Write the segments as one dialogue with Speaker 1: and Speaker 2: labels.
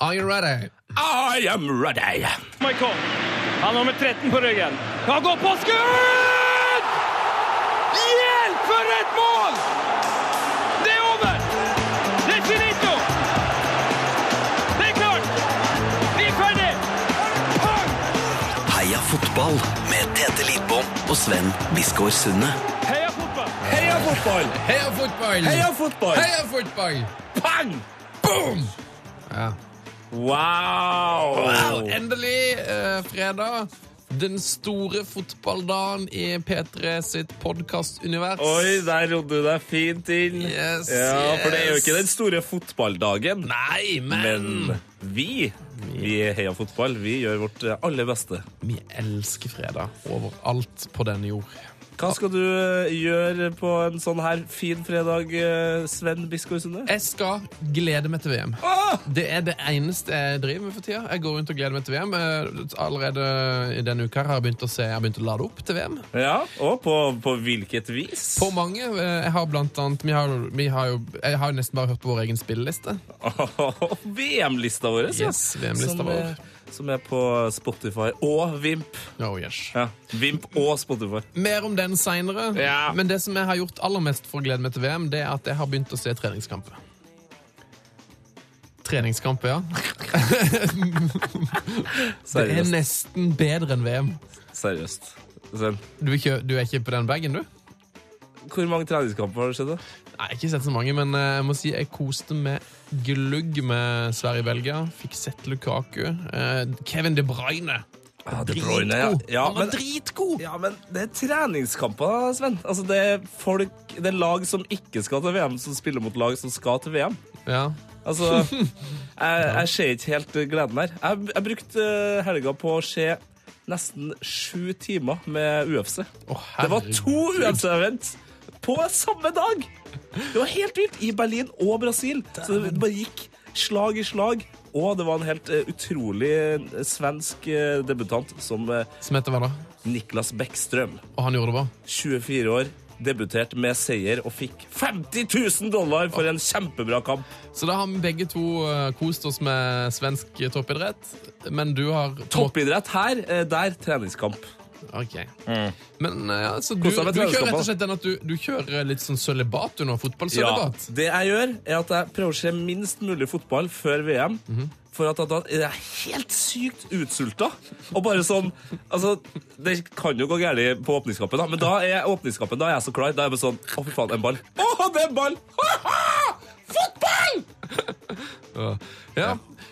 Speaker 1: Are you ready?
Speaker 2: I am ready!
Speaker 3: Michael. Han har nummer 13 på ryggen. Han går på skudd! Hjelp for et mål! Det er over! Det er finito! Det er klart! Vi er ferdig!
Speaker 4: Heia fotball med Tete Lidbom og Sven Biskår Sunne.
Speaker 3: Heia fotball!
Speaker 2: Heia fotball!
Speaker 1: Heia fotball!
Speaker 2: Heia fotball!
Speaker 1: Heia fotball!
Speaker 2: Pang!
Speaker 1: Boom! Ja. Wow,
Speaker 2: Wow!
Speaker 1: endelig eh, fredag. Den store fotballdagen i P3 sitt podkastunivers.
Speaker 2: Oi, der rodde du deg fint inn.
Speaker 1: Yes,
Speaker 2: ja, For det er jo
Speaker 1: yes.
Speaker 2: ikke den store fotballdagen.
Speaker 1: Nei, men,
Speaker 2: Men vi, vi er heia fotball. Vi gjør vårt eh, aller beste.
Speaker 1: Vi elsker fredag overalt på denne jord.
Speaker 2: Hva skal du eh, gjøre på en sånn her fin fredag, eh, Sven Biskår Sunde?
Speaker 1: Jeg skal glede meg til VM.
Speaker 2: Ah!
Speaker 1: Det er det eneste jeg driver med for tida. Jeg går rundt og gleder meg til VM. Eh, Allerede i denne uka har jeg begynt å, se, jeg har begynt å lade opp til VM.
Speaker 2: Ja, og på, på hvilket vis?
Speaker 1: På mange. Eh, Jeg har blant annet Vi har, vi har jo jeg har jo nesten bare hørt på vår egen spilleliste.
Speaker 2: VM-lista vår, ja.
Speaker 1: Yes, VM-lista
Speaker 2: som,
Speaker 1: vår.
Speaker 2: er- som er på Spotify og Vimp.
Speaker 1: Oh, yes.
Speaker 2: Ja, Vimp og Spotify.
Speaker 1: Mer om den seinere.
Speaker 2: Ja.
Speaker 1: Men det som jeg har gjort aller mest for å glede meg til VM, det er at jeg har begynt å se treningskamper. Treningskamper, ja. Det er
Speaker 2: Seriøst.
Speaker 1: nesten bedre enn VM.
Speaker 2: Seriøst. Sven,
Speaker 1: Du er ikke, du er ikke på den bagen, du?
Speaker 2: hvor mange treningskamper har det skjedd? da?
Speaker 1: Nei, jeg har ikke sett så mange, men eh, jeg må si jeg koste meg glugg med Sverige-Belgia. Fikk sett Lukaku. Eh, Kevin De Bruyne.
Speaker 2: Ja, De
Speaker 1: Dritgod!
Speaker 2: Bruyne, ja. Ja,
Speaker 1: Han var
Speaker 2: men-
Speaker 1: dritgod!
Speaker 2: Ja, men det er treningskamper, Sven. Altså, det er folk Det er lag som ikke skal til VM, som spiller mot lag som skal til VM.
Speaker 1: Ja.
Speaker 2: Altså, jeg, jeg ser ikke helt gleden her. Jeg, jeg brukte eh, helga på å se nesten sju timer med UFC.
Speaker 1: Å,
Speaker 2: Det var to
Speaker 1: herregud.
Speaker 2: UFC-event på samme dag! Det var helt vilt. I Berlin og Brasil. Så det bare gikk slag i slag. Og det var en helt eh, utrolig eh, svensk eh, debutant som eh,
Speaker 1: Som heter hva da?
Speaker 2: Niklas Bäckström.
Speaker 1: Og han gjorde det bra.
Speaker 2: 24 år, debutert med seier og fikk 50 000 dollar for en kjempebra kamp.
Speaker 1: Så da har vi begge to eh, kost oss med svensk toppidrett. Men du har
Speaker 2: Toppidrett her, eh, der treningskamp.
Speaker 1: Ok. Men eh, altså, du, du
Speaker 2: Kosa meg
Speaker 1: kjører
Speaker 2: treningskamper.
Speaker 1: rett og slett den at du, du kjører litt sånn sølibat under
Speaker 2: Ja,
Speaker 1: fotballsølibat.
Speaker 2: det jeg gjør, er at jeg prøver å se minst mulig fotball før VM. For at da er jeg helt sykt utsulta. Og bare sånn Altså, det kan jo gå galt på åpningskampen, da, men da er åpningskampen da er jeg så klar. Da er jeg bare sånn Å, fy faen, en ball. Å, det er en ball! Ha-ha! Fotball!
Speaker 1: Ja.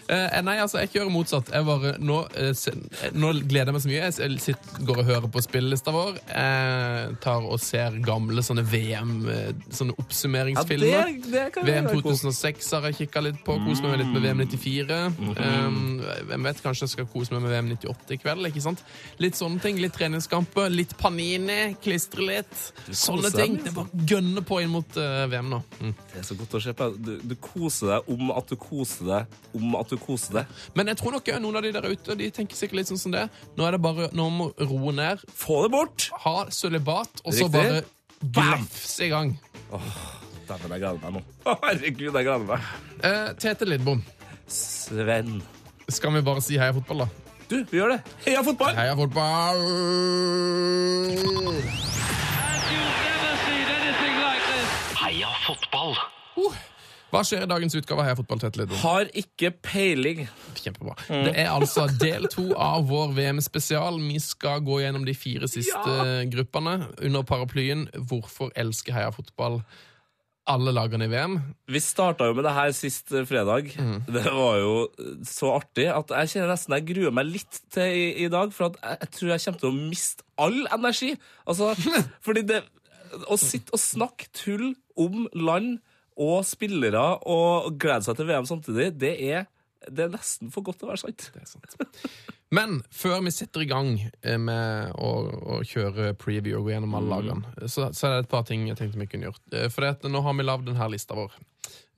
Speaker 1: Eh, nei, altså, jeg kjører motsatt. Jeg bare, nå, eh, se- eh, nå gleder jeg meg så mye. Jeg s- Jeg sitter, går og hører på spillelista vår. Eh, tar og ser gamle sånne VM, eh, sånne
Speaker 2: Ja,
Speaker 1: oppsummeringsfilmer.
Speaker 2: det, det kan
Speaker 1: VM
Speaker 2: være cool.
Speaker 1: 2006 har jeg kikka litt på. Kost meg litt med VM 94.
Speaker 2: Mhm.
Speaker 1: Um, hvem vet, kanskje jeg skal kose meg med VM 98 i kveld. ikke sant? Litt sånne ting. Litt treningskamper, litt Panini, klistre litt. Sånne
Speaker 2: koser deg,
Speaker 1: ting. Det er bare å gønne på inn mot eh, VM nå. Mm.
Speaker 2: Det er så godt å se på. Du, du koser deg om at du koser deg om at du koser deg.
Speaker 1: Men jeg tror nok eh, noen av de der ute de tenker sikkert litt sånn som det. Nå er det bare nå må vi roe ned,
Speaker 2: Få det bort!
Speaker 1: ha sølibat, og så
Speaker 2: Riktig.
Speaker 1: bare
Speaker 2: Bam!
Speaker 1: glefse i gang.
Speaker 2: Dæven, jeg gleder meg nå. Å, Herregud, jeg gleder meg.
Speaker 1: Eh, Tete Lidbom,
Speaker 2: Sven.
Speaker 1: skal vi bare si heia fotball, da?
Speaker 2: Du, vi gjør det. Heia fotball!
Speaker 1: Heia fotball!
Speaker 4: Heia fotball!
Speaker 1: Uh, hva skjer i dagens utgave av Heia fotball, Tete Lidbom?
Speaker 2: Har ikke peiling.
Speaker 1: Kjempebra. Det er altså del to av vår VM-spesial. Vi skal gå gjennom de fire siste gruppene under paraplyen Hvorfor elsker Heia fotball alle lagene i VM?
Speaker 2: Vi starta jo med det her sist eh, fredag. Det var jo eh, så artig at jeg kjenner nesten jeg gruer meg litt til i, i dag, for at jeg, jeg tror jeg kommer til å miste all energi. Altså, fordi det Å sitte og snakke tull om land og spillere og glede seg til VM samtidig, det er, det er nesten for godt til å være sant.
Speaker 1: Det er sant. Men før vi setter i gang eh, med å, å kjøre preview og gå gjennom alle lagene, så, så er det et par ting jeg tenkte vi kunne gjort. Eh, For det at nå har vi lagd denne lista vår.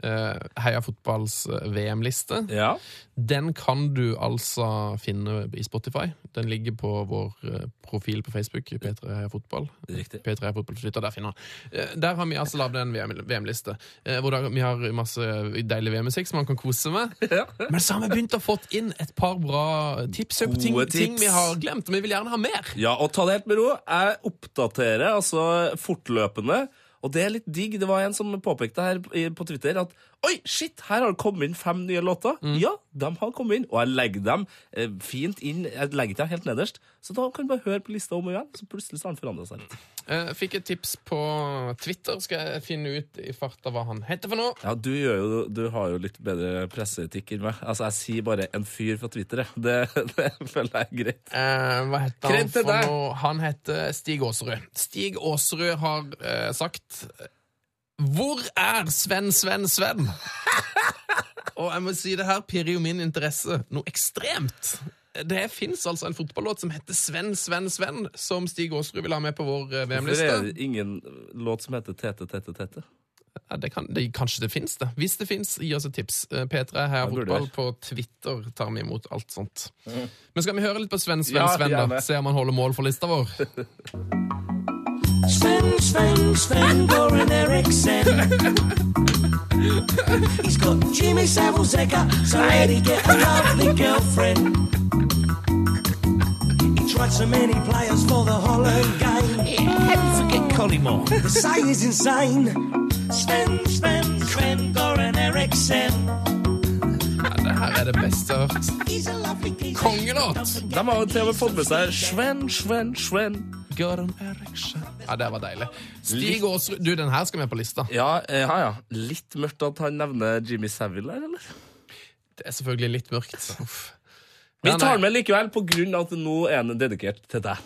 Speaker 1: eh, Heia fotballs eh, VM-liste.
Speaker 2: Ja.
Speaker 1: Den kan du altså finne i Spotify. Den ligger på vår eh, profil på Facebook, P3 Heia Fotball.
Speaker 2: Riktig.
Speaker 1: P3 Heia Fotball på Twitter, der finner han. Eh, Der har vi altså lagd en VM VM-liste, eh, hvor da vi har masse deilig VM-musikk som man kan kose med. Men så har vi begynt å fått inn et par bra tips her på ting,
Speaker 2: Gode
Speaker 1: ting
Speaker 2: tips.
Speaker 1: vi har glemt, og vi vil gjerne ha mer.
Speaker 2: Ja, og ta det helt med ro. Jeg oppdaterer altså fortløpende. Og det er litt digg. Det var en som påpekte her i- på Twitter at Oi, shit, her har det kommet inn fem nye låter. Ja, de har kommet inn. Og jeg legger dem eh, fint inn. Jeg legger dem helt nederst. Så da kan du bare høre på lista om og igjen. Så plutselig så har den forandra seg litt.
Speaker 1: Eh, Fikk et tips på Twitter. Skal jeg finne ut i farta hva han heter for noe?
Speaker 2: Ja, du, gjør jo, du har jo litt bedre presseetikk enn meg. Altså, jeg sier bare 'en fyr fra Twitter', jeg. Det, det føler jeg er greit.
Speaker 1: Eh, hva heter han
Speaker 2: Krem til
Speaker 1: for
Speaker 2: deg.
Speaker 1: noe? Han heter Stig Aasrud. Stig Aasrud har eh, sagt Hvor er Sven, Sven, Sven? Og jeg må si det her pirrer jo min interesse noe ekstremt. Det fins altså en fotballåt som heter Sven, Sven, Sven, som Stig Aasrud vil ha med på vår eh,
Speaker 2: Hvorfor
Speaker 1: VM-liste.
Speaker 2: er det ingen låt som heter 'Tete, tete, tete'?
Speaker 1: Ja, det kan, det, kanskje det fins, det. Hvis det fins, gi oss et tips. Eh, P3 her
Speaker 2: Det burde
Speaker 1: fotball
Speaker 2: det. Mm.
Speaker 1: på Twitter tar vi imot alt sånt. Men skal vi høre litt på Sven Sven
Speaker 2: Ja,
Speaker 1: Sven, da?
Speaker 2: gjerne.
Speaker 1: Se om han holder mål for lista vår.
Speaker 5: Sven, Sven, Sven, Goran Eriksen. He's got Jimmy Savile's echo, so how'd he get a lovely girlfriend? He tried so many players for the Holland game. forget Collymore. The say is insane. Sven, Sven, Sven, Goran Eriksen.
Speaker 1: Det her er det beste jeg har hørt.
Speaker 5: He's a lovely geezer.
Speaker 1: Kongelåt!
Speaker 5: Don't forget
Speaker 2: De har jo til og med
Speaker 5: he's
Speaker 2: fått med seg
Speaker 5: a
Speaker 2: Sven, Sven, Sven.
Speaker 1: Gøran Eriksen. Ja, det var deilig. Stig Aasrud Du, den her skal med på lista.
Speaker 2: Ja, eh, ja, ja. Litt mørkt at han nevner Jimmy Savile her, eller?
Speaker 1: Det er selvfølgelig litt mørkt. Uff.
Speaker 2: Vi
Speaker 1: Ja, nei.
Speaker 2: tar den med likevel, på grunn av at nå er den dedikert til deg.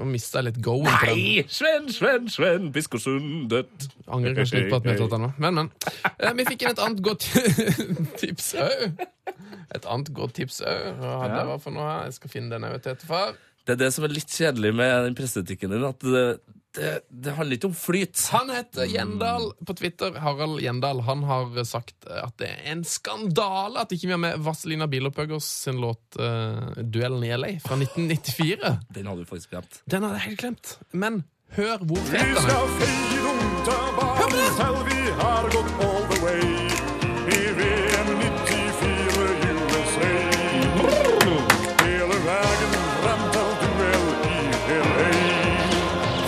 Speaker 1: Nå mista jeg litt go på den.
Speaker 2: Nei! Sven, Sven, Sven, Biskosund dødt.
Speaker 1: Angrer kanskje litt på at vi har tatt den med. Men, men. Eh, Vi fikk inn et annet godt tips òg. Et annet godt tips òg. Hva hadde
Speaker 2: Ja.
Speaker 1: jeg vært for noe her? Jeg skal finne den òg til etterfor.
Speaker 2: Det er det som er litt kjedelig med den presteetikken din, at det, det, det handler ikke om flyt.
Speaker 1: Han heter Gjendal på Twitter. Harald Gjendal. Han har sagt eh, at det er en skandale at ikke vi har med Vazelina Bilopphøggers sin låt eh, 'Duellen i LA' fra 1994.
Speaker 2: Den hadde vi faktisk glemt.
Speaker 1: Den hadde jeg helt glemt. Men hør hvor
Speaker 6: Vi
Speaker 1: fet den er.
Speaker 6: skal feire Ottawa til vi har gått all the way. I VM 94 USA. Hele veien frem til duell i LA.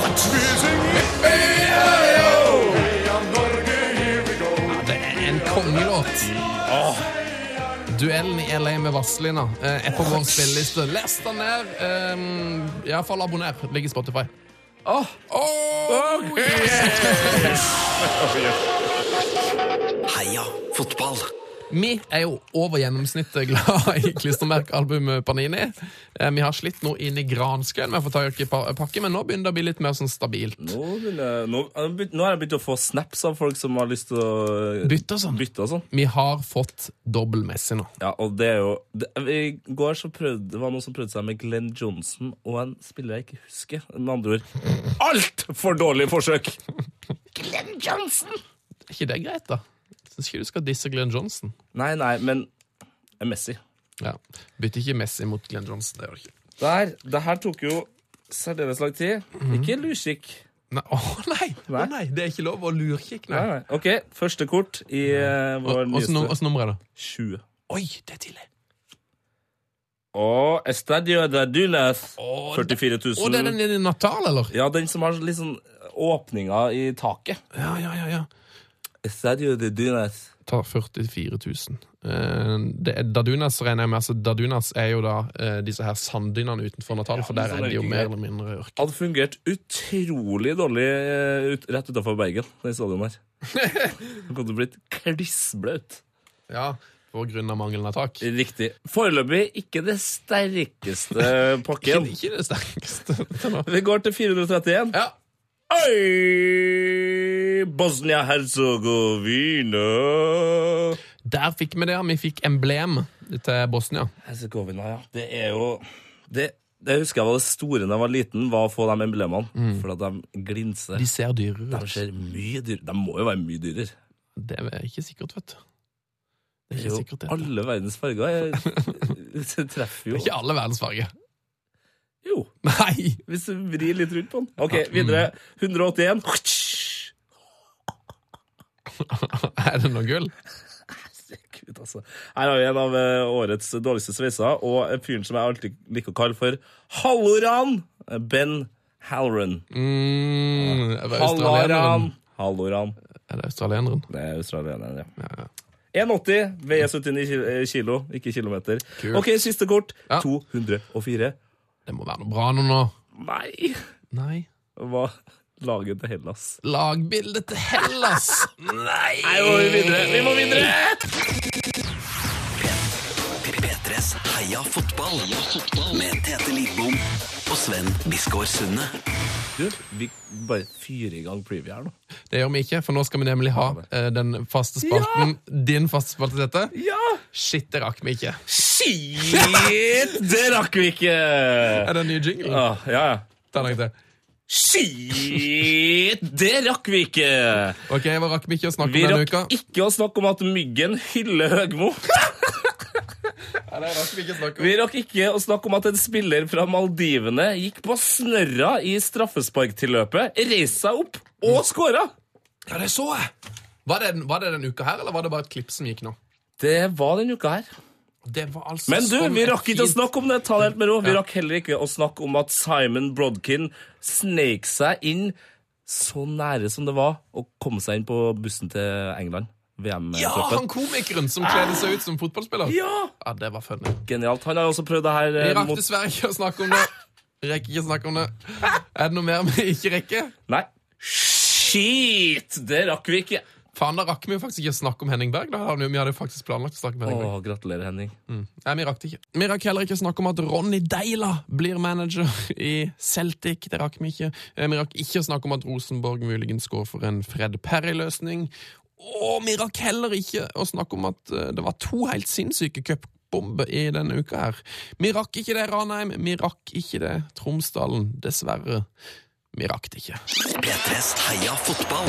Speaker 6: Vi synger EIO! Heia Norge, here we go.
Speaker 1: Det er en kongelåt. Duellen i LA med Vazelina eh, er på vår spilleliste. Les den ned. eh, i hvert fall abonner. Ligger i Spotify.
Speaker 2: Åh!
Speaker 1: Oh,
Speaker 4: Heia fotball.
Speaker 1: Vi er jo over gjennomsnittet glad i klistremerkealbumet Panini. Eh, Vi har slitt nå inn i granskauen med å få tak i pa- pakke, men nå begynner det å bli litt mer sånn stabilt.
Speaker 2: Nå, vil jeg, nå, jeg har begynt- nå har jeg begynt å få snaps av folk som har lyst til å
Speaker 1: Bytte og sånn.
Speaker 2: bytte og sånn.
Speaker 1: Vi har fått dobbel Messi nå.
Speaker 2: Ja, og det er jo det, I går så prøvde, det var noen som prøvde seg med Glenn Johnson og en spiller jeg ikke husker. Med andre ord altfor dårlig forsøk! Glenn Johnson!
Speaker 1: Er ikke det greit, da? Syns ikke du skal disse Glenn Johnson.
Speaker 2: Nei, nei, men det er Messi.
Speaker 1: Ja. Bytter ikke Messi mot Glenn Johnson. Det gjør du ikke.
Speaker 2: Det her, det her tok jo særdeles lang tid.
Speaker 1: Mhm.
Speaker 2: Ikke lurkikk.
Speaker 1: Nei, å nei. Å
Speaker 2: Nei.
Speaker 1: nei! Det er ikke lov å lurkikke,
Speaker 2: Nei,
Speaker 1: nei.
Speaker 2: nei. OK, første kort i eh, vår
Speaker 1: Åssen
Speaker 2: nyeste
Speaker 1: nummer er det?
Speaker 2: 20.
Speaker 1: Oi, det er tidlig.
Speaker 2: Og Estadio de Dunes.
Speaker 1: Å,
Speaker 2: 44
Speaker 1: Å, det er
Speaker 2: 000.
Speaker 1: den i Natal, eller?
Speaker 2: Ja, den som har litt sånn åpninger i taket.
Speaker 1: Ja, ja, ja. ja.
Speaker 2: Estadio de Dunes.
Speaker 1: Tar 44 000. Eh, det er Dadunas regner jeg med. Altså, Dadunas er jo da eh, disse her sanddynene utenfor Natal, for
Speaker 2: men
Speaker 1: der
Speaker 2: sånn
Speaker 1: er
Speaker 2: er
Speaker 1: de
Speaker 2: det
Speaker 1: jo
Speaker 2: ikke
Speaker 1: mer
Speaker 2: greit.
Speaker 1: eller mindre ørken.
Speaker 2: hadde fungert utrolig dårlig eh, ut, rett utenfor Bergen, den stadion her. Han kunne blitt klissblaut.
Speaker 1: Ja, på grunn av mangelen av tak.
Speaker 2: Riktig. Foreløpig ikke det sterkeste
Speaker 1: Ikke,
Speaker 2: pakken.
Speaker 1: ikke det sterkeste til nå.
Speaker 2: Vi går til 431.
Speaker 1: Ja.
Speaker 2: Oi! Bosnia-Hercegovina.
Speaker 1: Der fikk vi det. ja. Vi fikk emblem til Bosnia.
Speaker 2: Herzegovina, ja. Det er jo det, det husker jeg var det store da jeg var liten, var å få de emblemene. For at Mm. de glinser.
Speaker 1: De ser dyrere
Speaker 2: De
Speaker 1: ut.
Speaker 2: ser mye dyrere De må jo være mye dyrere.
Speaker 1: Det er ikke sikkert, vet du. Det er
Speaker 2: Det
Speaker 1: ikke
Speaker 2: er jo
Speaker 1: sikkert, det. vet du.
Speaker 2: alle verdens farger. Jeg treffer
Speaker 1: Det er
Speaker 2: jo
Speaker 1: ikke alle verdens farger.
Speaker 2: Jo,
Speaker 1: Nei!
Speaker 2: hvis du vrir litt rundt på den. OK, videre. 181.
Speaker 1: Er det noe gull?
Speaker 2: Gud, altså. Her har vi en av eh, årets dårligste sveiser, og fyren som jeg alltid liker å kalle for Halloran. Ben Halloran.
Speaker 1: Mm, er det
Speaker 2: Halloran.
Speaker 1: australieneren?
Speaker 2: Halloran.
Speaker 1: Er det australieneren?
Speaker 2: Det er australieneren, ja. 1,80 veier 79 kil- eh, kilo, ikke kilometer.
Speaker 1: Kult.
Speaker 2: OK, siste kort.
Speaker 1: Ja.
Speaker 2: 204.
Speaker 1: Det må være noe bra nå, nå.
Speaker 2: Nei!
Speaker 1: Nei.
Speaker 2: Hva laget til Hellas?
Speaker 1: Lagbildet til Hellas! Nei!
Speaker 2: Nei, vi må videre! Vi må videre!
Speaker 4: P3s Heia fotball med Tete Lidbom og Sven Biskår Sunde.
Speaker 2: Du, vi bare fyrer i gang preview her nå.
Speaker 1: Det gjør vi ikke, for nå skal vi nemlig ha eh, den faste spalten. Din faste spalte, dette.
Speaker 2: Ja!
Speaker 1: Shit, det rakk vi ikke.
Speaker 2: Shit! Det rakk vi ikke!
Speaker 1: Er det en ny jingle?
Speaker 2: Ah, ja, ja.
Speaker 1: Ta en gang til.
Speaker 2: Shit! Det rakk vi ikke!
Speaker 1: Ok, Hva rakk vi ikke å snakke
Speaker 2: Vi
Speaker 1: om denne uka?
Speaker 2: rakk ikke å snakke om at myggen hyller Høgmo.
Speaker 1: Nei, det rakk vi ikke å snakke om.
Speaker 2: Vi rakk ikke å snakke om at en spiller fra Maldivene gikk på snørra i straffesparktilløpet, reiste seg opp og skåra.
Speaker 1: Ja, det så jeg! Var det, var det denne uka her, eller var det bare et klipp som gikk nå?
Speaker 2: Det var denne uka her.
Speaker 1: Det var altså
Speaker 2: Men du,
Speaker 1: sånn
Speaker 2: vi
Speaker 1: en
Speaker 2: rakk ikke å
Speaker 1: fin-
Speaker 2: snakke om det. Ta det helt med ro. Vi rakk heller ikke å snakke om at Simon Brodkin sneik seg inn så nære som det var å komme seg inn på bussen til England.
Speaker 1: Ja,
Speaker 2: VM-troppen.
Speaker 1: Ah, han komikeren som kledde seg ut som fotballspiller!
Speaker 2: Ja!
Speaker 1: Ja, det var funny.
Speaker 2: Genialt. Han har jo også prøvd det her
Speaker 1: Vi
Speaker 2: eh,
Speaker 1: rakk
Speaker 2: mot
Speaker 1: dessverre ikke å snakke om det. Rekker ikke å snakke om det. Er det noe mer vi ikke rekker?
Speaker 2: Nei. Shit! Det rakk vi ikke.
Speaker 1: Faen, da rakk vi jo faktisk ikke å snakke om Henning Berg. Da hadde vi vi hadde jo faktisk planlagt å snakke om
Speaker 2: Å,
Speaker 1: Henning Berg.
Speaker 2: gratulerer, Henning.
Speaker 1: Nei, vi rakk det ikke. Vi rakk heller ikke å snakke om at Ronny Deila blir manager i Celtic. Det rakk vi ikke. Eh, Vi rakk ikke å snakke om at Rosenborg muligens går for en Fred Perry-løsning. Og vi rakk heller ikke å snakke om at eh, det var to helt sinnssyke cupbomber i denne uka her. Vi rakk ikke det, Ranheim. Vi rakk ikke det, Tromsdalen. Dessverre. Vi rakk det ikke.
Speaker 4: P3s Heia fotball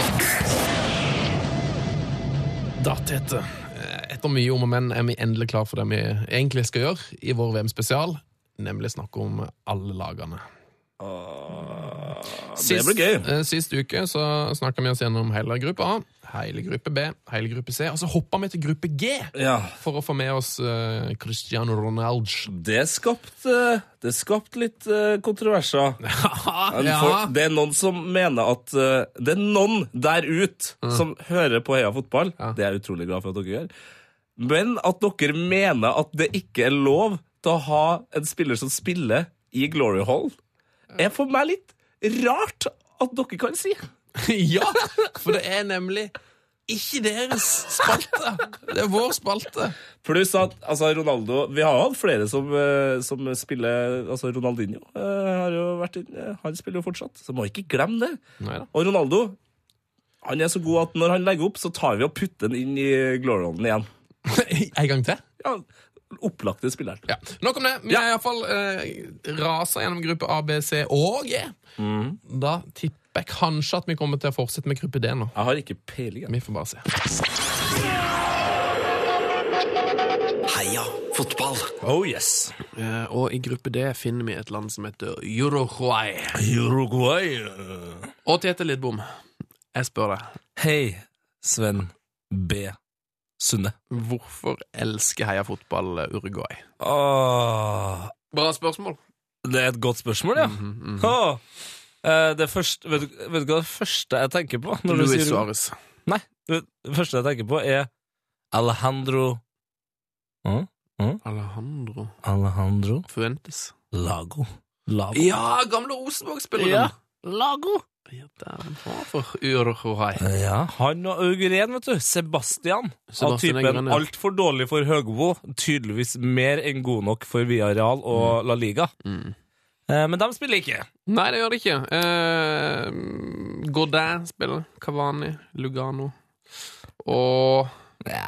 Speaker 1: Da, Tete, Eh, etter mye om og men er vi endelig klar for det vi egentlig skal gjøre i vår VM-spesial, nemlig snakke om alle lagene.
Speaker 2: Det blir gøy.
Speaker 1: eh, sist uke så snakka vi oss gjennom hele gruppe A, hele gruppe B, hele gruppe C, og så hoppa vi til gruppe G
Speaker 2: Ja.
Speaker 1: for å få med oss eh, Cristiano Ronaldo.
Speaker 2: Det skapte Det skapte litt eh, kontroverser. Men
Speaker 1: ja.
Speaker 2: For, det er noen som mener at eh, Det er noen der ut som hører på Heia fotball. Det er jeg utrolig glad for at dere gjør. Men at dere mener at det ikke er lov til å ha en spiller som spiller i Glory Hall, er for meg litt rart at dere kan si.
Speaker 1: ja, for det er nemlig ikke deres spalte. Det er vår spalte.
Speaker 2: Pluss at altså, Ronaldo Vi har hatt flere som, eh, som spiller Altså Ronaldinho eh, har jo vært inn, eh, Han spiller jo fortsatt, så må ikke glemme det.
Speaker 1: Neida.
Speaker 2: Og Ronaldo han er så god at når han legger opp, så tar vi og putter den inn i glory-rollen igjen.
Speaker 1: En gang til.
Speaker 2: Ja, Opplagte spilleren.
Speaker 1: Ja. Nok om det. Vi har iallfall eh, rasa gjennom gruppe A, B, C og G.
Speaker 2: Mm.
Speaker 1: Da tipper jeg kanskje at vi kommer til å fortsette med gruppe D nå.
Speaker 2: Jeg har ikke peiling. jeg.
Speaker 1: Vi får bare se.
Speaker 4: Heia fotball
Speaker 2: Oh yes.
Speaker 1: Eh, og i gruppe D finner vi et land som heter Uruguay.
Speaker 2: Uruguay. eh.
Speaker 1: Og Tete Lidbom, jeg spør deg,
Speaker 2: Hei, Sven B. Sunne.
Speaker 1: hvorfor elsker heia fotball eh, Uruguay?
Speaker 2: Åh,
Speaker 1: Bra spørsmål.
Speaker 2: Ah, Det er et godt spørsmål,
Speaker 1: Mhm,
Speaker 2: ja. Åh. Eh, Det første, vet, du, vet du hva det første jeg tenker på? Når du
Speaker 1: Luis
Speaker 2: sier-
Speaker 1: Suárez.
Speaker 2: Nei, det det første jeg tenker på er Alejandro Hå?
Speaker 1: Alejandro
Speaker 2: Alejandro
Speaker 1: Fuentes.
Speaker 2: Lago. Lago.
Speaker 1: Ja, gamle Rosenborg-spilleren!
Speaker 2: Ja,
Speaker 1: Lago. Ja, dæven. Bra for Uruguay.
Speaker 2: Ja, han og Auguren, vet du. Sebastian. Av
Speaker 1: Sebastian Auguren,
Speaker 2: typen
Speaker 1: ja.
Speaker 2: altfor dårlig for Høgbo, tydeligvis mer enn god nok for Villarreal og La Liga.
Speaker 1: Mm.
Speaker 2: Eh, Men de spiller ikke.
Speaker 1: Nei, det gjør det ikke. Eh, Godin spiller. Kavani, Lugano og
Speaker 2: Ja,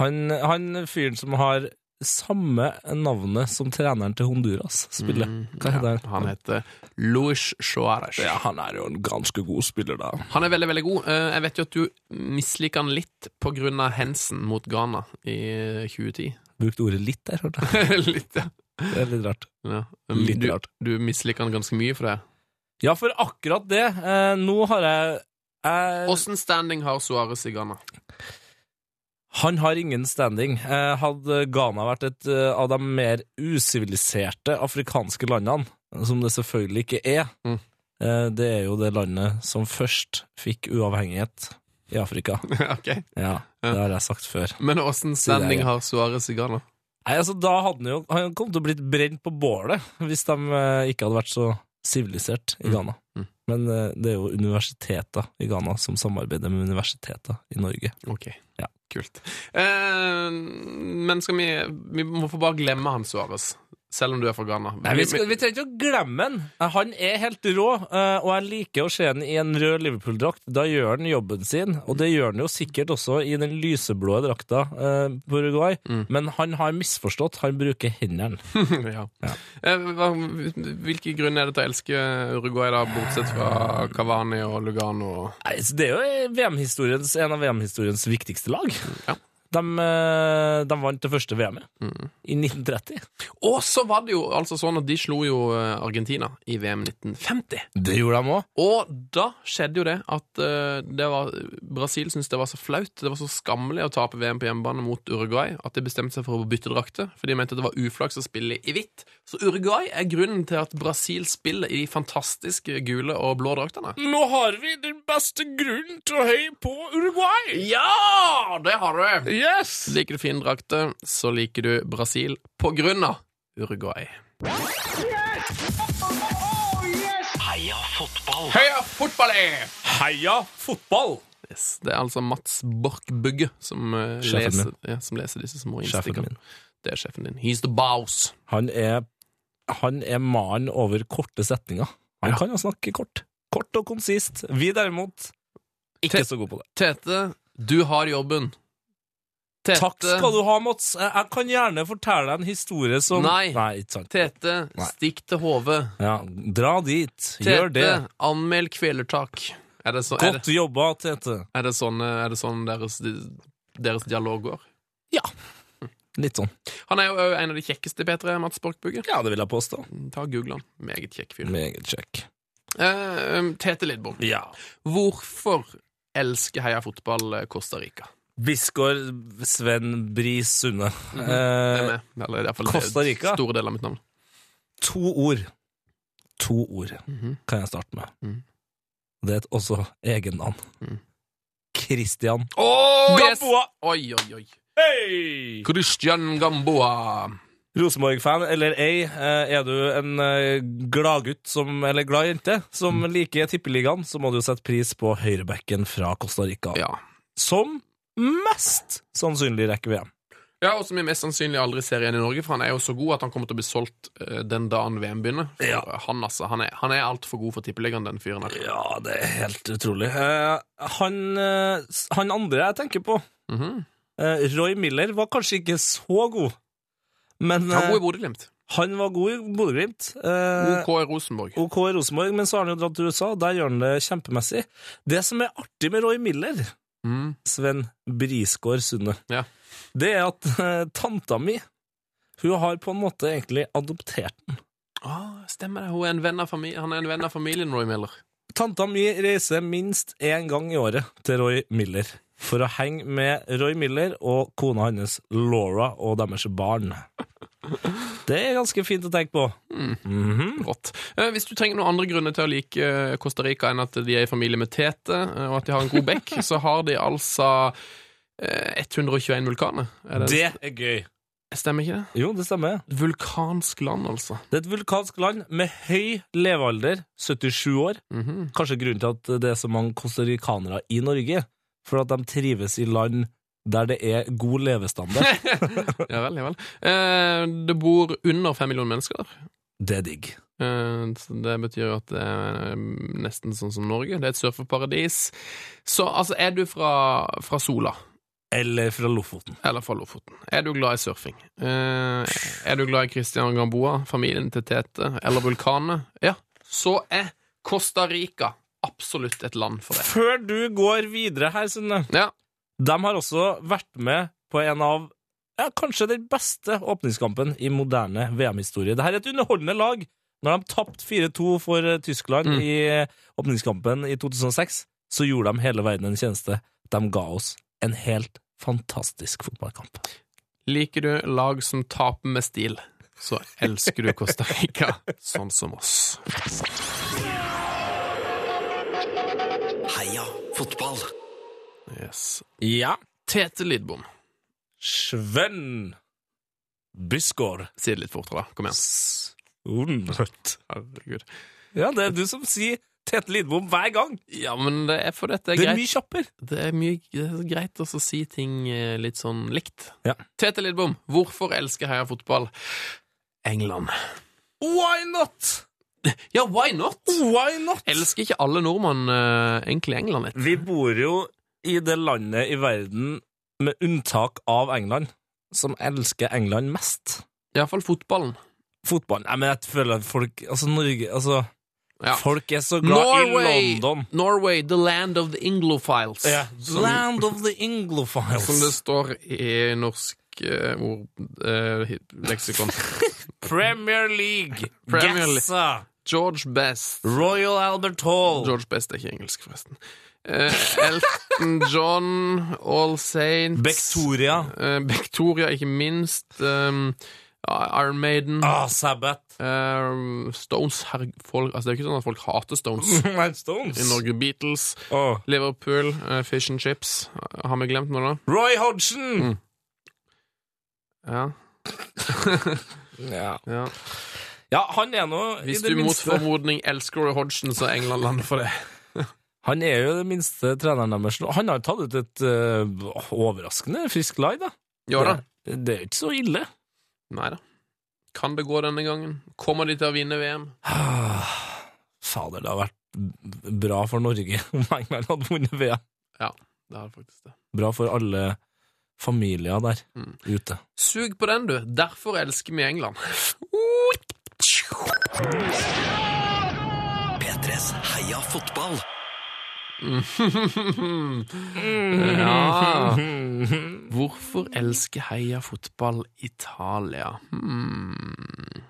Speaker 2: han, han fyren som har samme navnet som treneren til Honduras spiller. Hva heter han?
Speaker 1: Mm. Han heter Luis Suárez.
Speaker 2: Ja, han er jo en ganske god spiller, da.
Speaker 1: Han er veldig, veldig god. Eh, Jeg vet jo at du misliker han litt på grunn av Hensen mot Ghana i eh, 2010.
Speaker 2: Brukte ordet litt der, hørte jeg.
Speaker 1: litt, ja.
Speaker 2: Det er litt rart.
Speaker 1: ja. Um,
Speaker 2: Litt
Speaker 1: du,
Speaker 2: rart.
Speaker 1: du misliker han ganske mye for det.
Speaker 2: Ja, for akkurat det. Eh, nå har jeg jeg-
Speaker 1: Åssen standing har Suárez i Ghana?
Speaker 2: Han har ingen standing. Eh, hadde Ghana vært et eh, av de mer usiviliserte afrikanske landene, som det selvfølgelig ikke er
Speaker 1: Mm.
Speaker 2: eh, Det er jo det landet som først fikk uavhengighet i Afrika.
Speaker 1: ok.
Speaker 2: Ja, det har jeg sagt før.
Speaker 1: Men åssen standing
Speaker 2: ja.
Speaker 1: har Suárez i Ghana?
Speaker 2: Nei, altså Da hadde han jo Han kom til å blitt brent på bålet hvis de eh, ikke hadde vært så sivilisert i Ghana.
Speaker 1: Mm.
Speaker 2: Men eh, det er jo universiteter i Ghana som samarbeider med universiteter i Norge.
Speaker 1: Ok.
Speaker 2: Ja.
Speaker 1: Kult. Eh, men skal vi Vi må få bare glemme han Suárez, selv om du er fra Ghana.
Speaker 2: Nei, vi, skal, vi trenger ikke å glemme han. Han er helt rå, eh, og jeg liker å se han i en rød Liverpool-drakt. Da gjør han jobben sin, og det gjør han jo sikkert også i den lyseblå drakta eh, på Uruguay.
Speaker 1: Mm.
Speaker 2: Men han har misforstått. Han bruker hendene.
Speaker 1: ja. Eh, hva- Hvilke grunner er det til å elske Uruguay, da, bortsett fra Cavani og Lugano? og
Speaker 2: Nei, så Det er jo eh, VM-historiens, en av VM-historiens viktigste lag.
Speaker 1: Ja.
Speaker 2: De, eh, de vant det første VM-et i 1930.
Speaker 1: Og så var det jo altså sånn at de slo jo eh, Argentina i VM 1950.
Speaker 2: Det gjorde de òg.
Speaker 1: Og da skjedde jo det at eh, det var, Brasil syntes det var så flaut, det var så skammelig å tape VM på hjemmebane mot Uruguay, at de bestemte seg for å bytte drakter, for de mente at det var uflaks å spille i hvitt. Så Uruguay er grunnen til at Brasil spiller i de fantastiske gule og blå draktene.
Speaker 2: Nå har vi den beste grunnen til å heie på Uruguay!
Speaker 1: Ja, det har du!
Speaker 2: Yes!
Speaker 1: Liker du fine drakter, så liker du Brasil på grunn av Uruguay.
Speaker 4: Heia fotball.
Speaker 1: Heia fotballet!
Speaker 2: Heia fotball!
Speaker 1: Yes. Det er altså Mats Borch Bugge som, eh,
Speaker 2: Sjefen
Speaker 1: leser,
Speaker 2: min.
Speaker 1: ja, som leser disse små
Speaker 2: Sjefen
Speaker 1: innstikkene.
Speaker 2: min.
Speaker 1: Det er sjefen din. He's the boss.
Speaker 2: Han er, han er mannen over korte setninger. Han
Speaker 1: Ja.
Speaker 2: kan jo snakke kort. Kort og konsist. Vi derimot ikke så gode på det.
Speaker 1: Tete, du har jobben. Tete,
Speaker 2: Takk skal du ha, Mats. Jeg- Jeg kan gjerne fortelle deg en historie som
Speaker 1: Nei.
Speaker 2: ikke sant.
Speaker 1: Tete,
Speaker 2: Nei.
Speaker 1: stikk til hodet.
Speaker 2: Ja, dra dit. Gjør det.
Speaker 1: Tete, anmeld kvelertak. Er det, så, er, det,
Speaker 2: Godt jobba, Tete.
Speaker 1: er, det sånn, eh, er det sånn deres, deres dialog går?
Speaker 2: Litt sånn.
Speaker 1: Han er jo eh, en av de kjekkeste i P3, Mats Borch Bugge.
Speaker 2: Ja, det vil jeg påstå.
Speaker 1: Ta og Google han. Meget kjekk fyr.
Speaker 2: Meget kjekk.
Speaker 1: Eh, um, Tete Lidbom,
Speaker 2: Ja.
Speaker 1: hvorfor elsker Heia Fotball eh, Costa Rica?
Speaker 2: Bisgaard Sven Bris Sunde.
Speaker 1: Det er
Speaker 2: eh,
Speaker 1: med. Eller i hvert fall
Speaker 2: Costa Rica.
Speaker 1: store deler av mitt navn.
Speaker 2: to ord. To ord
Speaker 1: Mhm.
Speaker 2: kan jeg starte med.
Speaker 1: Mhm.
Speaker 2: Det er et også egennavn.
Speaker 1: Mhm.
Speaker 2: Christian
Speaker 1: Oh,
Speaker 2: Gamboa!
Speaker 1: Oi, oi, oi.
Speaker 2: Hey!
Speaker 1: Christian Gamboa.
Speaker 2: Rosenborg-fan eller ei, eh, er du en eh, gladgutt som, eller glad jente som liker Tippeligaen, så må du jo sette pris på høyrebacken fra Costa Rica,
Speaker 1: Ja.
Speaker 2: som mest sannsynlig rekker VM.
Speaker 1: ja, og som vi mest sannsynlig aldri ser igjen i Norge, for han er jo så god at han kommer til å bli solgt eh, den dagen VM begynner. For
Speaker 2: Ja.
Speaker 1: eh, Han, altså, han er, han er altfor god for tippeligaen, den fyren her.
Speaker 2: Ja, det er helt utrolig. Eh, han, eh, s- han andre jeg tenker på,
Speaker 1: Mhm.
Speaker 2: eh, Roy Miller, var kanskje ikke så god. Men
Speaker 1: Han er
Speaker 2: eh,
Speaker 1: god i Bodø-Glimt.
Speaker 2: han var god i Bodø-Glimt. Eh,
Speaker 1: OK i Rosenborg.
Speaker 2: OK i Rosenborg, men så har han jo dratt til USA. Der gjør han det kjempemessig. Det som er artig med Roy Miller,
Speaker 1: Mm.
Speaker 2: Sven Brisgård Sunde,
Speaker 1: Ja.
Speaker 2: det er at eh, tanta mi hun har på en måte egentlig adoptert den.
Speaker 1: Ah, stemmer det. Hun er en venn av famili- han er en venn av familien, Roy Miller.
Speaker 2: Tanta mi reiser minst én gang i året til Roy Miller for å henge med Roy Miller og kona hans Laura og deres barn. Det er ganske fint å tenke på. Mhm.
Speaker 1: Rått. Eh, Hvis du trenger noen andre grunner til å like eh, Costa Rica enn at de er i familie med Tete, eh, og at de har en god bekk, så har de altså eh, 121 vulkaner. Er det,
Speaker 2: Det er gøy.
Speaker 1: Stemmer ikke det?
Speaker 2: Jo, det stemmer.
Speaker 1: Vulkansk land, altså.
Speaker 2: Det er et vulkansk land med høy levealder, 77 år.
Speaker 1: Mhm.
Speaker 2: Kanskje grunnen til at det er så mange costaricanere i Norge, for at de trives i land der det er god levestandard.
Speaker 1: Ja vel, ja vel. Eh, Det bor under fem millioner mennesker der.
Speaker 2: Det er digg.
Speaker 1: Eh, så Det betyr jo at det er nesten sånn som Norge. Det er et surfeparadis. Så altså, er du fra, fra Sola,
Speaker 2: eller fra Lofoten.
Speaker 1: Eller fra Lofoten. Er du glad i surfing? Eh, er du glad i Christian Gamboa, familien til Tete eller vulkanet? Ja, så er Costa Rica absolutt et land for det.
Speaker 2: Før du går videre her, Sunne,
Speaker 1: Ja,
Speaker 2: de har også vært med på en av ja, kanskje den beste åpningskampen i moderne VM-historie. Dette er et underholdende lag. Når de tapte 4-2 for eh, Tyskland
Speaker 1: Mm.
Speaker 2: i åpningskampen i 2006, så gjorde de hele verden en tjeneste. De ga oss en helt fantastisk fotballkamp.
Speaker 1: Liker du lag som taper med stil, så elsker du Costa Rica, sånn som oss.
Speaker 4: Heia fotball.
Speaker 1: Yes.
Speaker 2: Ja.
Speaker 1: Tete Lidbom.
Speaker 2: Sven Bisgaard.
Speaker 1: Si det litt fortere, da. Kom igjen.
Speaker 2: Rødt.
Speaker 1: Herregud.
Speaker 2: Mm. Ja, det er du som sier Tete Lidbom hver gang.
Speaker 1: Ja, men det er fordi det er
Speaker 2: Det er
Speaker 1: greit.
Speaker 2: mye kjappere.
Speaker 1: Det er mye det er greit også å si ting eh, litt sånn likt.
Speaker 2: Ja.
Speaker 1: Tete Lidbom, hvorfor elsker Heia fotball England?
Speaker 2: Why not?
Speaker 1: Ja, why not?
Speaker 2: Why not?
Speaker 1: Elsker ikke alle nordmenn eh, egentlig England litt?
Speaker 2: Vi bor jo i det landet i verden, med unntak av England, som elsker England mest.
Speaker 1: Iallfall fotballen.
Speaker 2: Fotballen Nei, men jeg føler at folk Altså, Norge Altså,
Speaker 1: Ja.
Speaker 2: folk er så glad i
Speaker 1: Norway,
Speaker 2: London.
Speaker 1: Norway, the land of the Inglofiles. Som,
Speaker 2: Land of the Inglophiles.
Speaker 1: som det står i norsk eh, ord, eh, hi- leksikon.
Speaker 2: Premier League.
Speaker 1: Premier League.
Speaker 2: Gaza.
Speaker 1: George Best.
Speaker 2: Royal Albert Hall.
Speaker 1: George Best er ikke engelsk, forresten. Eh, Elton John, All Saints
Speaker 2: Bektoria.
Speaker 1: Eh, Bektoria, ikke minst. Um, ja, Iron Maiden.
Speaker 2: Ah, Sabbath.
Speaker 1: eh, Stones herre- folk, altså Det er jo ikke sånn at folk hater Stones
Speaker 2: Rolling
Speaker 1: i
Speaker 2: Stones.
Speaker 1: Norge. Beatles,
Speaker 2: Åh.
Speaker 1: Liverpool, eh, Fish and Chips. Har vi glemt noe, da?
Speaker 2: Roy Hodgson!
Speaker 1: Mm. Ja.
Speaker 2: Ja.
Speaker 1: ja.
Speaker 2: ja, han er nå i
Speaker 1: Hvis
Speaker 2: det
Speaker 1: du mot
Speaker 2: minste
Speaker 1: formodning elsker Roy Hodgson, så er England landet for det.
Speaker 2: Han er jo det minste treneren deres nå. Han har tatt ut et eh, overraskende friskt lag, da.
Speaker 1: Ja da.
Speaker 2: Det, det er jo ikke så ille.
Speaker 1: Nei da. Kan det gå denne gangen? Kommer de til å vinne VM?
Speaker 2: Ah, Fader, det har vært b- bra for Norge om England hadde vunnet VM.
Speaker 1: Det har det faktisk det.
Speaker 2: Bra for alle familier der
Speaker 1: Mm.
Speaker 2: ute.
Speaker 1: Sug på den, du. Derfor elsker vi England.
Speaker 4: P3s Heia fotball.
Speaker 1: ja. Hvorfor elsker heia fotball Italia? Hmm.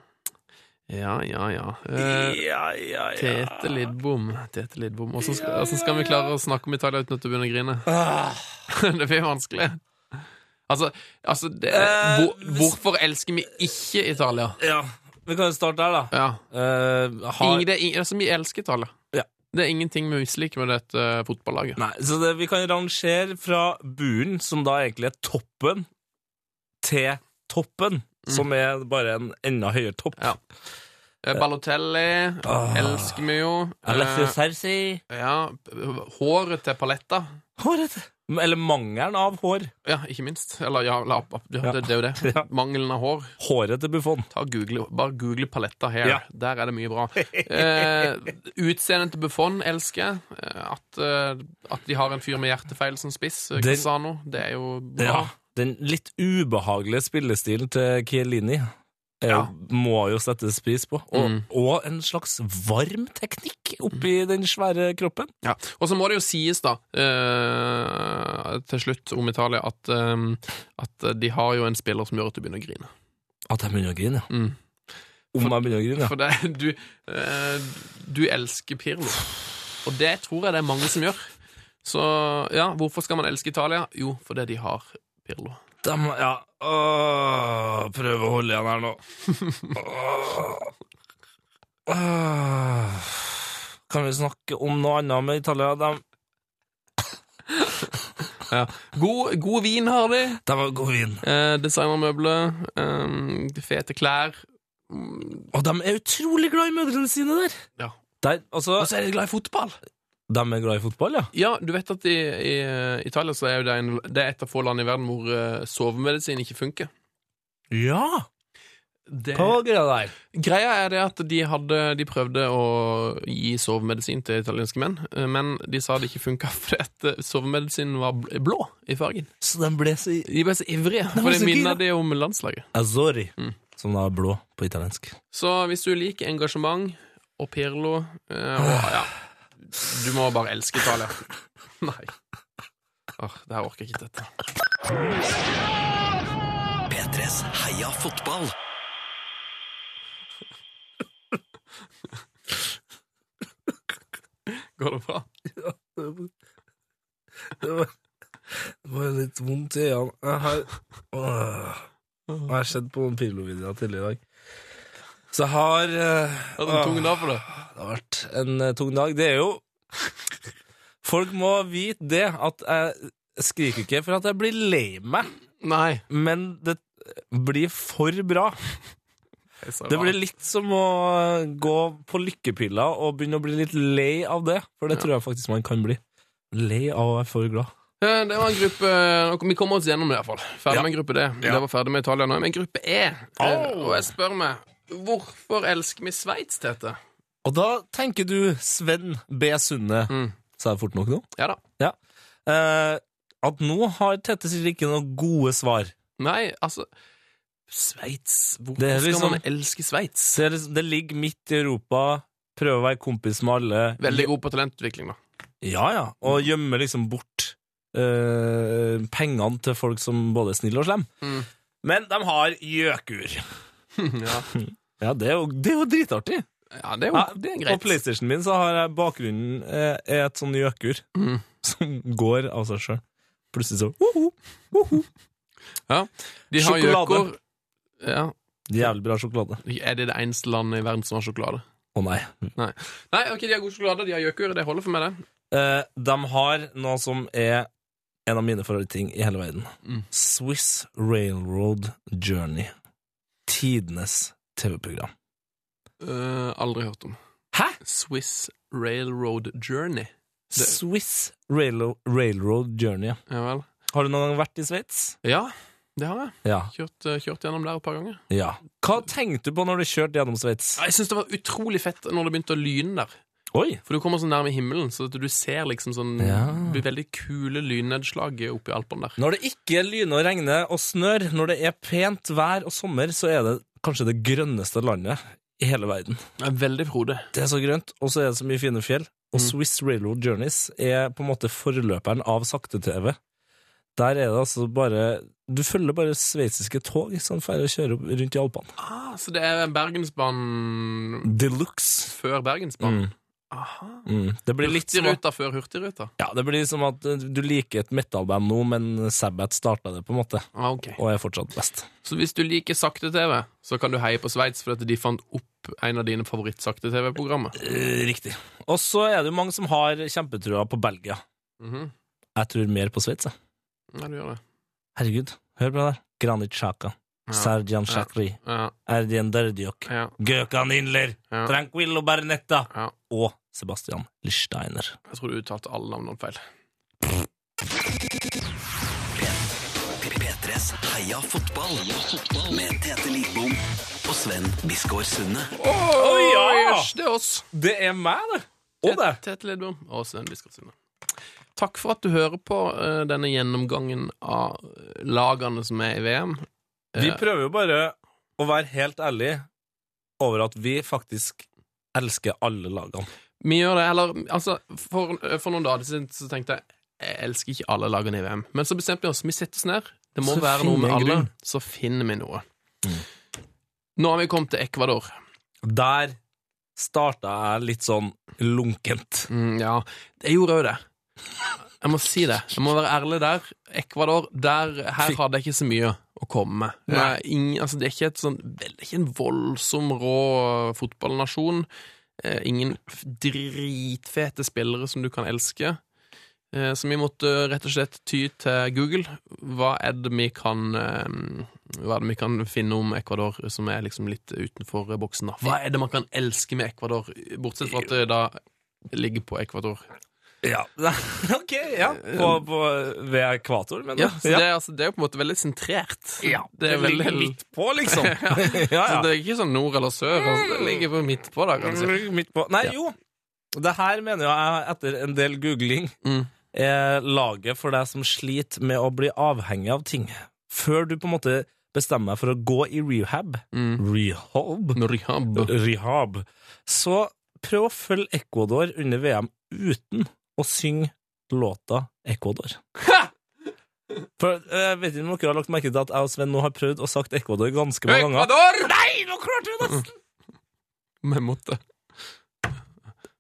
Speaker 1: Ja, ja, ja. Eh,
Speaker 2: ja, ja,
Speaker 1: Tete Lidbom. Tete Lidbom. Hvordan skal, hvordan skal vi klare å snakke om Italia uten at du begynner å grine?
Speaker 2: Ah.
Speaker 1: det blir vanskelig. Altså, altså det,
Speaker 2: Eh,
Speaker 1: hvor,
Speaker 2: hvis-
Speaker 1: Hvorfor elsker vi ikke Italia?
Speaker 2: ja. Vi kan jo starte her, da.
Speaker 1: Ja.
Speaker 2: Eh, har...
Speaker 1: Ingen, det er ingen, altså, vi elsker Italia.
Speaker 2: Ja.
Speaker 1: Det er ingenting vi misliker med dette eh, fotballaget.
Speaker 2: Nei, så det, vi kan rangere fra buren, som da egentlig er toppen, til toppen, som er bare en enda høyere topp.
Speaker 1: Ja. Eh, Balotelli
Speaker 2: Ah.
Speaker 1: elsker vi jo.
Speaker 2: Alessio
Speaker 1: Eh,
Speaker 2: Cerci.
Speaker 1: Ja, p- håret til paletta.
Speaker 2: Håret. Eller mangelen av hår.
Speaker 1: Ja, ikke minst. Eller ja, la, opp- opp- ja,
Speaker 2: Ja.
Speaker 1: Det, det er jo det.
Speaker 2: Ja.
Speaker 1: Mangelen av hår.
Speaker 2: Håret til Buffon.
Speaker 1: Ta og google, bare google paletta hair.
Speaker 2: Ja.
Speaker 1: Der er det mye bra. Eh, Utseendet til Buffon elsker jeg. Eh, At, eh, at de har en fyr med hjertefeil som spiss. eh,
Speaker 2: Den-
Speaker 1: Cassano. Det er jo bra.
Speaker 2: Den litt ubehagelige spillestilen til Chiellini eh,
Speaker 1: Ja.
Speaker 2: må jo settes pris på. Og,
Speaker 1: Mm.
Speaker 2: og en slags varm teknikk oppi den svære kroppen.
Speaker 1: Ja. Og så må det jo sies, da, eh, til slutt om Italia, at, eh, at de har jo en spiller som gjør at du begynner å grine.
Speaker 2: At jeg begynner å grine, ja.
Speaker 1: Mm.
Speaker 2: Om jeg begynner å grine, ja.
Speaker 1: For det, du, eh, du elsker Pirlo. Og det tror jeg det er mange som gjør. Så ja, hvorfor skal man elske Italia? Jo, fordi de har Pirlo.
Speaker 2: Dem, ja. Åh, prøv å holde igjen her nå. Åh. Åh. Kan vi snakke om noe annet med Italia? De,
Speaker 1: God, god vin har de.
Speaker 2: de har god vin.
Speaker 1: Eh, Designermøbler. Eh, fete klær.
Speaker 2: Og de er utrolig glad i mødrene sine der.
Speaker 1: Ja.
Speaker 2: Der, altså,
Speaker 1: Og så er de glad i fotball!
Speaker 2: de er glad i fotball, ja.
Speaker 1: Ja, du vet at i, i eh, Italia så er jo det, en, det er et av få land i verden hvor eh, sovemedisin ikke funker.
Speaker 2: Ja!
Speaker 1: Det,
Speaker 2: greia der?
Speaker 1: greia er det at de, hadde, de prøvde å gi sovemedisin til italienske menn, eh, men de sa det ikke funka fordi at eh, sovemedisinen var bl- blå i fargen.
Speaker 2: Så den ble så
Speaker 1: De ble så ivrige, for
Speaker 2: var
Speaker 1: det
Speaker 2: så
Speaker 1: minner
Speaker 2: gira.
Speaker 1: de om landslaget.
Speaker 2: Azori,
Speaker 1: Mm.
Speaker 2: som da er blå på italiensk.
Speaker 1: Så hvis du liker engasjement og Pirlo eh, og,
Speaker 2: Ah.
Speaker 1: ja, Du må bare elske Italia. Nei. Åh, det her orker jeg ikke dette.
Speaker 4: P3s Heia fotball.
Speaker 1: Går det bra?
Speaker 2: Det var, det var litt vondt i øynene. Jeg har, Åh. jeg har sett på Pirlo-videoer tidligere i dag. Så jeg har eh,
Speaker 1: Hadde en tung
Speaker 2: åh,
Speaker 1: dag for det.
Speaker 2: Det har vært en eh, tung dag. Det er jo Folk må vite det, at jeg skriker ikke for at jeg blir lei meg,
Speaker 1: Nei.
Speaker 2: men det blir for bra. Det blir litt som å gå på lykkepilla og begynne å bli litt lei av det, for det tror jeg faktisk man kan bli. Lei av å være for glad.
Speaker 1: Eh, Det var en gruppe og Vi kommer oss gjennom det, i hvert fall. Ferdig med en gruppe D. Det var ferdig med Italia nå. Men gruppe E eh,
Speaker 2: Au.
Speaker 1: Og jeg spør meg Hvorfor elsker vi Sveits, Tete?
Speaker 2: Og da tenker du Sven B. Sunde.
Speaker 1: Mm.
Speaker 2: Sa jeg fort nok nå?
Speaker 1: Ja da.
Speaker 2: Ja. Eh, at nå har Tette sikkert ikke noen gode svar.
Speaker 1: Nei, altså Sveits Hvorfor
Speaker 2: Det er
Speaker 1: skal
Speaker 2: liksom-
Speaker 1: man elske Sveits?
Speaker 2: Så det, det ligger midt i Europa, prøver å være kompis med alle.
Speaker 1: Veldig god på talentutvikling, da.
Speaker 2: Ja, ja.
Speaker 1: Mm.
Speaker 2: Og gjemmer liksom bort eh, pengene til folk som både er snille og slemme.
Speaker 1: Mm.
Speaker 2: Men de har gjøkur.
Speaker 1: ja.
Speaker 2: Ja, det er jo, det er jo dritartig.
Speaker 1: ja, det er jo
Speaker 2: Ja,
Speaker 1: det er
Speaker 2: På
Speaker 1: greit.
Speaker 2: Playstationen min så har jeg bakgrunnen eh, er et sånn gjøkur
Speaker 1: Mm.
Speaker 2: som går av seg sjøl. Plutselig så woho, woho.
Speaker 1: De har
Speaker 2: Sjokolade.
Speaker 1: gjøker. Ja.
Speaker 2: Jævlig bra sjokolade.
Speaker 1: Er det det eneste landet i verden som har sjokolade?
Speaker 2: Å nei.
Speaker 1: Nei, ok, de har god sjokolade, de har gjøker. Det holder for meg, det.
Speaker 2: Eh, de har noe som er en av mine favorittting i hele verden.
Speaker 1: Mm.
Speaker 2: Swiss Railroad Journey. Tidenes TV-program.
Speaker 1: Eh, aldri hørt om.
Speaker 2: Hæ?
Speaker 1: Swiss Railroad Journey. Det-
Speaker 2: Swiss Railo Railroad Journey. ja.
Speaker 1: Ja vel.
Speaker 2: Har du noen gang vært i Sveits?
Speaker 1: Ja, det har jeg.
Speaker 2: Ja.
Speaker 1: Kjørt, eh, kjørt gjennom der et par ganger.
Speaker 2: ja. Hva tenkte du på når du kjørte gjennom Sveits?
Speaker 1: Ja, Jeg syns det var utrolig fett når det begynte å lyne der.
Speaker 2: Oi!
Speaker 1: For du kommer så nærme himmelen, så at du ser liksom sånn
Speaker 2: Ja.
Speaker 1: det blir veldig kule lynnedslag oppi Alpene der.
Speaker 2: Når det ikke lyner og regner og snør, når det er pent vær og sommer, så er det kanskje det grønneste landet i hele verden.
Speaker 1: Det er Veldig frodig.
Speaker 2: Det er så grønt, og så er det så mye fine fjell. Og Swiss Railroad Journeys er på en måte forløperen av sakte-TV. Der er det altså bare Du følger bare sveitsiske tog som ferder og kjører opp rundt i Alpene.
Speaker 1: Ah, så det er Bergensbanen
Speaker 2: De luxe.
Speaker 1: før Bergensbanen?
Speaker 2: Mm,
Speaker 1: Aha.
Speaker 2: mm. Det blir litt som at,
Speaker 1: Hurtigruta før Hurtigruta?
Speaker 2: ja, det blir som at eh, du liker et metalband nå, men Sabbath starta det, på en måte,
Speaker 1: Ah, ok.
Speaker 2: og er fortsatt best.
Speaker 1: Så hvis du liker sakte-TV, så kan du heie på Sveits fordi at de fant opp en av dine favoritt-sakte-TV-programmer.
Speaker 2: Eh, Riktig. Og så er det jo mange som har kjempetrua på Belgia.
Speaker 1: Mhm.
Speaker 2: Jeg tror mer på Sveits. jeg.
Speaker 1: Ja, du gjør det.
Speaker 2: Herregud, hør på det der. Granit Xhaka,
Speaker 1: Ja,
Speaker 2: Sergian Shakri,
Speaker 1: ja,
Speaker 2: Erdien Derdiok,
Speaker 1: ja,
Speaker 2: Gökan Inler,
Speaker 1: ja.
Speaker 2: Tranquillo Bernetta
Speaker 1: Ja.
Speaker 2: og Sebastian Lichsteiner.
Speaker 1: Jeg tror du uttalte alle navnene feil.
Speaker 4: P3s Heia fotball. Med Tete Lidbom og Sven Biskår Sunde.
Speaker 2: Oi,
Speaker 1: Æsj, det er oss!
Speaker 2: Det er meg, det! Og det.
Speaker 1: Tete Lidbom og Sven Biskop Sunde. Takk for at du hører på eh, denne gjennomgangen av lagene som er i VM. Eh,
Speaker 2: Vi prøver jo bare å være helt ærlige over at vi faktisk elsker alle lagene.
Speaker 1: Vi gjør det, eller altså, for, for noen dager siden så tenkte jeg jeg elsker ikke alle lagene i VM. Men så bestemte vi oss. Vi setter oss ned. Det må
Speaker 2: Så
Speaker 1: være noe med
Speaker 2: finner vi
Speaker 1: alle.
Speaker 2: grunn. Mm.
Speaker 1: Så finner vi noe. Nå har vi kommet til Ecuador.
Speaker 2: Der starta jeg litt sånn lunkent.
Speaker 1: Mm, ja, jeg gjorde jo det. Jeg må si det. Jeg må være ærlig der. Ecuador, der, her hadde jeg ikke så mye å komme med. Det er, ingen, altså, det er ikke, et sånn, vel, det er ikke en voldsom rå fotballnasjon. Eh, ingen f- dritfete spillere som du kan elske. Eh, så vi måtte rett og slett ty til Google. Hva er det vi kan, eh, hva er det vi kan finne om Ecuador som er liksom litt utenfor eh, boksen? da? Hva er det man kan elske med Ecuador, bortsett fra at det da ligger på ekvator.
Speaker 2: Ja. ok, ja. På, på, ved ekvator, men
Speaker 1: Ja, så Det, er, altså, det er jo på en måte veldig sentrert. det er veldig...
Speaker 2: ligger midt på, liksom.
Speaker 1: Så det er ikke sånn nord eller sør. Altså, det ligger på midt på, da, kanskje.
Speaker 2: Midt på. Nei, jo. Det her mener jeg, etter en del googling,
Speaker 1: Mm.
Speaker 2: er laget for deg som sliter med å bli avhengig av ting. Før du på en måte bestemmer deg for å gå i rehab Rehab?
Speaker 1: Norihab.
Speaker 2: Rehab. Så prøv å følge Ecuador under VM uten å synge låta Ecuador. For, jeg vet ikke om dere har lagt merke til at jeg og Sven nå har prøvd å sagt Ecuador ganske mange ganger.
Speaker 1: Ecuador!
Speaker 2: Nei, nå klarte vi nesten!
Speaker 1: Med motte.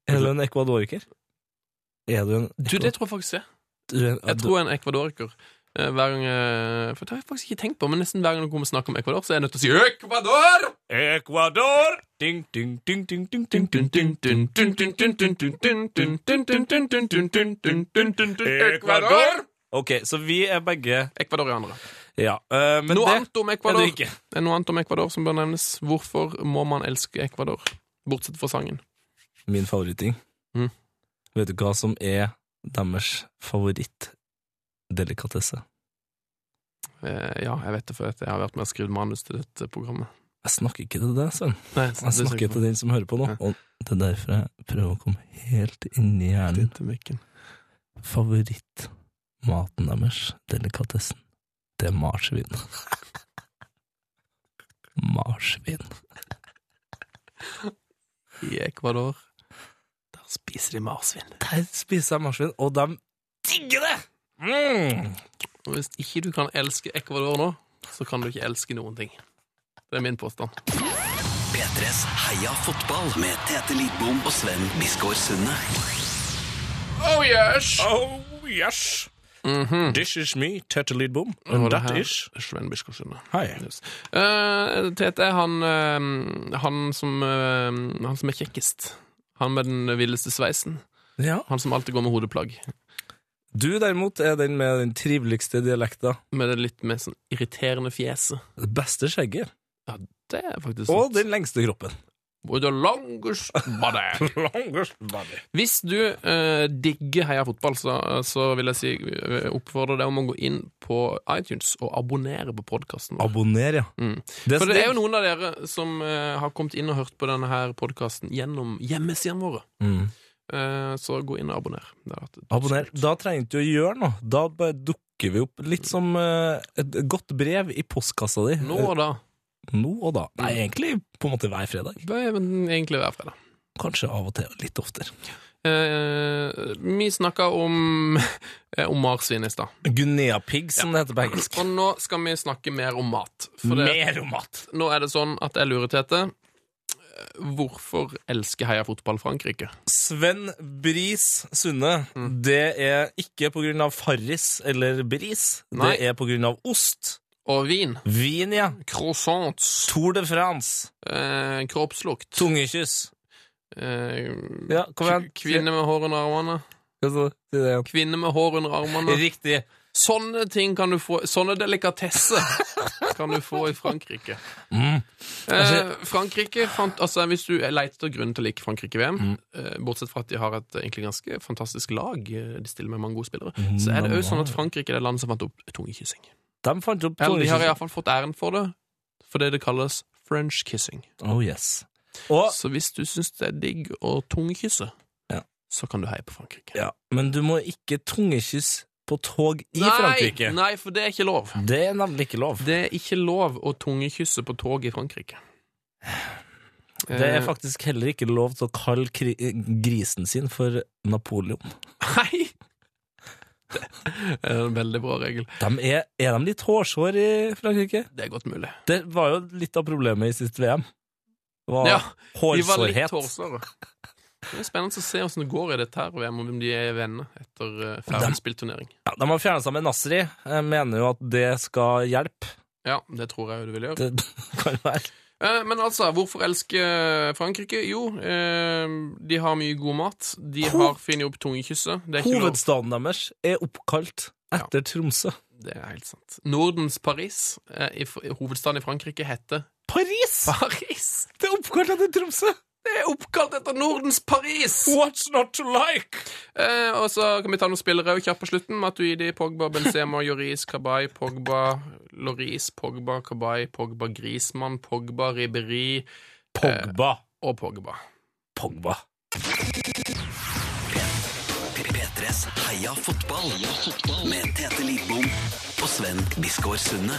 Speaker 2: Er du en ecuadoriker? Er du en
Speaker 1: Du, det tror jeg faktisk er.
Speaker 2: du er en,
Speaker 1: Jeg tror jeg er en ecuadoriker. Eh, Hver gang eh, For det har jeg faktisk ikke tenkt på, men nesten hver gang det kommer snakk om Ecuador, så er jeg nødt til å si Ecuador!
Speaker 2: Ecuador! Ding, ding, ding, ding, ding, ding, ding, ding.
Speaker 1: Ecuador!
Speaker 2: Ok, så vi er begge
Speaker 1: Ecuadorianere.
Speaker 2: Ja. eh, men
Speaker 1: Noe
Speaker 2: det
Speaker 1: annet om
Speaker 2: er du
Speaker 1: Ecuador
Speaker 2: ikke.
Speaker 1: Det er noe annet om Ecuador som bør nevnes. Hvorfor må man elske Ecuador? Bortsett fra sangen.
Speaker 2: Min favoritting.
Speaker 1: Mm.
Speaker 2: Vet du hva som er deres favorittdelikatesse?
Speaker 1: Eh, ja, jeg vet det, for at jeg har vært med og skrevet manus til dette programmet.
Speaker 2: Jeg snakker ikke til deg, Sven.
Speaker 1: Nei,
Speaker 2: Jeg snakker til den som hører på nå.
Speaker 1: Ja.
Speaker 2: Og det er derfor jeg prøver å komme helt inn i hjernen.
Speaker 1: til mikken.
Speaker 2: Favorittmaten deres, delikatessen, det er marsvin. marsvin.
Speaker 1: I Ecuador Der spiser de marsvin.
Speaker 2: Der spiser jeg marsvin, og de digger det! Mm.
Speaker 1: Og hvis ikke du kan elske Ecuador nå, så kan du ikke elske noen ting. Det er min påstand.
Speaker 4: P3s Heia fotball med Tete Lidbom og Sven Biskår Sunde.
Speaker 1: Oh yes!
Speaker 2: Oh, yes! This is me, Tete Lidbom. And that is
Speaker 1: Sven Biskårsunde.
Speaker 2: Hei.
Speaker 1: Yes. Eh, Tete er han, eh, han, som, eh, han som er kjekkest. Han med den villeste sveisen.
Speaker 2: Ja.
Speaker 1: Han som alltid går med hodeplagg.
Speaker 2: Du, derimot, er den med den triveligste dialekta.
Speaker 1: Med det litt mer sånn irriterende fjeset.
Speaker 2: Det beste skjegget.
Speaker 1: Det er faktisk
Speaker 2: Og den lengste kroppen.
Speaker 1: With the longest body.
Speaker 2: Longest body.
Speaker 1: Hvis du eh, digger Heia fotball, så, så vil jeg si, eh, oppfordre deg om å gå inn på iTunes og abonnere på podkasten.
Speaker 2: Abonner, ja.
Speaker 1: Mm.
Speaker 2: Det,
Speaker 1: For det er jo noen av dere som eh, har kommet inn og hørt på denne her podkasten gjennom hjemmesidene våre.
Speaker 2: Mm.
Speaker 1: Eh, så gå inn og abonner. Det har vært et-
Speaker 2: Abonner. Da trenger du ikke å gjøre noe. Da bare dukker vi opp litt som eh, et godt brev i postkassa di.
Speaker 1: Nå og da.
Speaker 2: Eh, Nå og da. Nei, egentlig på en måte hver fredag.
Speaker 1: Det er egentlig hver fredag.
Speaker 2: Kanskje av og til litt oftere.
Speaker 1: Eh, vi snakka om, eh, om marsvin i stad.
Speaker 2: Guinea pig, som det heter på engelsk.
Speaker 1: Og nå skal vi snakke mer om mat. For det,
Speaker 2: Mer om mat!
Speaker 1: nå er det sånn at jeg lurer, Tete. eh, Hvorfor elsker Heia Fotball Frankrike?
Speaker 2: Sven Bris Sunde,
Speaker 1: Mm.
Speaker 2: det er ikke på grunn av Farris eller Bris.
Speaker 1: Nei.
Speaker 2: Det er på grunn av ost.
Speaker 1: Og vin.
Speaker 2: Vin, ja.
Speaker 1: Croissants.
Speaker 2: Tour de France.
Speaker 1: Eh, kroppslukt.
Speaker 2: Tungekyss.
Speaker 1: Eh,
Speaker 2: Ja, kom igjen.
Speaker 1: kv- kvinne med hår under armene.
Speaker 2: Hva sa du? Si det igjen.
Speaker 1: Kvinne med hår under armene.
Speaker 2: Riktig.
Speaker 1: Sånne ting kan du få Sånne delikatesser kan du få i Frankrike.
Speaker 2: Mm.
Speaker 1: Eh, Frankrike fant, altså Hvis du leter etter grunn til å like Frankrike-VM,
Speaker 2: Mm.
Speaker 1: eh, bortsett fra at de har et eh, egentlig ganske fantastisk lag, eh, de stiller med mange gode spillere,
Speaker 2: Mm,
Speaker 1: så er det òg sånn at Frankrike er det landet som fant opp tungekyssing.
Speaker 2: De fant opp
Speaker 1: Eller de har
Speaker 2: tungekyss.
Speaker 1: iallfall fått æren for det, fordi det kalles French kissing.
Speaker 2: Oh yes. Og,
Speaker 1: Så hvis du syns det er digg å tungekysse,
Speaker 2: Ah. Ja.
Speaker 1: så kan du heie på Frankrike.
Speaker 2: ja, men du må ikke tungekyss på tog i
Speaker 1: nei,
Speaker 2: Frankrike.
Speaker 1: Nei, for det er ikke lov.
Speaker 2: Det er nemlig ikke lov.
Speaker 1: Det er ikke lov å tungekysse på tog i Frankrike. Eh,
Speaker 2: Det er faktisk heller ikke lov til å kalle kri grisen sin for Napoleon.
Speaker 1: Hei! Det er en veldig bra regel.
Speaker 2: De er, er de litt hårsår i Frankrike?
Speaker 1: Det er godt mulig.
Speaker 2: Det var jo litt av problemet i siste VM. Var
Speaker 1: Ja, De var litt
Speaker 2: hårsårhet.
Speaker 1: hårsåre. Det er spennende å se hvordan det går i dette her, VM, om de er venner etter eh, ferdig spilt turnering.
Speaker 2: Ja, de har fjerna seg med Nasri. Jeg mener jo at det skal hjelpe.
Speaker 1: Ja, det tror jeg jo det vil gjøre.
Speaker 2: eh, Det kan være.
Speaker 1: Eh, Men altså, hvorfor elsker Frankrike? Jo, eh, de har mye god mat. De
Speaker 2: Ho-
Speaker 1: har funnet opp tungekysset. Det er ikke lov.
Speaker 2: Hovedstaden deres er oppkalt etter Tromsø.
Speaker 1: Det er helt sant. Nordens Paris, eh, i, fr- hovedstaden i Frankrike, heter
Speaker 2: Paris!
Speaker 1: Paris.
Speaker 2: Det er oppkalt etter Tromsø!
Speaker 1: Det er oppkalt etter Nordens Paris!
Speaker 2: What's not to like?
Speaker 1: Eh, og så kan vi ta noen spillere og kjapt på slutten. Matuidi, Pogba, Benzema, Joris, Kabay, Pogba, Loris, Pogba, Kabay, Pogba, Grismann, Pogba, Ribéry eh,
Speaker 2: Pogba.
Speaker 1: og Pogba.
Speaker 2: Eh. Pogba.
Speaker 4: P3s Heia fotball. Med Tete Lidbom og Sven Biskår Sunde.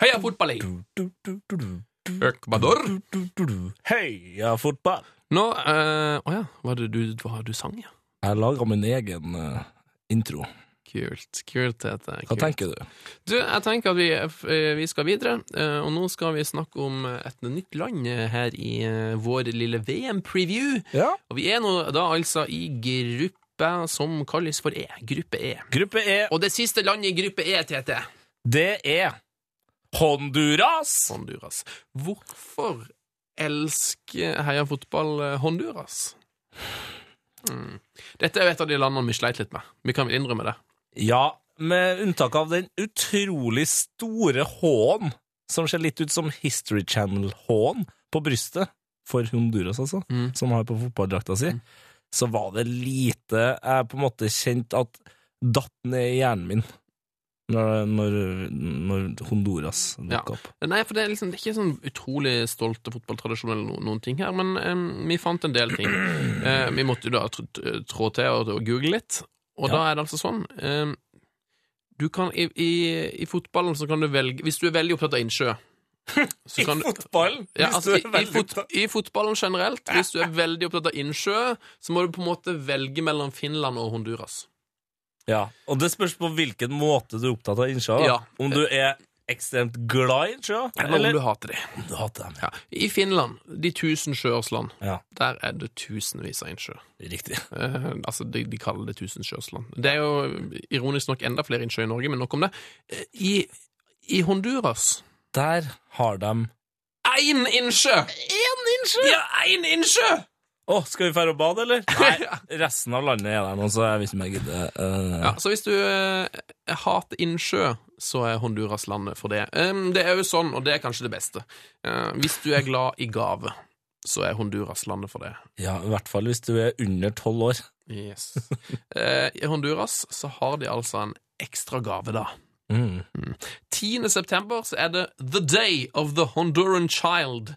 Speaker 1: Heia fotballig! Ecuador.
Speaker 2: Heia fotball!
Speaker 1: Nå eh, Å ja, var det du, hva du sang, ja?
Speaker 2: Jeg laga min egen eh, intro.
Speaker 1: Kult. Kult heter
Speaker 2: Hva tenker du?
Speaker 1: Du, jeg tenker at vi, eh, vi skal videre, eh, og nå skal vi snakke om et nytt land eh, her i eh, vår lille VM-preview.
Speaker 2: Ja.
Speaker 1: Og vi er nå da altså i gruppa som kalles for E. Gruppe E.
Speaker 2: Gruppe E,
Speaker 1: Og det siste landet i gruppe E, Tete,
Speaker 2: det er Honduras!
Speaker 1: Honduras. Hvorfor elsker heia fotball eh, Honduras? Mm. Dette er jo et av de landene vi sleit litt med. Vi kan vel innrømme det.
Speaker 2: Ja, med unntak av den utrolig store H-en, som ser litt ut som History Channel-H-en på brystet, for Honduras, altså,
Speaker 1: Mm.
Speaker 2: som har på fotballdrakta si, så var det lite jeg på en måte kjente at datt ned i hjernen min når, når, når Honduras
Speaker 1: Ja.
Speaker 2: dukka opp.
Speaker 1: Nei, for det er liksom det er ikke sånn utrolig stolte fotballtradisjon eller no, noen ting her, men em, vi fant en del ting. Eh, vi måtte jo da tr tr- trå til og, og google litt, og
Speaker 2: Ja.
Speaker 1: da er det altså sånn em, du kan, i, i, I fotballen så kan du velge Hvis du er veldig opptatt av innsjø så kan du-
Speaker 2: fotballen!
Speaker 1: ja, altså, i, i, fot, I fotballen generelt, hvis du er veldig opptatt av innsjø, så må du på en måte velge mellom Finland og Honduras.
Speaker 2: Ja, og det spørs på hvilken måte du er opptatt av innsjø. da.
Speaker 1: Ja.
Speaker 2: Om du er ekstremt glad i innsjø,
Speaker 1: Eller om du hater det.
Speaker 2: du hater dem.
Speaker 1: Ja. I Finland, de tusen sjøers land,
Speaker 2: Ja,
Speaker 1: der er det tusenvis av innsjøer.
Speaker 2: riktig.
Speaker 1: Eh, altså, de, de kaller det Tusenskjørsland. Det er jo ironisk nok enda flere innsjøer i Norge, men nok om det. Eh, I, i Honduras
Speaker 2: Der har de Å,
Speaker 1: Én innsjø! Én innsjø?! Ja, én innsjø!
Speaker 2: skal vi dra og bade, eller? Nei, resten av landet er der nå, så jeg vet ikke om jeg gidder. eh,
Speaker 1: Ja, så hvis du eh, hater innsjø, så er Honduras landet for det. Em, det er jo sånn, og det er kanskje det beste. Eh, hvis du er glad i gave, så er Honduras landet for det.
Speaker 2: ja, i hvert fall hvis du er under tolv år.
Speaker 1: Yes. Eh, I Honduras så har de altså en ekstra gave, da.
Speaker 2: Mm.
Speaker 1: 10. september så er det The Day of the Honduran Child.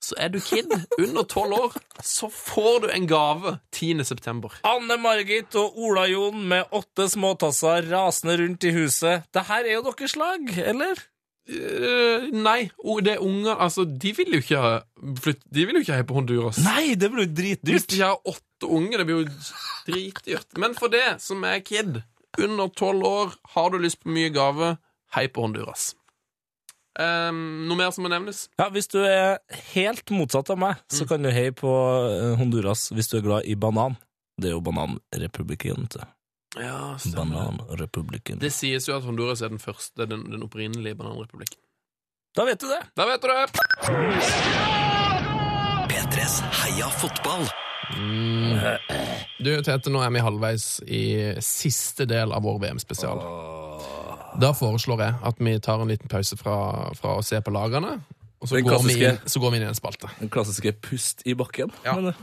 Speaker 1: Så er du kid under 12 år, så får du en gave 10. september.
Speaker 2: Anne Margit og Ola Jon med åtte småtasser rasende rundt i huset. Det her er jo deres lag, eller?
Speaker 1: Eh, nei, og det er unger Altså, de vil jo ikke ha flytt, De vil jo ikke ha på Honduras.
Speaker 2: Nei, det blir jo
Speaker 1: Hvis
Speaker 2: dritdyrt.
Speaker 1: de har åtte unger, det blir jo dritdyrt. Men for det som er kid, under 12 år, har du lyst på mye gave, hei på Honduras. Eh, noe mer som må nevnes?
Speaker 2: Ja, Hvis du er helt motsatt av meg, så kan du heie på eh, Honduras hvis du er glad i banan. Det er jo bananrepublikken. vet du.
Speaker 1: Ja,
Speaker 2: Bananrepublikken.
Speaker 1: Det sies jo at Honduras er den første, den, den opprinnelige bananrepublikken.
Speaker 2: Da vet du det!
Speaker 1: Da vet du det!
Speaker 4: P3s Heia fotball.
Speaker 1: Du, Tete, nå er vi halvveis i siste del av vår VM-spesial. Da foreslår jeg at vi tar en liten pause fra, fra å se på lagene, og så
Speaker 2: Den
Speaker 1: går, vi inn,
Speaker 2: klassiske-
Speaker 1: så går vi inn i en spalte.
Speaker 2: Den klassiske 'pust i bakken'.
Speaker 1: Ja.
Speaker 2: Men, eh,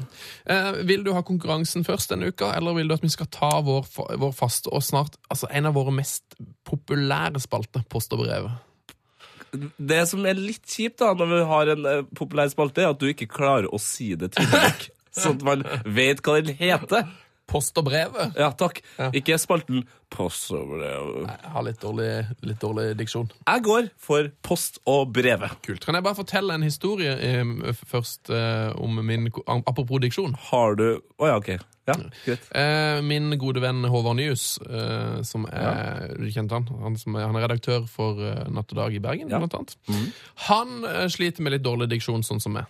Speaker 1: Eh, vil du ha konkurransen først denne uka, eller vil du at vi skal ta vår, fa- vår faste og snart altså en av våre mest populære spalter, Post og brev?
Speaker 2: Det som er litt kjipt da når vi har en eh, populær spalte, er at du ikke klarer å si det tydelig nok. Sånn at man vet hva den heter.
Speaker 1: Post og brevet?
Speaker 2: Ja, takk. Ikke spalten Post og brev.
Speaker 1: Jeg har litt dårlig, litt dårlig diksjon.
Speaker 2: Jeg går for Post og brevet.
Speaker 1: Kult. Kan jeg bare fortelle en historie em, f- først eh, om min ko- am- Apropos diksjon.
Speaker 2: Har du Å ja, OK. Ja, greit.
Speaker 1: Eh, min gode venn Håvard Nyhus, eh, som er du kjente han, han, som er, han er redaktør for eh, Natt og Dag i Bergen,
Speaker 2: Ja.
Speaker 1: blant annet. Han eh, sliter med litt dårlig diksjon, sånn som meg.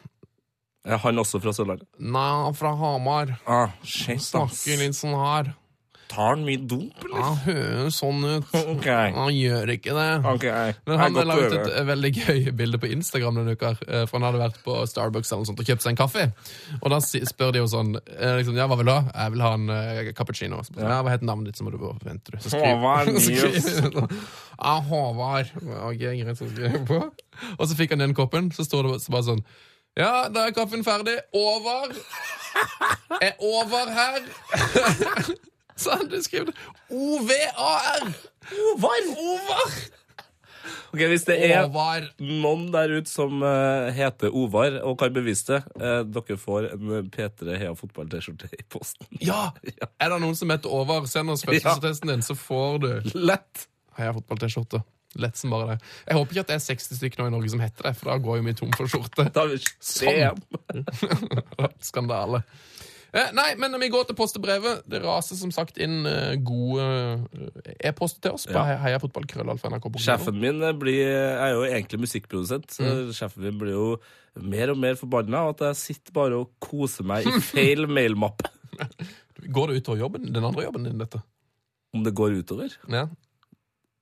Speaker 2: Er han også fra Sørlandet?
Speaker 1: Nei, fra Hamar.
Speaker 2: Ah, shit, ass.
Speaker 1: Snakker litt sånn her.
Speaker 2: Tar han mye dop, eller?
Speaker 1: Han høres sånn ut.
Speaker 2: OK.
Speaker 1: Han gjør ikke det.
Speaker 2: ok.
Speaker 1: Men han
Speaker 2: Jeg går
Speaker 1: laget
Speaker 2: på
Speaker 1: et eh, veldig gøy bilde på Instagram denne uka, eh, for han hadde vært på Starbucks eller noe sånt og kjøpt seg en kaffe. Og da si- spør de jo sånn eh, liksom, Ja, hva vil du ha? Jeg vil ha en eh, cappuccino. Så, ja, hva heter navnet ditt, så må du vente, du. Så
Speaker 2: Håvard
Speaker 1: så
Speaker 2: Nyhus.
Speaker 1: skriver- Ja, Håvard. Ok, greit, så skriver jeg på. Og så fikk han den koppen, så står det bare sånn Ja, da er kaffen ferdig. Over. Er over her. Sånn, du skriver det. O-V-A-R. Ovar. Ovar.
Speaker 2: Ok, Hvis det er
Speaker 1: Ovar.
Speaker 2: noen der ute som eh, heter Ovar og kan bevise det, eh, dere får en P3 Heia Fotball-T-skjorte i posten.
Speaker 1: Ja! Er det noen som heter Ovar, send oss fødselsattesten din, så får du
Speaker 2: Lett!
Speaker 1: Heia fotball-T-skjorte. Lett som bare det. Jeg håper ikke at det er 60 stykker nå i Norge som heter det, for da går jo vi tom for skjorte.
Speaker 2: Da har vi
Speaker 1: Sånn.
Speaker 2: sånn.
Speaker 1: Skandale. Eh, nei, men vi går til postebrevet. Det raser som sagt inn eh, gode eh, e-poster til oss på
Speaker 2: Ja.
Speaker 1: ja. heiafotballkrøllalfa.nrk.no.
Speaker 2: Sjefen min eh, blir, er jo egentlig musikkprodusent. så Sjefen min blir jo mer og mer forbanna av at jeg sitter bare og koser meg i feil mailmappe.
Speaker 1: Går det utover jobben, den andre jobben din, dette?
Speaker 2: Om det går utover?
Speaker 1: Ja.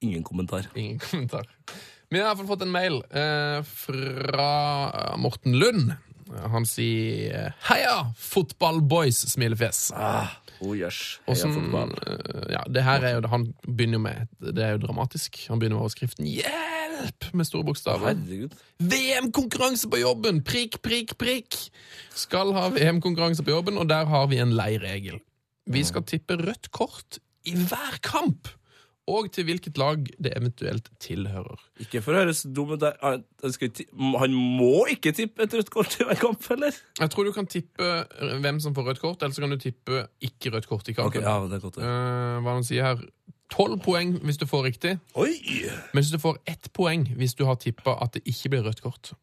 Speaker 2: Ingen kommentar.
Speaker 1: Ingen kommentar. Vi har i hvert fall fått en mail eh, fra eh, Morten Lund. Han sier 'Heia, fotballboys!' smilefjes.
Speaker 2: Oh, yes.
Speaker 1: Og
Speaker 2: Heia
Speaker 1: som,
Speaker 2: fotball.
Speaker 1: eh, ja, det her er jo, han begynner jo med Det er jo dramatisk. Han begynner med overskriften 'Hjelp!' med store bokstaver.
Speaker 2: Herregud.
Speaker 1: VM-konkurranse på jobben! Prikk, prikk, prikk! Skal ha VM-konkurranse på jobben, og der har vi en lei regel. Vi skal tippe rødt kort i hver kamp, og til hvilket lag det eventuelt tilhører.
Speaker 2: Ikke for å høres dum ut, der- han han skal ikke- han må ikke tippe et rødt kort i hver kamp, eller?
Speaker 1: Jeg tror du kan tippe eh, hvem som får rødt kort, eller så kan du tippe ikke rødt kort i
Speaker 2: Ok,
Speaker 1: kampen.
Speaker 2: ja, men det er godt. det.
Speaker 1: Eh, hva han sier her? Tolv poeng hvis du får riktig,
Speaker 2: Oi!
Speaker 1: men hvis du får ett poeng hvis du har tippa at det ikke blir rødt kort.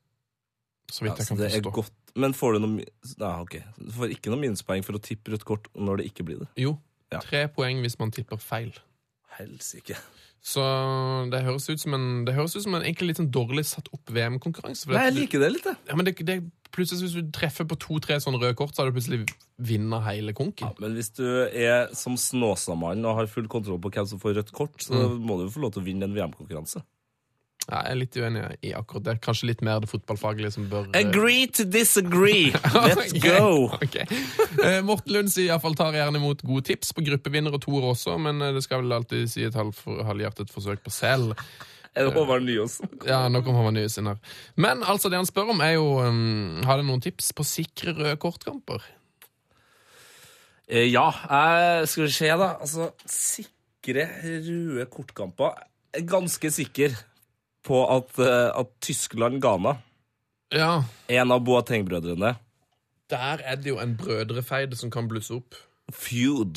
Speaker 1: Så vidt jeg
Speaker 2: Altså,
Speaker 1: kan
Speaker 2: det er
Speaker 1: forstå.
Speaker 2: godt. Men får du noe mi- Nei, ok. Du får ikke noe minuspoeng for å tippe rødt kort når det ikke blir det.
Speaker 1: Jo,
Speaker 2: Ja.
Speaker 1: tre poeng hvis man tipper feil.
Speaker 2: Helsike.
Speaker 1: Så det høres ut som en, det høres ut som en egentlig litt sånn dårlig satt opp VM-konkurranse.
Speaker 2: Nei, jeg liker det litt, jeg.
Speaker 1: ja, men det, det, plutselig Hvis du treffer på to-tre sånne røde kort, så har du plutselig vinner hele konken.
Speaker 2: Men hvis du er som Snåsamannen og har full kontroll på hvem som får rødt kort, så
Speaker 1: Mm.
Speaker 2: må du jo få lov til å vinne en VM-konkurranse.
Speaker 1: Ja, jeg er litt uenig i akkurat det. Kanskje litt mer det fotballfaglige som bør eh,
Speaker 2: Agree to disagree. Let's go.
Speaker 1: Ok. Eh, Morten Lund sier iallfall tar gjerne imot gode tips på gruppevinner og toer også, men eh, det skal vel alltid si et halv for, halvhjertet forsøk på selv.
Speaker 2: Er det Håvard Nyås?
Speaker 1: Ja, nå kommer han nye sin her. Men altså, det han spør om, er jo um, Har dere noen tips på sikre røde kortkamper?
Speaker 2: Eh, Ja. Jeg skal vi se, da. Altså, sikre røde kortkamper. Jeg er ganske sikker på at, eh, at Tyskland-Ghana,
Speaker 1: Ja,
Speaker 2: en av Boateng-brødrene
Speaker 1: der er det jo en brødrefeide som kan blusse opp.
Speaker 2: Feud.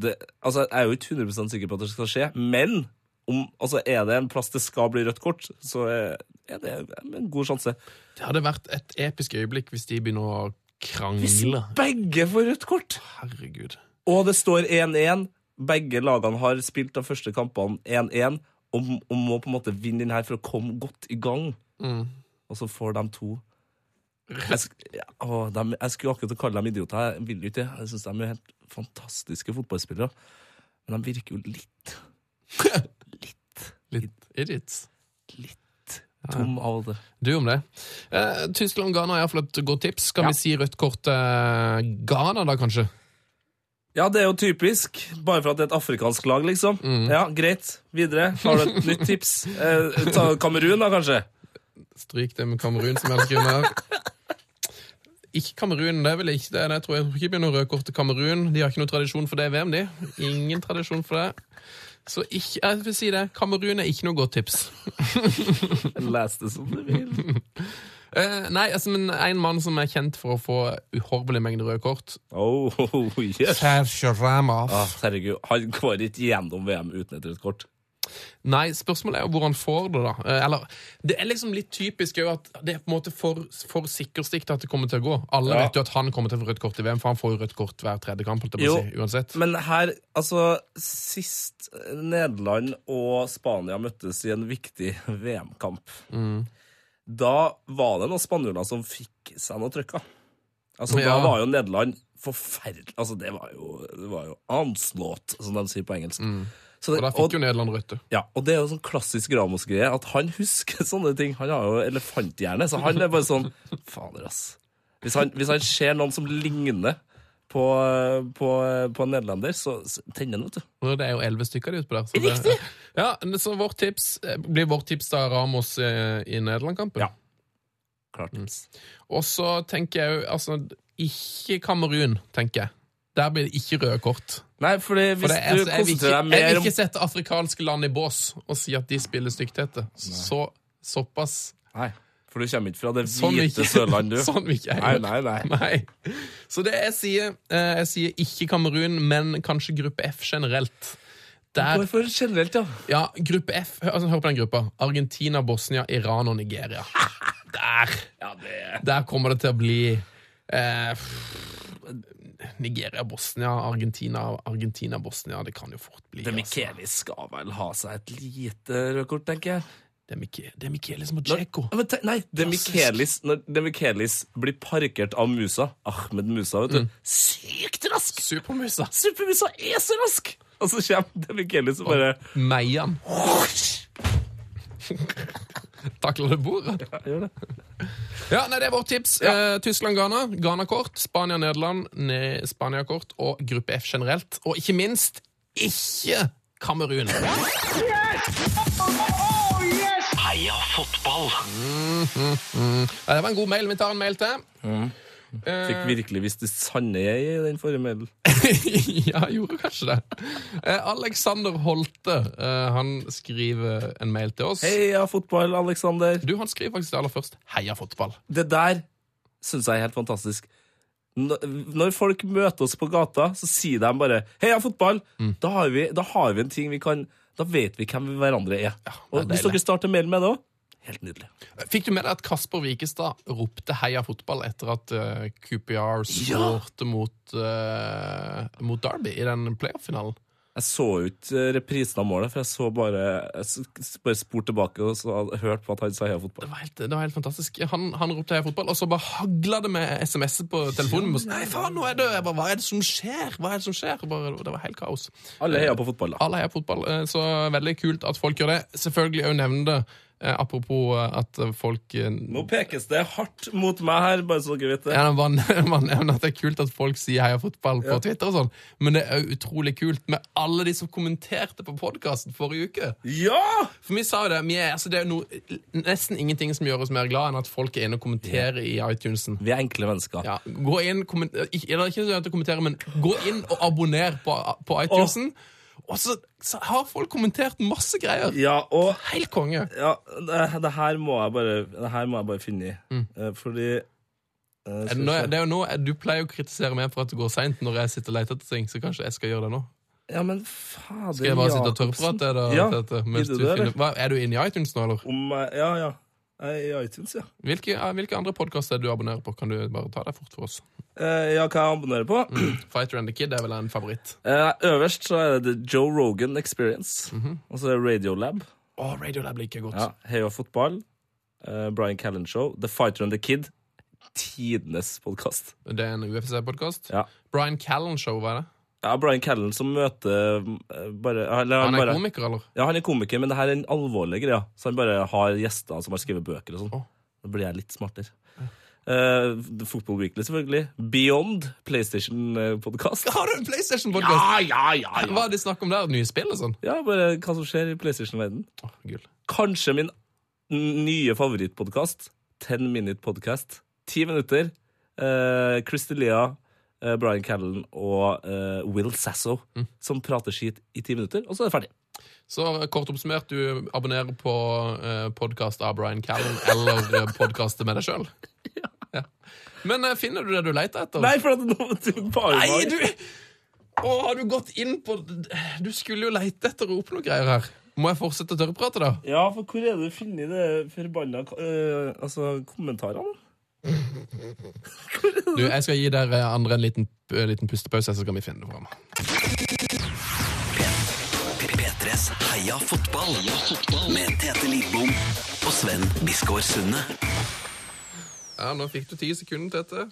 Speaker 2: Det, altså, jeg er jo ikke 100 sikker på at det skal skje, men om, altså, er det en plass det skal bli rødt kort, så eh, er det en god sjanse.
Speaker 1: Det hadde vært et episk øyeblikk hvis de begynner å
Speaker 2: Hvis
Speaker 1: krangle.
Speaker 2: begge får rødt kort,
Speaker 1: Herregud.
Speaker 2: og det står 1-1 Begge lagene har spilt de første kampene 1-1 og, og må på en måte vinne den her for å komme godt i gang. Og så får de to jeg, sk- ja, å, dem- jeg skulle akkurat til å kalle dem idioter. Jeg vil jo ikke det. Jeg syns de er helt fantastiske fotballspillere. Men de virker jo litt
Speaker 1: Litt idiots.
Speaker 2: litt tom av det.
Speaker 1: Du om det. Eh, Tyskland-Ghana er iallfall et godt tips. Skal vi si rødt kort eh, Ghana, da, kanskje?
Speaker 2: Ja, det er jo typisk. Bare for at det er et afrikansk lag, liksom. Ja, Greit. Videre. Har du et nytt tips? Eh, ta Kamerun, da, kanskje?
Speaker 1: Stryk det med Kamerun, som jeg skriver her. Ikke Kamerun, det er vel ikke det. Nei, Jeg tror jeg tror ikke det blir noe røde kort til Kamerun. De har ikke noe tradisjon for det i VM, de. Ingen tradisjon for det. Så ikke, jeg vil si det. Kamerun er ikke noe godt tips.
Speaker 2: Les det som du vil.
Speaker 1: Eh, nei, altså, men en mann som er kjent for å få uhorvelig mengde røde kort
Speaker 2: Oh, yes.
Speaker 1: Serge Ramos.
Speaker 2: Ah, herregud, han går ikke gjennom VM uten et rødt kort.
Speaker 1: Nei, spørsmålet er jo hvor han får det, da. Eh, Eller, det er liksom litt typisk jo at det er på en måte for, for sikkerstikt at det kommer til å gå. Alle
Speaker 2: Ja.
Speaker 1: vet jo at han kommer til å få rødt kort i VM, for han får jo rødt kort hver tredje kamp. holdt jeg på å
Speaker 2: Jo.
Speaker 1: Si, uansett.
Speaker 2: Men her, altså Sist Nederland og Spania møttes i en viktig VM-kamp,
Speaker 1: Mm.
Speaker 2: da var det noen spanjoler som fikk seg noe trøkka. Altså, Da
Speaker 1: Ja.
Speaker 2: var jo Nederland forferdelig Altså, det var jo, det var jo anslått, som de sier på engelsk. Så
Speaker 1: Mm. Og
Speaker 2: det,
Speaker 1: der fikk jo Nederland rødt. du.
Speaker 2: ja, og det er jo sånn klassisk Ramos-greie, at han husker sånne ting. Han har jo elefanthjerne, så han er bare sånn Fader, ass. Hvis han, hvis han ser noen som ligner på, på, på en nederlender, så så tenner han, vet du.
Speaker 1: Og Det er jo elleve stykker de utpå der. Så
Speaker 2: Riktig!
Speaker 1: Det, ja, så vårt tips, eh, Blir vårt tips da Ramos eh, i Nederland-kampen?
Speaker 2: Ja. Klart tips.
Speaker 1: Og så tenker jeg jo altså, Ikke Kamerun, tenker jeg. Der blir det ikke røde kort.
Speaker 2: Nei, fordi hvis
Speaker 1: For det, er-
Speaker 2: du
Speaker 1: altså, jeg, vil ikke,
Speaker 2: konsentrerer deg
Speaker 1: jeg vil
Speaker 2: mer om
Speaker 1: ikke sette afrikanske land i bås og si at de spiller styggtheter. Så, såpass
Speaker 2: Nei, for du kommer ikke fra det
Speaker 1: Sånn
Speaker 2: hvite
Speaker 1: ikke-
Speaker 2: Sørland, du.
Speaker 1: sånn vil ikke jeg
Speaker 2: Nei,
Speaker 1: gjøre.
Speaker 2: nei, nei.
Speaker 1: Nei. Så det jeg sier, eh, jeg sier ikke Kamerun, men kanskje gruppe F generelt. Der,
Speaker 2: Hvorfor generelt, ja?
Speaker 1: ja, gruppe F, hør, altså, hør på den gruppa. Argentina, Bosnia, Iran og Nigeria. Der!
Speaker 2: Ja, det
Speaker 1: Der kommer det til å bli eh, pff, Nigeria, Bosnia, Argentina, Argentina, Bosnia. Det kan jo fort bli.
Speaker 2: det
Speaker 1: altså.
Speaker 2: Micheli skal vel ha seg et lite rødkort, tenker jeg.
Speaker 1: Det er Mike- det er Michele som har
Speaker 2: Når-
Speaker 1: Tsjekko.
Speaker 2: Ja, men tenk- Nei, det er Michaelis, når det er Michaelis blir parkert av Musa, Ahmed Musa, vet du. Sykt rask!
Speaker 1: Supermusa.
Speaker 2: Supermusa er så rask! Og så kommer det Michaelis og bare
Speaker 1: Meian. Takler det bordet?
Speaker 2: gjør det.
Speaker 1: Ja, nei, Det er vårt tips. Eh, Tyskland-Ghana. Ghana-kort. Spania-Nederland. ne- Spania-kort. Og gruppe F generelt. Og ikke minst ikke Kamerun!
Speaker 4: Heia fotball!
Speaker 1: Mm-hmm. Ja, det var en god mail. Vi tar en mail til.
Speaker 2: Fikk virkelig visst det sanne jeg i den forrige mailen.
Speaker 1: ja, gjorde kanskje det. Eh, Alexander Holte eh, han skriver en mail til oss.
Speaker 2: Heia fotball, Aleksander!
Speaker 1: Du, Han skriver faktisk det aller først. Heia fotball.
Speaker 2: Det der syns jeg er helt fantastisk. Når når folk møter oss på gata, så sier de bare 'heia, fotball'! Da, har vi, da har vi en ting vi kan Da vet vi hvem vi hverandre er.
Speaker 1: det
Speaker 2: og
Speaker 1: er
Speaker 2: Hvis dere starter mailen med det òg, helt nydelig.
Speaker 1: Fikk du med deg at Kasper Wikestad ropte 'heia fotball' etter at eh, QPR skårte mot, eh, mot Derby i den playoff-finalen?
Speaker 2: Jeg så jo ikke eh, reprisen av målet, for jeg så bare Jeg s- bare spurte tilbake og så hadde jeg hørt på at han sa 'heia,
Speaker 1: Det
Speaker 2: fotball'.
Speaker 1: var helt, det var helt fantastisk. Han, han ropte heia fotball, og så bare hagla det med SMS-er på telefonen. min. Nei, faen, nå er det jeg bare, Hva er det som skjer? Hva er det som skjer? Bare, det var helt kaos.
Speaker 2: Alle heier på fotball, da.
Speaker 1: Alle heier fotball, eh, så veldig kult at folk gjør det. Selvfølgelig òg nevne det, eh, apropos eh, at folk eh,
Speaker 2: Nå pekes det hardt mot meg her, bare så dere vet det.
Speaker 1: ja, man, man nevner at det er kult at folk sier heia fotball på Twitter og sånn, men det er jo utrolig kult med alle de som kommenterte på podkasten forrige uke.
Speaker 2: Ja!
Speaker 1: For vi sa jo det, vi er, altså, det er jo noe, nesten ingenting som gjør oss mer glad enn at folk er inne og kommenterer i iTunesen.
Speaker 2: Vi er enkle mennesker.
Speaker 1: Ja, gå inn, kommen- ikke, eller ikke nødvendig å kommentere, men gå inn og abonner på, på iTunesen. Og så, så har folk kommentert masse greier.
Speaker 2: ja og
Speaker 1: Helt konge.
Speaker 2: Ja, det, det, her må jeg bare, det her må jeg bare finne i. Eh, Fordi eh,
Speaker 1: Mm. Er det
Speaker 2: skal vi
Speaker 1: nå,
Speaker 2: se.
Speaker 1: det er jo nå, Du pleier å kritisere meg for at det går seint når jeg sitter og leter etter ting, så kanskje jeg skal gjøre det nå?
Speaker 2: Ja, men fader
Speaker 1: Skal jeg bare sitte og tørrprate deg? da,
Speaker 2: Ja,
Speaker 1: til dette, mens
Speaker 2: gidder
Speaker 1: du
Speaker 2: du det,
Speaker 1: finner- Hva, Er du inne i iTunes nå, eller?
Speaker 2: Om jeg- Ja, ja. Jeg er I iTunes, ja.
Speaker 1: Hvilke, ja, hvilke andre podkaster du abonnerer på? Kan du bare ta deg fort for oss?
Speaker 2: Eh, ja, hva jeg abonnerer på?
Speaker 1: Mm. Fighter and the Kid er vel en favoritt.
Speaker 2: Eh, øverst så er det The Joe Rogan Experience.
Speaker 1: Mhm.
Speaker 2: Og så er det Radiolab.
Speaker 1: Å, Radiolab liker jeg godt.
Speaker 2: Ja, Heia fotball. eh, Brian Callen Show. The Fighter and the Kid. Tidenes podkast.
Speaker 1: Det er en UFC-podkast.
Speaker 2: Ja.
Speaker 1: Brian Callen-show, hva er det? ja,
Speaker 2: ja, Brian Callen som møter eh, bare, eller,
Speaker 1: Han er
Speaker 2: bare,
Speaker 1: komiker, eller?
Speaker 2: Ja, han er komiker, men det her er en alvorlig greie. Så han bare har gjester som har skrevet bøker og sånn. Da blir jeg litt smartere. Eh, The Football Weekly, selvfølgelig. Beyond eh, PlayStation-podkast.
Speaker 1: Har du en PlayStation-podkast?
Speaker 2: Ja, ja, ja, ja.
Speaker 1: Hva er det snakk om der? Nye spill og sånn?
Speaker 2: ja, bare hva som skjer i PlayStation-verden.
Speaker 1: Åh, gull.
Speaker 2: Kanskje min nye favorittpodkast. Ten Minute Podcast. Ti minutter. Eh, Christer Lea, eh, Brian Callen og eh, Will Sasso som prater skit i ti minutter, og så er det ferdig.
Speaker 1: Så eh, kort oppsummert, du abonnerer på eh, podkast av Brian Callen eller eh, podkastet med deg sjøl? Ja. Men eh, finner du det du leter etter?
Speaker 2: Nei, for at nå du bare
Speaker 1: Nei, du Å, har du gått inn på Du skulle jo leite etter å rope noe greier her. Må jeg fortsette å tørrprate, da?
Speaker 2: Ja, for hvor er det du finner det forbanna eh, altså, kommentarene?
Speaker 1: Du, Jeg skal gi dere andre en liten, en liten pustepause, så skal vi finne det fram.
Speaker 4: P3s Heia fotball med Tete Lidbom og Sven Biskår Sunde.
Speaker 1: Ja, Nå fikk du ti sekunder, Tete.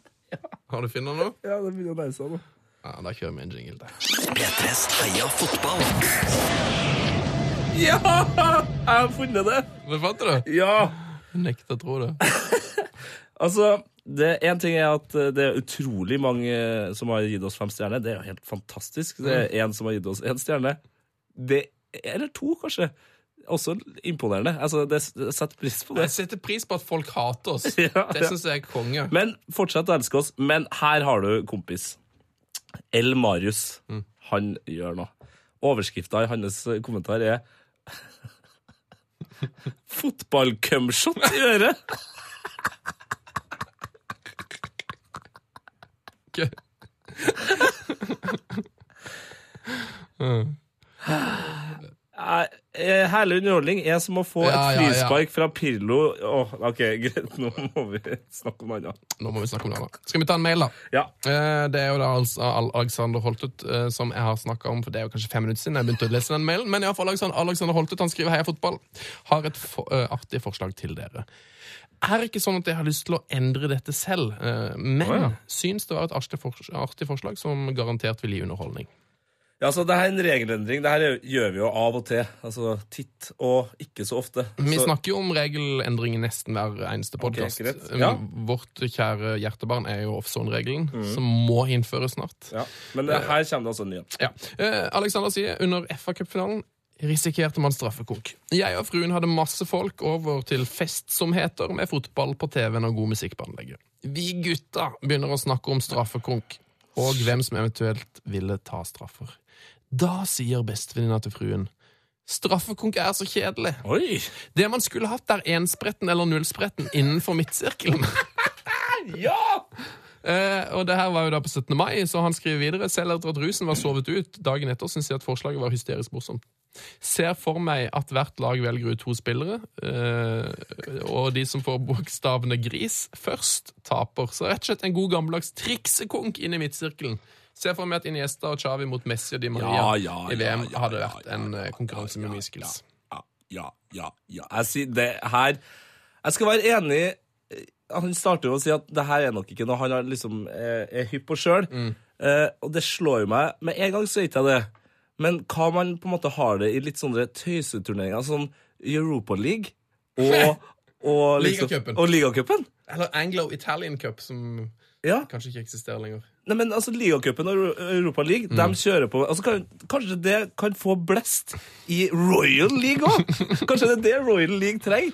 Speaker 1: Har du funnet noe?
Speaker 2: Ja, det begynner å nærme seg nå.
Speaker 1: Ja, Da kjører vi en jingle der.
Speaker 4: P3s Heia fotball.
Speaker 2: Ja! Jeg har funnet det!
Speaker 1: Men fant du det?
Speaker 2: Ja!
Speaker 1: Jeg nekter å tro det.
Speaker 2: Altså, det én ting er at eh, det er utrolig mange eh, som har gitt oss fem stjerner. Det er jo helt fantastisk. Det er én som har gitt oss én stjerne. Det Eller to, kanskje. også imponerende. Altså, det jeg setter pris på det.
Speaker 1: Jeg setter pris på at folk hater oss.
Speaker 2: Ja,
Speaker 1: det
Speaker 2: ja.
Speaker 1: syns jeg er konge.
Speaker 2: Men fortsett å elske oss. Men her har du kompis. L. Marius. Han gjør noe. Overskrifta i hans eh, kommentar er Fotballcumshot i øret!
Speaker 1: Ikke-
Speaker 2: Er- er- Herlig underholdning er som å få
Speaker 1: Ja,
Speaker 2: et
Speaker 1: ja, ja.
Speaker 2: frispark fra Pirlo Åh, OK, greit, nå må vi snakke om noe annet.
Speaker 1: Nå må vi snakke om det. da. Skal vi ta en mail, da?
Speaker 2: Ja.
Speaker 1: Eh, Det er jo da altså Al- Alexander Holtut eh, som jeg har snakka om, for det er jo kanskje fem minutter siden jeg begynte å lese den mailen. Men i alle fall, Alexander, Alexander Holtut han skriver 'Heia fotball'. Har et for, eh, artig forslag til dere. Er ikke sånn at jeg har lyst til å endre dette selv, eh, men
Speaker 2: Å, ja.
Speaker 1: syns det var et artig, fors- artig forslag som garantert vil gi underholdning.
Speaker 2: Ja, altså, det her er en regelendring. Det her gjør vi jo av og til. Altså titt og ikke så ofte.
Speaker 1: Vi
Speaker 2: Så-
Speaker 1: snakker jo om regelendring i nesten hver eneste podkast.
Speaker 2: greit. Ja. Mm.
Speaker 1: Vårt kjære hjertebarn er jo offzone-regelen, som må innføres snart.
Speaker 2: ja. Men det, her kommer det altså en ny en.
Speaker 1: Ja. Eh, Alexander sier under FA-cupfinalen risikerte man straffekonk. Jeg og fruen hadde masse folk over til fest som heter, med fotball på TV-en og god musikk på anlegget. Vi gutta begynner å snakke om straffekonk, og hvem som eventuelt ville ta straffer. Da sier bestevenninna til fruen Straffekonk er så kjedelig.
Speaker 2: Oi!
Speaker 1: Det man skulle hatt, er enspretten eller nullspretten innenfor midtsirkelen.
Speaker 2: Ja!
Speaker 1: Eh, og det her var jo da på 17. mai, så han skriver videre. Selv etter at rusen var sovet ut dagen etter, syns jeg at forslaget var hysterisk morsomt. Ser for meg at hvert lag velger ut to spillere, eh, og de som får bokstavene gris først, taper. Så rett og slett en god gammeldags triksekonk inn i midtsirkelen. Ser for meg at Iniesta og Chavi mot Messi og Di Maria
Speaker 2: Ja, ja,
Speaker 1: i VM
Speaker 2: ja, ja,
Speaker 1: hadde
Speaker 2: ja,
Speaker 1: vært
Speaker 2: ja,
Speaker 1: en eh,
Speaker 2: ja,
Speaker 1: konkurranse
Speaker 2: ja,
Speaker 1: med mye skills.
Speaker 2: Ja, ja, ja. ja. Jeg sier det her Jeg skal være enig eh, Han starter jo å si at det her er nok ikke noe han har liksom, eh, er hypp på sjøl. Eh, og det slår jo meg Med en gang så er ikke jeg det. Men hva man på en måte har det i litt sånne tøyseturneringer, som Europa League og, og liksom-
Speaker 1: Ligacupen.
Speaker 2: Og Ligacupen.
Speaker 1: Eller Anglo-Italian Cup, som
Speaker 2: Ja.
Speaker 1: kanskje ikke eksisterer lenger.
Speaker 2: Nei, men altså, Ligacupen og Euro- Europa League de kjører på altså, kan, Kanskje det kan få blest i Royal League òg? Kanskje det er det Royal League trenger?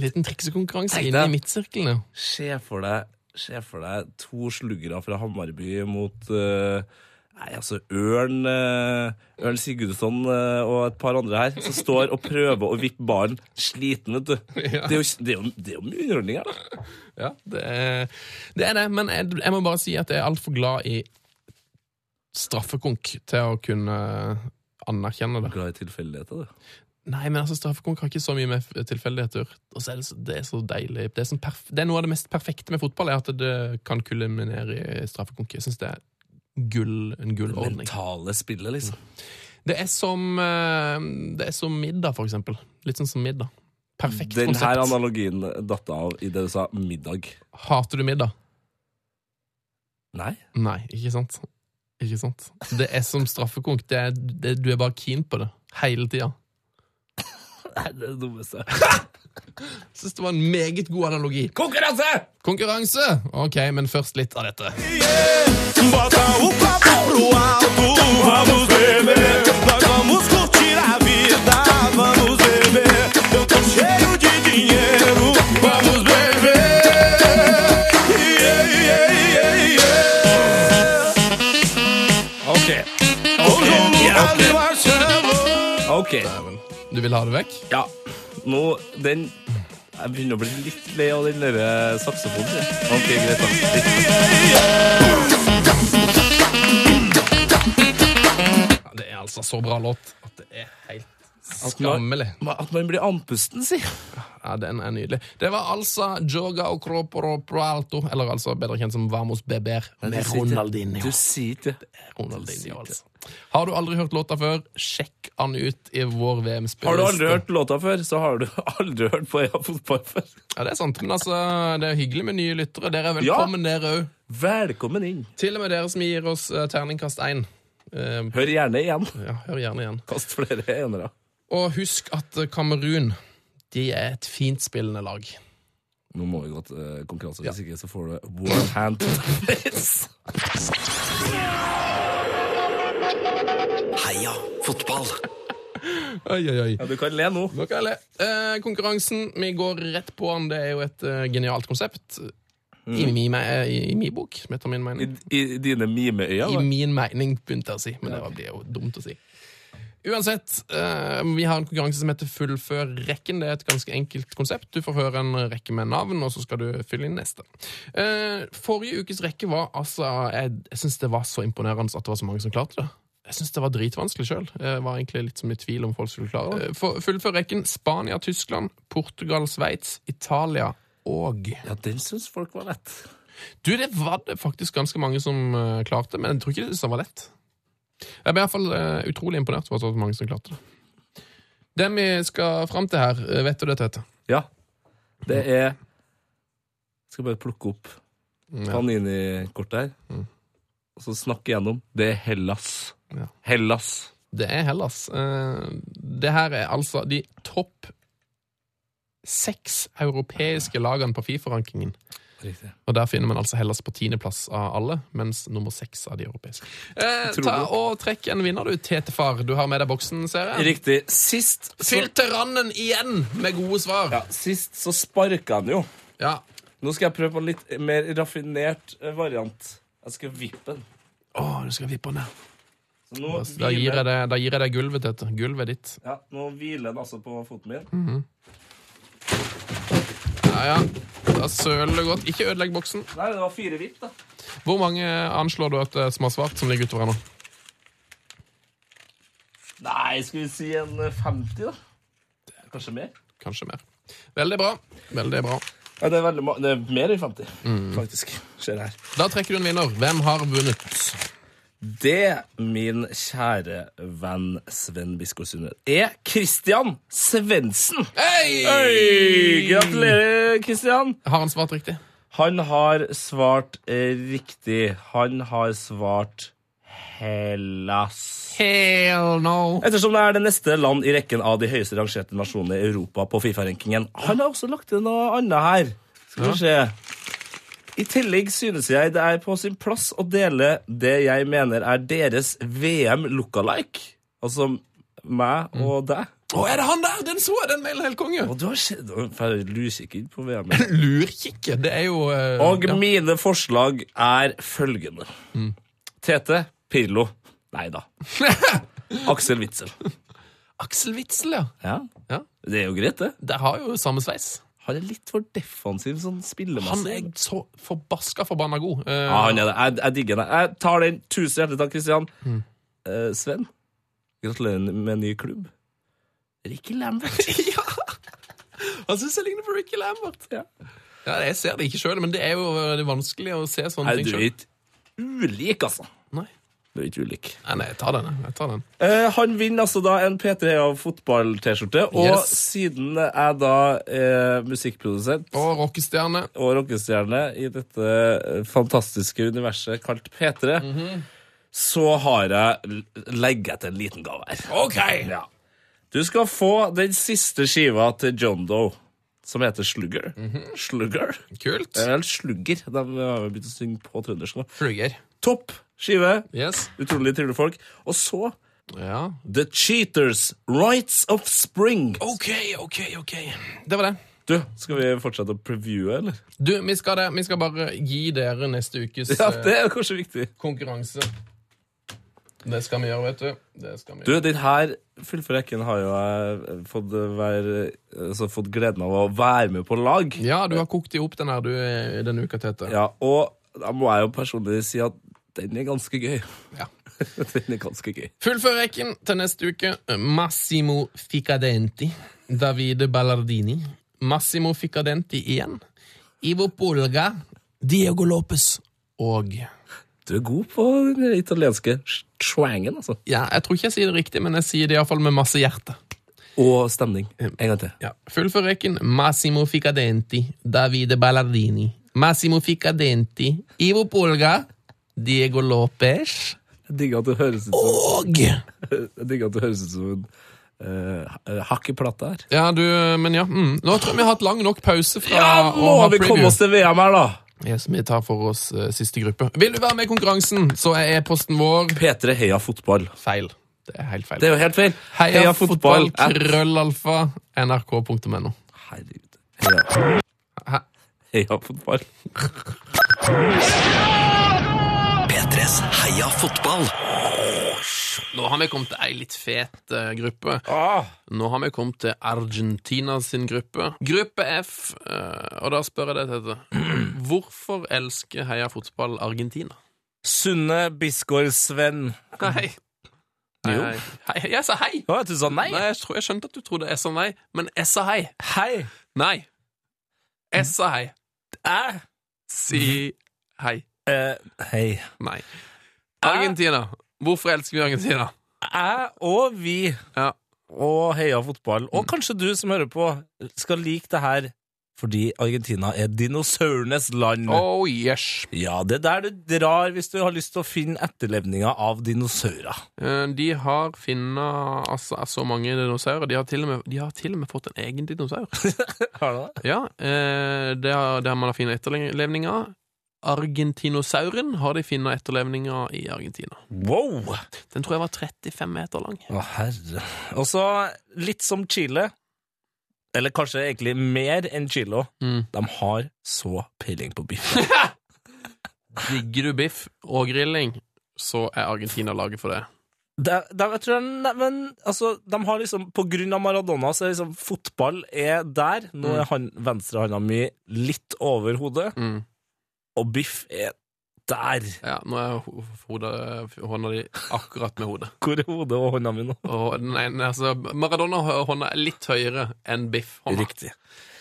Speaker 1: Liten triksekonkurranse
Speaker 2: Tenk
Speaker 1: inne
Speaker 2: det.
Speaker 1: i midtsirkelen, ja.
Speaker 2: Se for deg, se for deg to sluggere fra Hammarby mot eh, Nei, altså Ørn eh, Ørn Sigurdsson eh, og et par andre her som står og prøver å vippe ballen. Sliten, vet du.
Speaker 1: Ja.
Speaker 2: Det er jo, det er jo, det er jo mye underholdning her, da.
Speaker 1: Ja, det er det, er det men jeg, jeg må bare si at jeg er altfor glad i straffekonk til å kunne eh, anerkjenne det.
Speaker 2: Glad i tilfeldigheter, du.
Speaker 1: Nei, men altså, straffekonk har ikke så mye med f- tilfeldigheter. Og så er det, så, det er så deilig. Det er, sånn perf det er noe av det mest perfekte med fotball, er at det kan kuliminere i straffekonk. Jeg synes det er gull, en gullordning.
Speaker 2: Mentale spillet, liksom.
Speaker 1: Det er som, eh, det er som middag, for eksempel. Litt sånn som middag. Perfekt
Speaker 2: Den her
Speaker 1: konsept.
Speaker 2: analogien datt av i det du sa middag.
Speaker 1: Hater du middag?
Speaker 2: Nei.
Speaker 1: Nei, ikke sant? Ikke sant? Det er som straffekonk. Det er, det, du er bare keen på det hele tida.
Speaker 2: Nei, det er det dummeste.
Speaker 1: Syns det var en meget god analogi.
Speaker 2: Konkurranse!
Speaker 1: Konkurranse! Ok, men først litt av dette.
Speaker 6: Vamos beber, nós vamos curtir a vida. Vamos beber, eu tô cheio de dinheiro. Vamos beber. Yeah, yeah, yeah, yeah.
Speaker 2: Ok. Ok. Ja,
Speaker 6: Lugar
Speaker 2: ok.
Speaker 6: do achamos.
Speaker 2: Ok.
Speaker 1: Du vil ha det vekk?
Speaker 2: Ja. Nå, den Jeg begynner å bli litt lei av den derre saksofonen. tror jeg. Ok, greit, da. Litt.
Speaker 1: Ja, det er altså så bra låt at det er helt
Speaker 2: man,
Speaker 1: skammelig.
Speaker 2: at man blir andpusten, si.
Speaker 1: Ja, den er nydelig. Det var altså Joga og Croporo Proalto, eller altså bedre kjent som Vamos Beber, med Ronaldinho.
Speaker 2: Du sier ikke det.
Speaker 1: Ronaldinho, altså. Har du aldri hørt låta før, sjekk han ut i vår VM-spilleliste.
Speaker 2: Har du aldri hørt låta før, så har du aldri hørt på Øya fotball før.
Speaker 1: Ja, det er sant, men altså, det er hyggelig med nye lyttere. Dere er velkommen, dere òg.
Speaker 2: Velkommen inn.
Speaker 1: Til og med dere som gir oss eh, terningkast 1.
Speaker 2: Hør gjerne igjen.
Speaker 1: ja, hør gjerne igjen.
Speaker 2: Kast flere enere.
Speaker 1: Og husk at eh, Kamerun de er et fintspillende lag.
Speaker 2: Nå må vi gå til eh, konkurranse, hvis ikke så får du one hand to the face.
Speaker 4: Heia fotball.
Speaker 1: Oi, oi, oi.
Speaker 2: Ja, du kan le nå.
Speaker 1: Nå kan jeg le. Eh, konkurransen, vi går rett på den. Det er jo et eh, genialt konsept. I, min, me- eh, I min bok, som heter min
Speaker 2: I,
Speaker 1: mening.
Speaker 2: i dine mimeøyne.
Speaker 1: I
Speaker 2: da.
Speaker 1: min mening, begynte jeg å si. Men det var- blir jo dumt å si. Uansett, eh, vi har en konkurranse som heter Fullfør rekken. Det er et ganske enkelt konsept. Du får høre en rekke med navn, og så skal du fylle inn neste. Eh, forrige ukes rekke var altså Jeg, jeg syns det var så imponerende at det var så mange som klarte det. Jeg syns det var dritvanskelig sjøl. Var egentlig litt som i tvil om folk skulle klare det. Eh, For, fullfør rekken. Spania, Tyskland, Portugal, Sveits, Italia og
Speaker 2: Ja, den syns folk var lett.
Speaker 1: du, det var det faktisk ganske mange som eh, klarte, men jeg tror ikke det synes det var lett. Jeg ble iallfall uh, utrolig imponert over at det var så mange som klarte det. Den vi skal fram til her, eh, vet du det, Tete?
Speaker 2: Ja. Det er Jeg skal bare plukke opp Panini-kortet her, og så snakke igjennom. Det er Hellas.
Speaker 1: Ja.
Speaker 2: Hellas.
Speaker 1: Det er Hellas. Eh, det her er altså de topp seks europeiske lagene på Fifa-rankingen.
Speaker 2: Riktig.
Speaker 1: Og der finner man altså Hellas på tiendeplass av alle, mens nummer seks av de europeiske. Eh,
Speaker 2: Tror
Speaker 1: ta
Speaker 2: du?
Speaker 1: og Trekk en vinner, du, Tetefar. Du har med deg boksen, ser jeg.
Speaker 2: Riktig. Sist så,
Speaker 1: Fyll til randen igjen med gode svar.
Speaker 2: ja, sist så sparka han jo.
Speaker 1: Ja.
Speaker 2: Nå skal jeg prøve på en litt mer raffinert eh, variant. Jeg skal vippe den.
Speaker 1: Å, du skal vippe den ned.
Speaker 2: Så nå
Speaker 1: Altså, Da gir jeg
Speaker 2: hviler,
Speaker 1: deg, da gir jeg deg gulvet, Tete. Gulvet ditt.
Speaker 2: ja, nå hviler den altså på foten min.
Speaker 1: Ja, ja. Da søler det godt. Ikke ødelegg boksen.
Speaker 2: Nei, det var fire vipp, da.
Speaker 1: Hvor mange anslår du at det er som har svart, som ligger utover her nå?
Speaker 2: Nei, skal vi si en eh, 50, da? Kanskje mer?
Speaker 1: Kanskje mer. Veldig bra. Veldig bra.
Speaker 2: Ja, det, er veldig, ma- det er mer enn 50,
Speaker 1: Mm.
Speaker 2: faktisk. Ser jeg her.
Speaker 1: Da trekker du en vinner. Hvem har vunnet?
Speaker 2: Det, min kjære venn Sven Biskår Sunde, er Christian Svendsen.
Speaker 1: Hei!
Speaker 2: Oi, gratulerer, Christian.
Speaker 1: Har han svart riktig?
Speaker 2: Han har svart eh, riktig. Han har svart Hellas.
Speaker 1: Hell no.
Speaker 2: Ettersom det er det neste land i rekken av de høyeste rangerte nasjonene i Europa på Fifa-rankingen. Han har også lagt til noe annet her. Skal vi se. I tillegg synes jeg det er på sin plass å dele det jeg mener er deres VM lookalike. Altså meg og deg.
Speaker 1: Å, er det han der? Den så jeg, den mailen helt konge.
Speaker 2: Og Mm. du har sett Lusikker på VM. -et.
Speaker 1: Lurkikke. Det er jo eh,
Speaker 2: Og
Speaker 1: ja. Mm.
Speaker 2: mine forslag er følgende. Tete Pirlo. Nei da. Aksel Witzel.
Speaker 1: Aksel Witzel, ja.
Speaker 2: Ja.
Speaker 1: ja.
Speaker 2: Det er jo greit, det.
Speaker 1: Der har jo samme sveis.
Speaker 2: Han er litt for defensiv
Speaker 1: Han
Speaker 2: sånn spillemessig.
Speaker 1: er så forbaska forbanna god. Eh,
Speaker 2: ja, han er det. Jeg, jeg digger det. Jeg tar den. Tusen hjertelig takk, Kristian.
Speaker 1: Mm.
Speaker 2: Eh, Sven, gratulerer med en ny klubb. Ricky Lambert.
Speaker 1: Ja! Han syns jeg ligner på Ricky Lambert. Ja. Jeg ser det ikke sjøl, men det er jo eh, det er vanskelig å se sånne
Speaker 2: Nei,
Speaker 1: ting
Speaker 2: du er
Speaker 1: sjøl.
Speaker 2: ikke ulik, altså.
Speaker 1: Nei.
Speaker 2: Du er ikke ulik.
Speaker 1: Nei, nei, jeg tar den. jeg. Jeg tar den.
Speaker 2: Eh, han vinner altså da en P3 av fotball-T-skjorte, og
Speaker 1: Yes.
Speaker 2: siden jeg da er musikkprodusent
Speaker 1: Og rockestjerne.
Speaker 2: og rockestjerne i dette eh, fantastiske universet kalt P3,
Speaker 1: Mhm.
Speaker 2: så har jeg l- legget til en liten gave her.
Speaker 1: OK!
Speaker 2: Ja. Du skal få den siste skiva til John Doe, som heter Slugger.
Speaker 1: Mhm.
Speaker 2: Slugger?
Speaker 1: Kult.
Speaker 2: Eller Slugger, de har jo begynt å synge på trøndersk nå.
Speaker 1: Fluger.
Speaker 2: Topp skive,
Speaker 1: Yes.
Speaker 2: utrolig trivelige folk. Og så
Speaker 1: Ja.
Speaker 2: The Cheaters, Rights of Spring.
Speaker 1: OK, OK, OK. Det var det.
Speaker 2: Oh. Du, skal vi fortsette å previewe, eller?
Speaker 1: Du, vi skal, det. vi skal bare gi dere neste ukes
Speaker 2: Ja,
Speaker 1: eh,
Speaker 2: det er kanskje viktig.
Speaker 1: konkurranse. Det skal vi gjøre, vet du. Det skal vi
Speaker 2: Du,
Speaker 1: gjøre.
Speaker 2: den her fullfør rekken har jo jeg fått, være, altså, fått gleden av å være med på lag.
Speaker 1: Ja, du har kokt de opp den her du eh, denne uka, Tete.
Speaker 2: Ja, og da må jeg jo personlig si at den er ganske gøy.
Speaker 1: Ja.
Speaker 2: den er ganske gøy.
Speaker 1: Fullfør rekken til neste uke. Massimo Ficadenti. Davide Ballardini. Massimo Ficadenti igjen. Ivo Polga. Diego Lopez. Og
Speaker 2: Du er god på den italienske swangen, altså.
Speaker 1: Ja, jeg tror ikke jeg sier det riktig, men jeg sier det iallfall med masse hjerte.
Speaker 2: Og stemning. Mm. En gang til.
Speaker 1: Ja. Fullfør rekken. Massimo Ficadenti. Davide Ballardini. Massimo Ficadenti. Ivo Polga. Diego Lopez.
Speaker 2: Jeg digger at det høres ut som,
Speaker 1: Og
Speaker 2: jeg digger at det høres ut som en uh, hakk i plata her.
Speaker 1: Ja, du, men ja. Mm. Nå tror jeg vi har hatt lang nok pause fra
Speaker 2: Ja, må
Speaker 1: å ha
Speaker 2: vi komme
Speaker 1: preview.
Speaker 2: oss til VM her, da?
Speaker 1: Yes, vi tar for oss eh, siste gruppe. Vil du være med i konkurransen, så er e-posten vår
Speaker 2: P3 Heia Fotball.
Speaker 1: feil. Det er helt feil.
Speaker 7: Det er jo helt feil.
Speaker 1: Heia, fotball,
Speaker 7: at-
Speaker 1: krøllalfa, nrk.no.
Speaker 7: Herregud. Heia,
Speaker 1: Hæ?
Speaker 7: heia fotball.
Speaker 8: P3s Heia fotball.
Speaker 1: Nå har vi kommet til ei litt fet eh, gruppe.
Speaker 2: Ah,
Speaker 1: Nå har vi kommet til Argentina sin gruppe. Gruppe F, eh, og da spør jeg deg, Tete. Hvorfor elsker Heia Fotball Argentina?
Speaker 2: Sunne Bisgaard-Sven.
Speaker 1: Hei. Hei, hei. hei. Jeg sa hei!
Speaker 2: Å, du sa nei?
Speaker 1: Nei, jeg, tror, jeg skjønte at du trodde jeg sa nei, men jeg sa hei.
Speaker 2: Hei!
Speaker 1: Nei. Jeg sa hei.
Speaker 2: Æ?
Speaker 1: Si hei.
Speaker 2: Eh, hei.
Speaker 1: Nei. Argentina. Hvorfor elsker vi Argentina?
Speaker 2: Jeg og vi
Speaker 1: Ja.
Speaker 2: og heia fotball, og kanskje du som hører på, skal like det her fordi Argentina er dinosaurenes land.
Speaker 1: Oh yes.
Speaker 2: Ja, det er der du drar hvis du har lyst til å finne etterlevninger av dinosaurer.
Speaker 1: Eh, De har finna altså, så mange dinosaurer. De har, til og med, de har til og med fått en egen dinosaur.
Speaker 2: Har du det?
Speaker 1: Ja, eh, det har, Der man har funnet etterlevninger. Argentinosauren har de funnet etterlevninger i Argentina.
Speaker 2: Wow!
Speaker 1: Den tror jeg var 35 meter lang.
Speaker 2: Å, herre. Og så litt som Chile, eller kanskje egentlig mer enn Chile,
Speaker 1: Mm.
Speaker 2: de har så peiling på biff.
Speaker 1: Digger du biff og grilling, så er Argentina laget for det.
Speaker 2: De, de, jeg tror de, men, altså, de har liksom, på grunn av Maradona, så er liksom fotball er der. Nå er han, venstrehanda mi litt over hodet,
Speaker 1: Mm.
Speaker 2: og biff er der.
Speaker 1: Ja, Nå er ho- hodet, hånda di akkurat med hodet.
Speaker 2: Hvor er hodet og hånda mi nå?
Speaker 1: Og den ene, altså, Maradona-hånda er litt høyere enn biff-hånda.
Speaker 2: Riktig.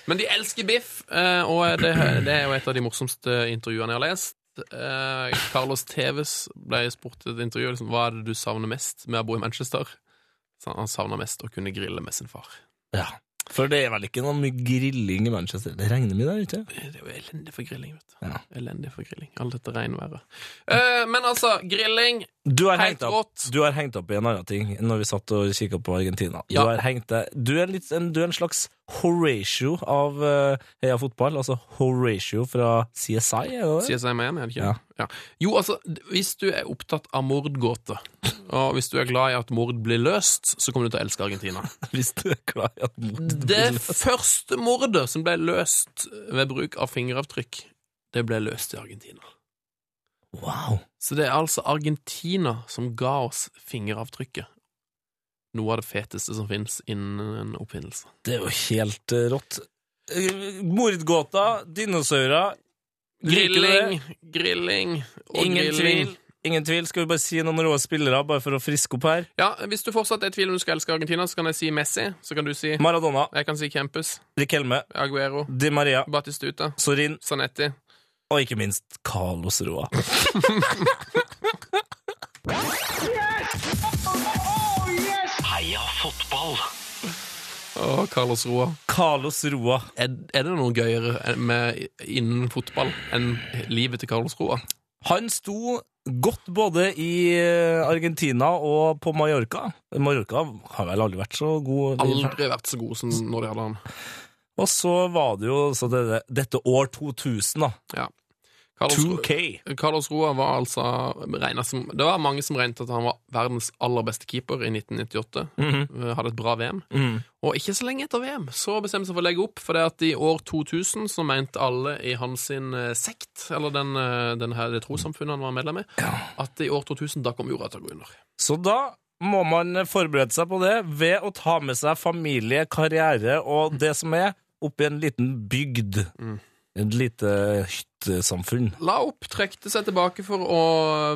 Speaker 1: Men de elsker biff, eh, og det, det er jo et av de morsomste intervjuene jeg har lest. Eh, Carlos Teves ble spurt i et intervju liksom, hva er det du savner mest med å bo i Manchester. Så han- han savner mest å kunne grille med sin far.
Speaker 2: Ja. For det er vel ikke noe mye grilling i Manchester? Det regner mye der ute.
Speaker 1: Det er jo elendig for grilling, vet du.
Speaker 2: Ja.
Speaker 1: Elendig for grilling. All dette regnværet. Eh, men altså, grilling
Speaker 2: Du har,
Speaker 1: Helt
Speaker 2: hengt opp,
Speaker 1: rått.
Speaker 2: du har hengt opp i en annen ting når vi satt og kikka på Argentina.
Speaker 1: Ja.
Speaker 2: Du, har hengt deg, du, er litt, en, du er en slags Horatio av eh, Heia Fotball. Altså Horatio fra CSI, er det det?
Speaker 1: Sier seg Miami, er det ikke?
Speaker 2: Ja.
Speaker 1: Ja. Jo, altså, d- hvis du er opptatt av mordgåte, og hvis du er glad i at mord blir løst, så kommer du til å elske Argentina.
Speaker 2: Hvis du er glad i at mot
Speaker 1: Det første mordet som ble løst ved bruk av fingeravtrykk, det ble løst i Argentina.
Speaker 2: Wow.
Speaker 1: Så det er altså Argentina som ga oss fingeravtrykket. Noe av det feteste som finnes innen en oppfinnelse.
Speaker 2: Det er jo helt eh, rått. Eh, Mordgåta, dinosaurer liker du
Speaker 1: Grilling,
Speaker 2: det?
Speaker 1: grilling og
Speaker 2: Ingen
Speaker 1: grilling.
Speaker 2: tvil. Ingen tvil. Skal vi bare si noen rå spillere, bare for å friske opp her?
Speaker 1: Ja, Hvis du fortsatt er i tvil om du skal elske Argentina, så kan jeg si Messi. Så kan du si
Speaker 2: Maradona,
Speaker 1: Jeg kan si Campus.
Speaker 2: Rikelme,
Speaker 1: Aguero.
Speaker 2: Di Maria,
Speaker 1: Batistuta.
Speaker 2: Sorin
Speaker 1: Sanetti.
Speaker 2: og ikke minst Carlos Roa.
Speaker 8: Heia fotball.
Speaker 1: Og Carlos Roa.
Speaker 2: Carlos Roa.
Speaker 1: Er, er det noe gøyere med, innen fotball enn livet til Carlos Roa?
Speaker 2: Han sto godt både i eh, Argentina og på Mallorca. Mallorca har vel aldri vært så god.
Speaker 1: Aldri vært så god som når de hadde han.
Speaker 2: Og så var det jo så det, dette år 2000, da.
Speaker 1: Ja. Carlos,
Speaker 2: 2K.
Speaker 1: Carlos Roa var altså regnet som Det var mange som regnet at han var verdens aller beste keeper i 1998. Eh, Hadde et bra VM. Og ikke så lenge etter VM så bestemte han seg for å legge opp, for det at i år 2000 så mente alle i hans sin eh, sekt, eller den, eh, den her, det trossamfunnet han var medlem i, at i år 2000 da kom jorda til å gå under.
Speaker 2: Så da må man forberede seg på det ved å ta med seg familie, karriere og det som er, opp i en liten bygd. Et lite hyttesamfunn.
Speaker 1: La opp trekte seg tilbake for å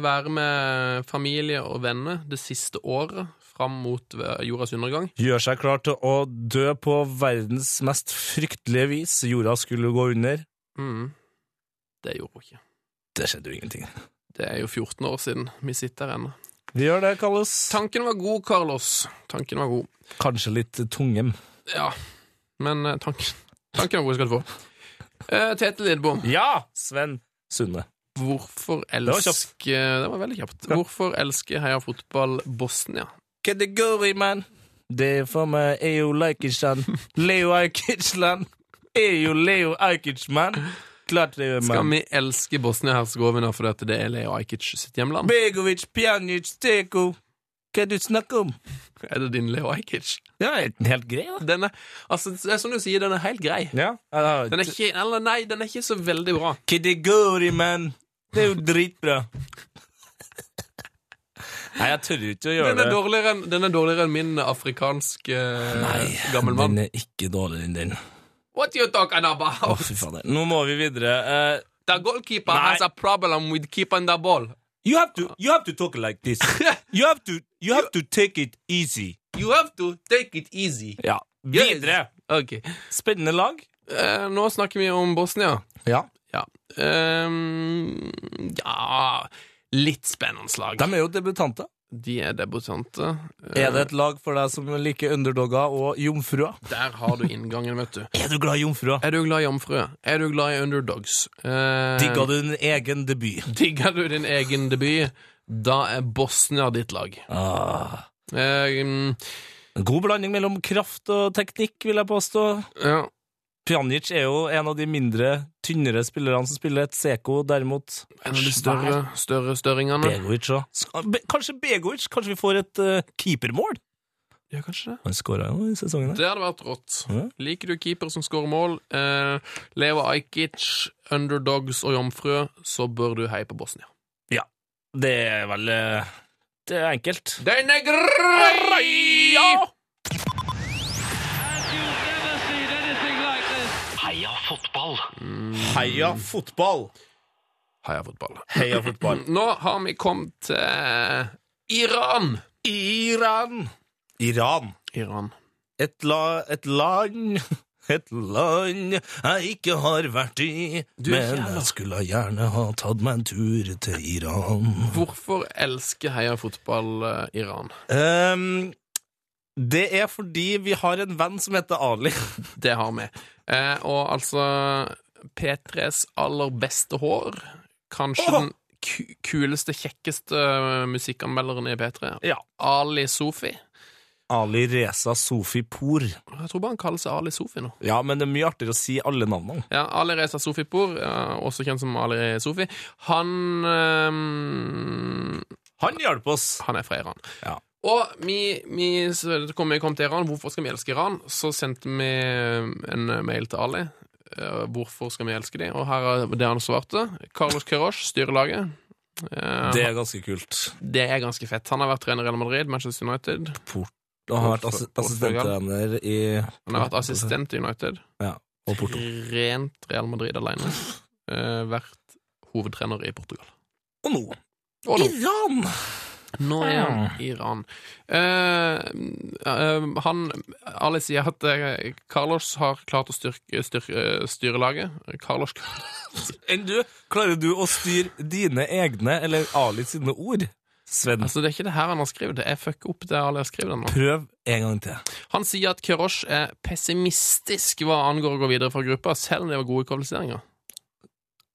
Speaker 1: være med familie og venner det siste året fram mot eh, jordas undergang.
Speaker 2: Gjør seg klar til å dø på verdens mest fryktelige vis. Jorda skulle gå under.
Speaker 1: Mm. Det gjorde hun ikke.
Speaker 2: Det skjedde jo ingenting.
Speaker 1: Det er jo 14 år siden vi sitter her ennå.
Speaker 2: Vi gjør det, Kallos.
Speaker 1: Tanken var god, Carlos. Tanken var god.
Speaker 2: Kanskje litt tungem.
Speaker 1: Ja, men eh, tanken, tanken var god skal du få. Eh, Tete Lidbom,
Speaker 2: Ja! Sven Sunne.
Speaker 1: hvorfor
Speaker 2: var kjapt.
Speaker 1: elsker Det var veldig kjapt. Hvorfor elsker Heia Fotball Bosnia?
Speaker 2: Kategori, man. Det er for meg er jo Ajkicland. Leo Ajkicland. Er jo Leo Ajkic, man. Klart det gjør
Speaker 1: Skal
Speaker 2: man.
Speaker 1: vi elske Bosnia-Hercegovina fordi at det er Leo Ajkic sitt hjemland?
Speaker 2: Begovic, Pjanic, Steko. Hva er det du snakker om?
Speaker 1: Er det din Leo Ajkic?
Speaker 2: Ja, er den helt grei, da.
Speaker 1: Den er, altså, det er som du sier, den er helt grei.
Speaker 2: Ja.
Speaker 1: Den er ikke, eller nei, den er ikke så veldig bra.
Speaker 2: Kategori, man! Det er jo dritbra. Nei, jeg tør jo ikke å gjøre
Speaker 1: Den er
Speaker 2: det.
Speaker 1: dårligere enn, den er dårligere enn min afrikanske eh, gammel mann.
Speaker 2: Den er ikke dårligere enn den. Å,
Speaker 1: What you talking about?
Speaker 2: Oh, fy fader. Nå må vi videre. Eh,
Speaker 1: The goalkeeper
Speaker 2: Nei.
Speaker 1: has a problem with keeping the ball.
Speaker 2: you, have to, you have to talk like this. You have to, you have to take it easy.
Speaker 1: You have to take it easy.
Speaker 2: Ja. Videre.
Speaker 1: Ok.
Speaker 2: Spennende lag.
Speaker 1: Eh, nå snakker vi om Bosnia.
Speaker 2: Ja.
Speaker 1: Ja. Ehm, ja Litt spennende slag.
Speaker 2: De er jo debutanter.
Speaker 1: De er debutanter. Eh,
Speaker 2: Er det et lag for deg som liker underdogger og jomfruer? Eh.
Speaker 1: Der har du inngangen, vet du.
Speaker 2: Er du glad i jomfruer?
Speaker 1: Er du glad i jomfruer? Er du glad i underdogs? Eh,
Speaker 2: Digga du din egen debut?
Speaker 1: digger du din egen debut? Da er Bosnia ditt lag.
Speaker 2: Ah.
Speaker 1: Eh, mm,
Speaker 2: God blanding mellom kraft og teknikk, vil jeg påstå.
Speaker 1: ja.
Speaker 2: Pjanic er jo en av de mindre, tynnere spillerne som spiller. Et Seko, derimot
Speaker 1: En av de større, større størringene.
Speaker 2: Begovic òg. Kanskje Begovic? Kanskje vi får et eh, keepermål?
Speaker 1: Ja, kanskje det.
Speaker 2: Han skåra jo i sesongen her.
Speaker 1: Det hadde vært rått.
Speaker 2: Ja.
Speaker 1: Liker du keeper som skårer mål, eh, Leo Ajkic, underdogs og jomfru, så bør du heie på Bosnia.
Speaker 2: Det er vel eh, Det er enkelt.
Speaker 1: Den er grei! Ja!
Speaker 3: You've never seen anything like this.
Speaker 2: Heia fotball!
Speaker 1: Heia fotball.
Speaker 2: Heia fotball.
Speaker 1: Nå har vi kommet til Iran.
Speaker 2: Iran! Iran.
Speaker 1: Iran.
Speaker 2: Et, la, et land Et land jeg ikke har vært i,
Speaker 1: Du,
Speaker 2: men
Speaker 1: jævla.
Speaker 2: jeg skulle gjerne ha tatt meg en tur til Iran.
Speaker 1: Hvorfor elsker heia fotball eh, Iran?
Speaker 2: Ehm, det er fordi vi har en venn som heter Ali.
Speaker 1: Det har vi. Eh, og altså P3s aller beste hår. Kanskje
Speaker 2: Åh!
Speaker 1: den ku kuleste, kjekkeste eh, musikkanmelderen i P3.
Speaker 2: Ja.
Speaker 1: Ali Sofi.
Speaker 2: Ali Reza Sofi Por.
Speaker 1: Jeg tror bare han kaller seg Ali Sofi nå.
Speaker 2: Ja, men det er mye artigere å si alle navnene.
Speaker 1: Ja, Ali Reza Sofipour, ja, også kjent som Ali Sofi, han ehm,
Speaker 2: Han hjalp oss.
Speaker 1: Han er fra Iran.
Speaker 2: Ja.
Speaker 1: Og vi, vi så kom, vi kom til Iran. Hvorfor skal vi elske Iran? Så sendte vi en mail til Ali. Eh, Hvorfor skal vi elske dem? Og her er det han svarte. Carlos Queiroz styrer laget. Eh,
Speaker 2: Det er ganske kult.
Speaker 1: det er ganske fett. Han har vært trener i Real Madrid, Manchester United.
Speaker 2: Han har vært assi-
Speaker 1: Portugal.
Speaker 2: assistenttrener i
Speaker 1: Han har vært assistent i United.
Speaker 2: og Porto.
Speaker 1: Rent Real Madrid alene. Eh, vært hovedtrener i Portugal.
Speaker 2: Og nå
Speaker 1: Og nå
Speaker 2: Iran!
Speaker 1: Nå er han i Iran. Eh, eh, han Ali sier at eh, Carlos har klart å styrke, styrke eh, styre laget. Carlos
Speaker 2: Enn du, klarer du å styre dine egne, eller Ali sine ord? Sven,
Speaker 1: Altså, det er ikke det her han har skrevet. Jeg fucker opp det Ali har skrevet nå.
Speaker 2: prøv en gang til.
Speaker 1: Han sier at Kerosh er pessimistisk hva angår å gå videre fra gruppa, selv om det var gode kvalifiseringer.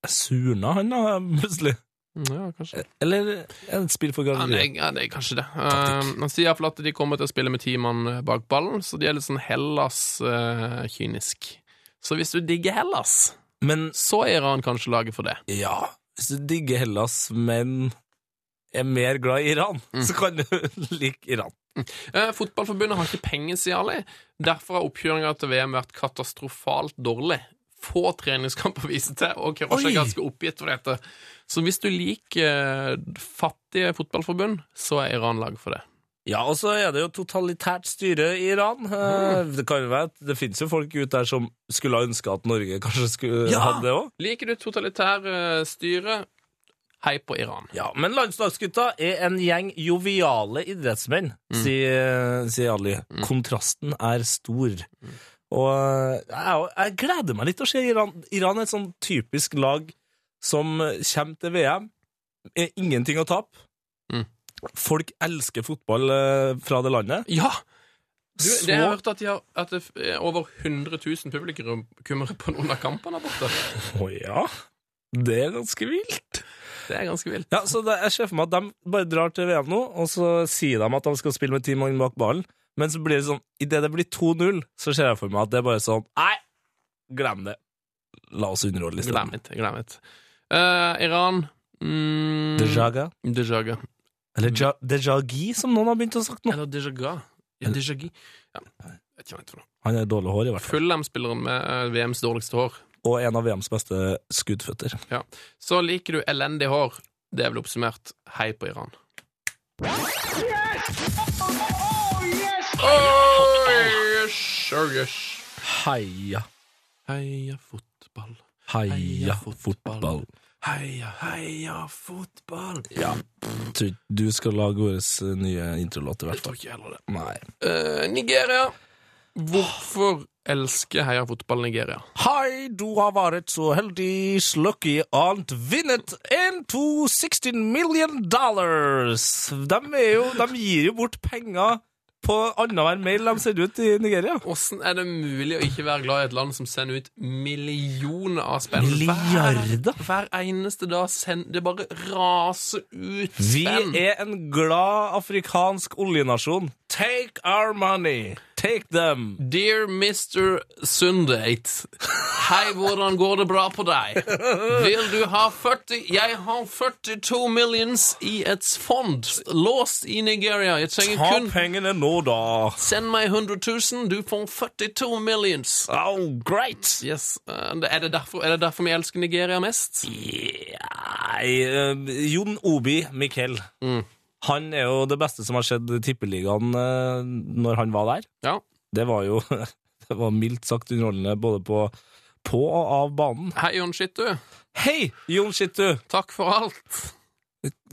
Speaker 2: Surna han da, plutselig?
Speaker 1: Mm, Ja, kanskje.
Speaker 2: Eller er det et spill for
Speaker 1: Ja, det,
Speaker 2: galleriet?
Speaker 1: ja, det er kanskje det. Eh,
Speaker 2: Taktikk.
Speaker 1: han sier iallfall at de kommer til å spille med ti mann bak ballen, så de er litt sånn Hellas-kynisk. så hvis du digger Hellas,
Speaker 2: Men
Speaker 1: så er Iran kanskje laget for det.
Speaker 2: Ja, hvis du digger Hellas, men er mer glad i Iran, så kan du like Iran.
Speaker 1: Eh, Fotballforbundet har ikke penger, sier Ali. Derfor har oppkjøringa til VM vært katastrofalt dårlig. Få treningskamper å vise til, og Kerosh
Speaker 2: Oi.
Speaker 1: er ganske oppgitt over dette. Så hvis du liker eh, fattige fotballforbund, så er Iran laget for det.
Speaker 2: Ja, og så er det jo totalitært styre i Iran. Eh, Det kan jo være at det finnes jo folk ute der som skulle ha ønska at Norge kanskje skulle hatt det òg.
Speaker 1: Liker du totalitære eh, styre, hei på Iran.
Speaker 2: Ja, men landslagsgutta er en gjeng joviale idrettsmenn,
Speaker 1: Mm.
Speaker 2: sier, eh, sier Ali. Kontrasten er stor. Og eh, jeg, jeg gleder meg litt til å se Iran. Iran er et sånn typisk lag som eh, kommer til VM. Er ingenting å tape.
Speaker 1: Mm.
Speaker 2: Folk elsker fotball eh, fra det landet.
Speaker 1: Ja! Du, det har jeg
Speaker 2: Så-
Speaker 1: hørt at, de har, at det er over 100 000 publikummere på noen av kampene der borte.
Speaker 2: Å ja, det er ganske vilt.
Speaker 1: Det er ganske vilt.
Speaker 2: Ja, så det, Jeg ser for meg at de bare drar til VM nå, og så sier de at de skal spille med ti mann bak ballen. Men så blir det sånn, idet det blir 2-0, så ser jeg for meg at det er bare sånn Nei, glem det. La oss underholde i
Speaker 1: Glem it.
Speaker 2: stedet.
Speaker 1: Glem it. Eh, Iran mm,
Speaker 2: Dejaga.
Speaker 1: Dejaga.
Speaker 2: Eller ja, Dejagi, som noen har begynt å sagt nå.
Speaker 1: Eller Deja Ga. Ja, Deja Gi. Ja, jeg vet ikke hva han heter for noe.
Speaker 2: Han har dårlig hår, i hvert fall.
Speaker 1: Fulham-spilleren med eh, VMs dårligste hår.
Speaker 2: Og en av VMs beste skuddføtter.
Speaker 1: Ja. Så liker du elendig hår. Det er vel oppsummert hei på Iran. Oi, yes, oh, yes.
Speaker 2: Heia,
Speaker 1: Heia fotball.
Speaker 2: heia,
Speaker 1: Heia
Speaker 2: fotball.
Speaker 1: fotball. Heia, heia fotball.
Speaker 2: Ja. Tror ikke du skal lage vår eh, nye introlåt, i
Speaker 1: Jeg
Speaker 2: hvert
Speaker 1: tror
Speaker 2: fall.
Speaker 1: ikke heller det.
Speaker 2: Nei.
Speaker 1: Eh, Nigeria. Hvorfor elsker heia fotball Nigeria?
Speaker 2: Hei, du har vært så heldig, slucky and vinnet 1, 2, 16 million dollars. De, er jo, de gir jo bort penger på annenhver mail de sender ut i Nigeria.
Speaker 1: Hvordan er det mulig å ikke være glad i et land som sender ut millioner av spenn?
Speaker 2: Milliarder.
Speaker 1: Hver, hver eneste dag send, Det bare raser ut
Speaker 2: Vi
Speaker 1: spenn.
Speaker 2: er en glad afrikansk oljenasjon. Take our money. Take them.
Speaker 1: Dear Mr. Sundate. Hei, hvordan går det bra på deg? Vil du ha 40 Jeg har 42 millions i et fond låst i Nigeria. Jeg trenger
Speaker 2: Ta
Speaker 1: kun
Speaker 2: pengene nå, da.
Speaker 1: Send meg 100 000, du får 42 millions.
Speaker 2: Oh, great.
Speaker 1: Yes. eh, Er det derfor, er det derfor vi elsker Nigeria mest?
Speaker 2: Nei, eh, Jon Obi Mikkel.
Speaker 1: Mm.
Speaker 2: Han er jo det beste som har skjedd i Tippeligaen eh, når han var der.
Speaker 1: Ja.
Speaker 2: Det var jo det var mildt sagt underholdende både på, på og av banen.
Speaker 1: Hei, Jon Skittu.
Speaker 2: Hei, Jon Skittu!
Speaker 1: Takk for alt.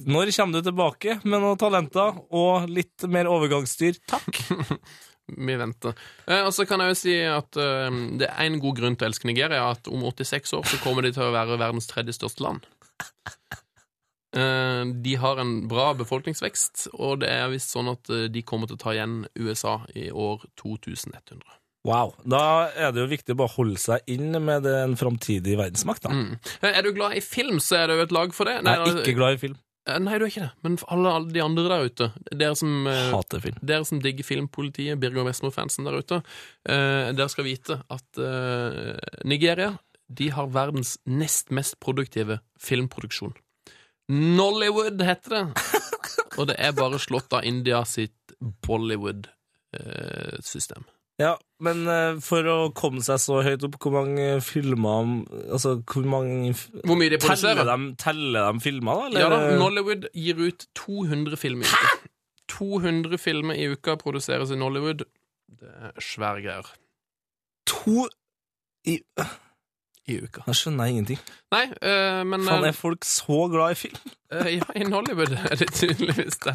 Speaker 2: Når kommer du tilbake med noen talenter og litt mer overgangsstyr? Takk!
Speaker 1: Vi venter. Eh, og så kan jeg jo si at eh, det er en god grunn til å elske Nigeria, at om 86 år så kommer de til å være verdens tredje største land. Eh, de har en bra befolkningsvekst, og det er visst sånn at eh, de kommer til å ta igjen USA i år 2100.
Speaker 2: Wow. Da er det jo viktig å bare holde seg inn med det- en framtidig verdensmakt, da.
Speaker 1: Mm. Eh, Er du glad i film, så er det jo et lag for det.
Speaker 2: Jeg er
Speaker 1: da-
Speaker 2: ikke glad i film.
Speaker 1: Eh, Nei, du er ikke det. Men for alle, alle de andre der ute, dere som, eh,
Speaker 2: Hater film.
Speaker 1: dere som digger filmpolitiet, Birger Vestmo-fansen der ute, eh, dere skal vite at eh, Nigeria de har verdens nest mest produktive filmproduksjon. Nollywood heter det. Og det er bare slått av India sitt eh, Bollywood-system.
Speaker 2: Ja, men eh, for å komme seg så høyt opp, hvor mange eh, filmer Altså, hvor mange f-
Speaker 1: Hvor mye de
Speaker 2: Teller
Speaker 1: produserer?
Speaker 2: de, teller de filmer, da?
Speaker 1: Ja da, Nollywood gir ut 200 filmer i uka. 200 filmer i uka produseres i Nollywood. Det er svære greier.
Speaker 2: to i,
Speaker 1: I uka.
Speaker 2: Jeg skjønner ingenting.
Speaker 1: Nei, eh, men
Speaker 2: Faen,
Speaker 1: eh,
Speaker 2: er folk så glad i film?
Speaker 1: eh, Ja, i Hollywood er det tydeligvis det.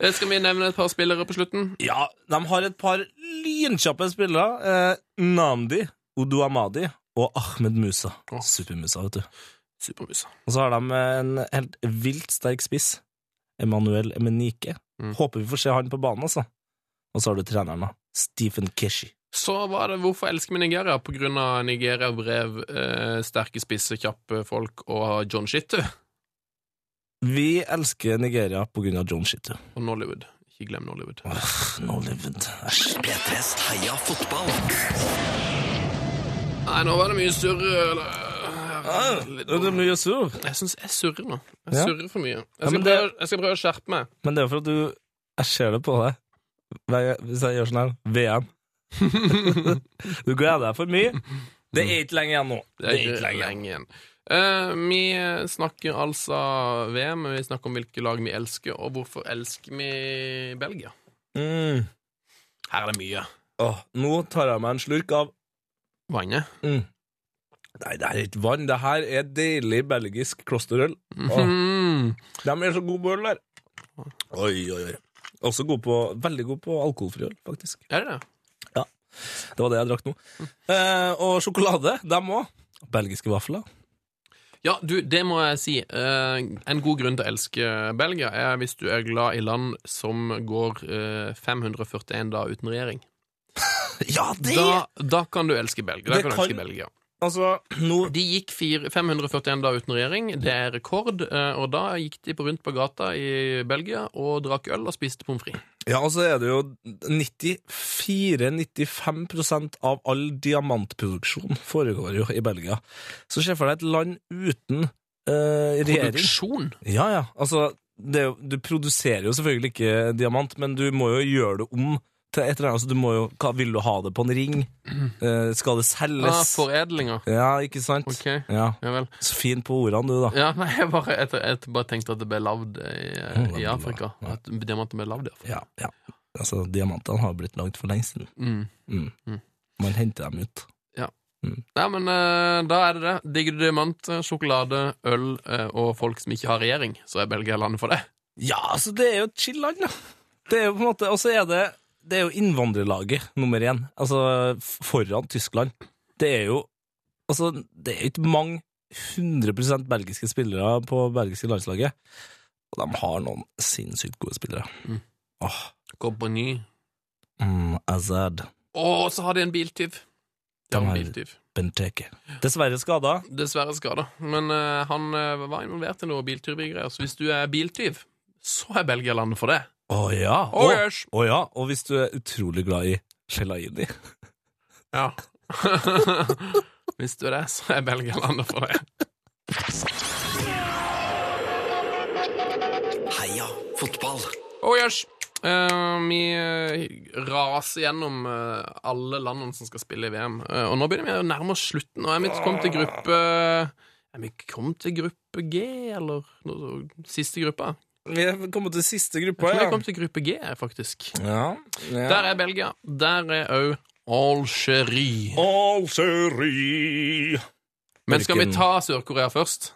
Speaker 1: Eh, Skal vi nevne et par spillere på slutten?
Speaker 2: Ja, de har et par lynkjappe spillere. Eh, Namdi, Oduamadi og Ahmed Musa.
Speaker 1: Åh.
Speaker 2: Supermusa, vet du.
Speaker 1: Supermusa.
Speaker 2: Og så har de eh, en helt vilt sterk spiss. Emanuel Emenike.
Speaker 1: Mm.
Speaker 2: Håper vi får se han på banen, altså. Og så har du treneren, da. Stephen Keshi.
Speaker 1: Så var det Hvorfor elsker vi Nigeria? På grunn av Nigeria-brev, eh, sterke spisser, kjappe folk og John Shittu
Speaker 2: Vi elsker Nigeria på grunn av John Shittu.
Speaker 1: og Nollywood. Ikke glem Nollywood.
Speaker 2: Nollywood. Æsj.
Speaker 9: P3s Heia fotball.
Speaker 1: Nei, nå var det mye surr. eller-
Speaker 2: Ah, mye sur.
Speaker 1: Jeg syns jeg surrer nå. Jeg
Speaker 2: Ja.
Speaker 1: surrer for mye.
Speaker 2: Ja,
Speaker 1: Jeg skal,
Speaker 2: men det-
Speaker 1: prøve, jeg skal prøve å skjerpe meg.
Speaker 2: Men det er for at du Jeg ser det på deg Hver gang- hvis jeg gjør sånn her. VM. du gleder deg for mye. Det er ikke lenge igjen nå.
Speaker 1: Det er ikke lenge igjen. Eh, vi snakker altså VM, men vi snakker om hvilke lag vi elsker, og hvorfor elsker vi Belgia?
Speaker 2: Mm.
Speaker 1: Her er det mye.
Speaker 2: Åh, nå tar jeg meg en slurk av
Speaker 1: Vannet.
Speaker 2: Nei, det er ikke vann. Det her er deilig belgisk klosterøl.
Speaker 1: Mhm.
Speaker 2: De er så gode på øl der. Oi, oi, oi. Også god på, veldig god på alkoholfri øl, faktisk.
Speaker 1: Er det det?
Speaker 2: Det var det jeg drakk nå. Eh, og sjokolade, dem òg. Belgiske vafler.
Speaker 1: Ja, du, det må jeg si. Eh, en god grunn til å elske Belgia er hvis du er glad i land som går eh, 541 dager uten regjering.
Speaker 2: Ja, det
Speaker 1: Da, da kan du elske Belgia. Da
Speaker 2: Det
Speaker 1: kan du
Speaker 2: kan-
Speaker 1: elske Belgia.
Speaker 2: Altså, nå
Speaker 1: De gikk fire, 541 dager uten regjering, det er rekord, eh, og da gikk de på rundt på gata i Belgia og drakk øl og spiste pommes frites.
Speaker 2: Ja, og så er det jo 94-95 av all diamantproduksjon foregår jo i Belgia. Så se for deg et land uten eh, regjering.
Speaker 1: Produksjon?
Speaker 2: Ja, ja. Altså, det, er jo- Du produserer jo selvfølgelig ikke diamant, men du må jo gjøre det om til et eller annet. Så du må jo, hva, vil du ha det på en ring? Eh, skal det
Speaker 1: Mm. Ah,
Speaker 2: selges?
Speaker 1: foredlinger.
Speaker 2: Ja, ikke sant?
Speaker 1: Ok.
Speaker 2: Ja.
Speaker 1: Ja vel.
Speaker 2: Så fin på ordene, du, da.
Speaker 1: Ja, nei, jeg bare, jeg, jeg bare tenkte at det ble lagd i, i Afrika.
Speaker 2: Ja.
Speaker 1: At diamanter ble lagd i Afrika.
Speaker 2: Ja, ja. Altså, diamantene har blitt lagd for lengst siden.
Speaker 1: Mm.
Speaker 2: Mm.
Speaker 1: Mm.
Speaker 2: Man henter dem ut.
Speaker 1: Nei, men eh, da er det det. Digger du diamant, eh, sjokolade, øl eh, og folk som ikke har regjering, så er Belgia landet for det.
Speaker 2: Ja, altså, det er jo et chill land, da. Det er jo på en måte, og så er det, det er jo innvandrerlaget nummer én, altså f- foran Tyskland. Det er jo, altså, det er jo ikke mange 100% belgiske spillere på belgiske landslaget, og de har noen sinnssykt gode spillere.
Speaker 1: Mm.
Speaker 2: Åh,
Speaker 1: Compagnie.
Speaker 2: mm, Azad,
Speaker 1: Og så har de en biltyv. De har en
Speaker 2: har-
Speaker 1: biltyv.
Speaker 2: Benteke. Dessverre skada.
Speaker 1: Dessverre skada. Men eh, han eh, var involvert i noe biltyvgreier, så hvis du er biltyv, så er Belgia landet for det.
Speaker 2: Å ja,
Speaker 1: Oh,
Speaker 2: og,
Speaker 1: yes.
Speaker 2: å ja, og hvis du er utrolig glad i Shelaini.
Speaker 1: Ja. Hvis du er det, så er Belgia landet for det.
Speaker 10: Heia fotball.
Speaker 1: Oh yes! Eh, vi eh, raser gjennom eh, alle landene som skal spille i VM. Eh, og nå begynner vi å nærme oss slutten. Og er vi kommet til gruppe Er vi kommet til gruppe G, eller noe, siste gruppa?
Speaker 2: Vi er kommet til siste
Speaker 1: Vi
Speaker 2: gruppa,
Speaker 1: er kommet til gruppe G, faktisk.
Speaker 2: Ja, ja.
Speaker 1: Der er Belgia. Der er òg Algerie.
Speaker 2: Algerie.
Speaker 1: Men skal vi
Speaker 2: Hvilken-
Speaker 1: ta Sør-Korea først?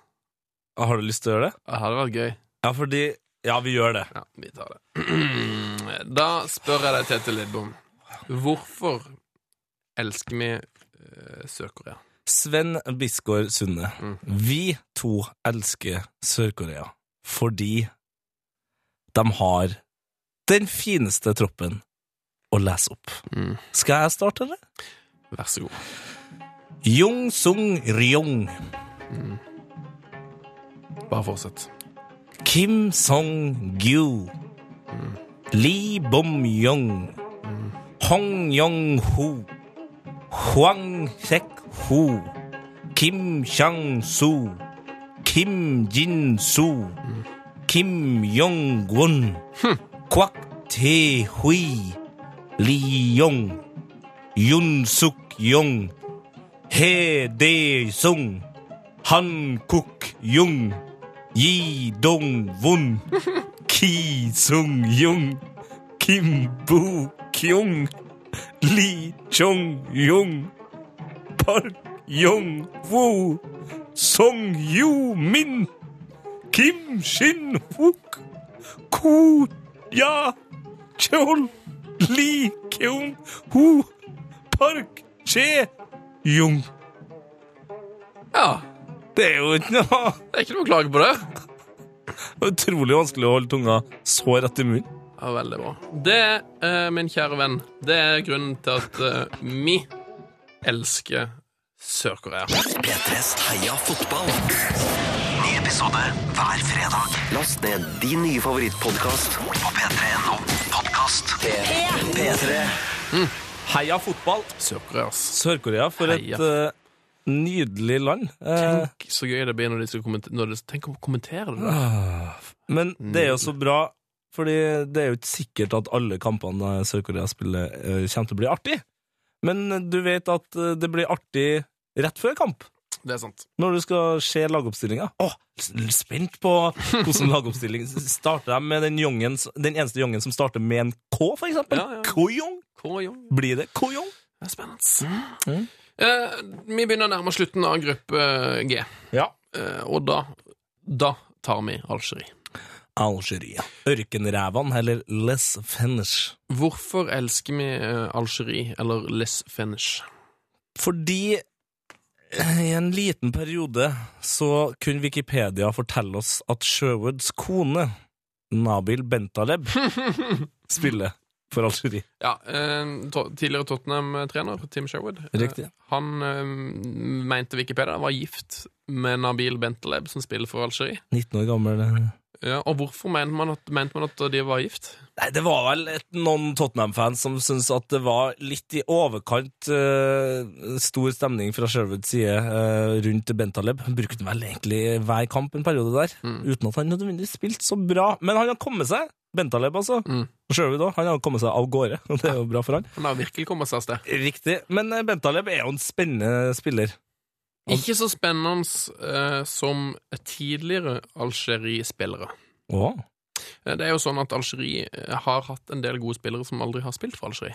Speaker 2: Har du lyst til å gjøre det?
Speaker 1: Det hadde vært gøy.
Speaker 2: Ja, fordi Ja, vi gjør det.
Speaker 1: Ja, vi tar det. Da spør jeg deg, Tete Lidbom, hvorfor elsker vi eh, Sør-Korea?
Speaker 2: Sven Bisgaard Sunde,
Speaker 1: Mm.
Speaker 2: vi to elsker Sør-Korea fordi de har den fineste troppen å lese opp.
Speaker 1: Mm.
Speaker 2: Skal jeg starte, eller?
Speaker 1: Vær så god.
Speaker 2: Jung Sung Ryong,
Speaker 1: Bare fortsett.
Speaker 2: Kim Song Gyu, Lee Bom Yong, Hong Yong Ho, Huang Sek Ho, Kim Chang Su, Kim Jin Su, Kim Jong Gun, Kwak Te Hui, Lee Yong, Yun Suk Yong, He De Sung, Han Kuk Jung, Yi Dong Won, Ki Sung Jung, Kim Boo Kyung, Lee Chong Jung, Park Jong Woo, Song Yu Min, Kim Shin Wook, Ko Ya Chol, Lee Kyung Hoo, Park Che Jung.
Speaker 1: Ja,
Speaker 2: Det er jo ikke noe
Speaker 1: det er ikke noe å klage på det.
Speaker 2: det er utrolig vanskelig å holde tunga så rett i munnen.
Speaker 1: Ja, veldig bra. Det, eh, min kjære venn, det er grunnen til at eh, vi elsker Sør-Korea.
Speaker 10: P3s Heia fotball. Ny episode hver fredag. Last ned din nye favorittpodkast på p3.no podkast. P3.
Speaker 2: Heia fotball!
Speaker 1: Sør-Korea, ass.
Speaker 2: Sør-Korea, for et
Speaker 1: Heia.
Speaker 2: eh, nydelig land. Eh,
Speaker 1: Tenk så gøy det blir når de skal kommentere når de, Tenk å kommentere det. da.
Speaker 2: ah, men det er jo så bra, fordi det er jo ikke sikkert at alle kampene Sør-Korea spiller, eh, kommer til å bli artig. Men du vet at eh, det blir artig rett før kamp,
Speaker 1: Mm. Det er sant.
Speaker 2: når du skal se lagoppstillinga. Åh, s- spent på hvordan lagoppstilling starter de med den, jongen, s- den eneste jongen som starter med en K, for eksempel.
Speaker 1: Ja, ja.
Speaker 2: Koyong!
Speaker 1: Koyong.
Speaker 2: Blir det Koyong?
Speaker 1: Det er spennende.
Speaker 2: Mm.
Speaker 1: Eh, vi begynner nærmere slutten av gruppe G,
Speaker 2: Ja.
Speaker 1: eh, og da, da tar vi Algerie.
Speaker 2: Algerie. Ørkenrævene, eller Les Fennish.
Speaker 1: Hvorfor elsker vi eh, Algerie, eller Les Finish?
Speaker 2: Fordi eh, i en liten periode så kunne Wikipedia fortelle oss at Sherwoods kone, Nabil Bentaleb, spiller for Algerie.
Speaker 1: Ja, eh, to Tidligere Tottenham-trener Tim Sherwood. eh,
Speaker 2: Riktig.
Speaker 1: Han eh, mente Wikipedia var gift med Nabil Benteleb, som spiller for Algerie.
Speaker 2: 19 år gammel. eh,
Speaker 1: Ja, og hvorfor mente man, at, mente man at de var gift?
Speaker 2: Nei, det var vel et, noen Tottenham-fans som syntes at det var litt i overkant eh, stor stemning fra Sherwoods side eh, rundt Ben Taleb. Han Brukte han vel egentlig hver kamp en periode der, uten at han nødvendigvis spilte så bra. Men han har kommet seg. Ben Taleb, altså.
Speaker 1: Mm.
Speaker 2: Og Sherwood òg. Han har kommet seg av gårde, og det er jo bra for han.
Speaker 1: Han har virkelig kommet seg av sted.
Speaker 2: Riktig. Men eh, Ben Taleb er jo en spennende spiller.
Speaker 1: Ikke så spennende eh, som tidligere Algerie-spillere.
Speaker 2: Åh.
Speaker 1: Eh, Det er jo sånn at Algerie eh, har hatt en del gode spillere som aldri har spilt for Algerie.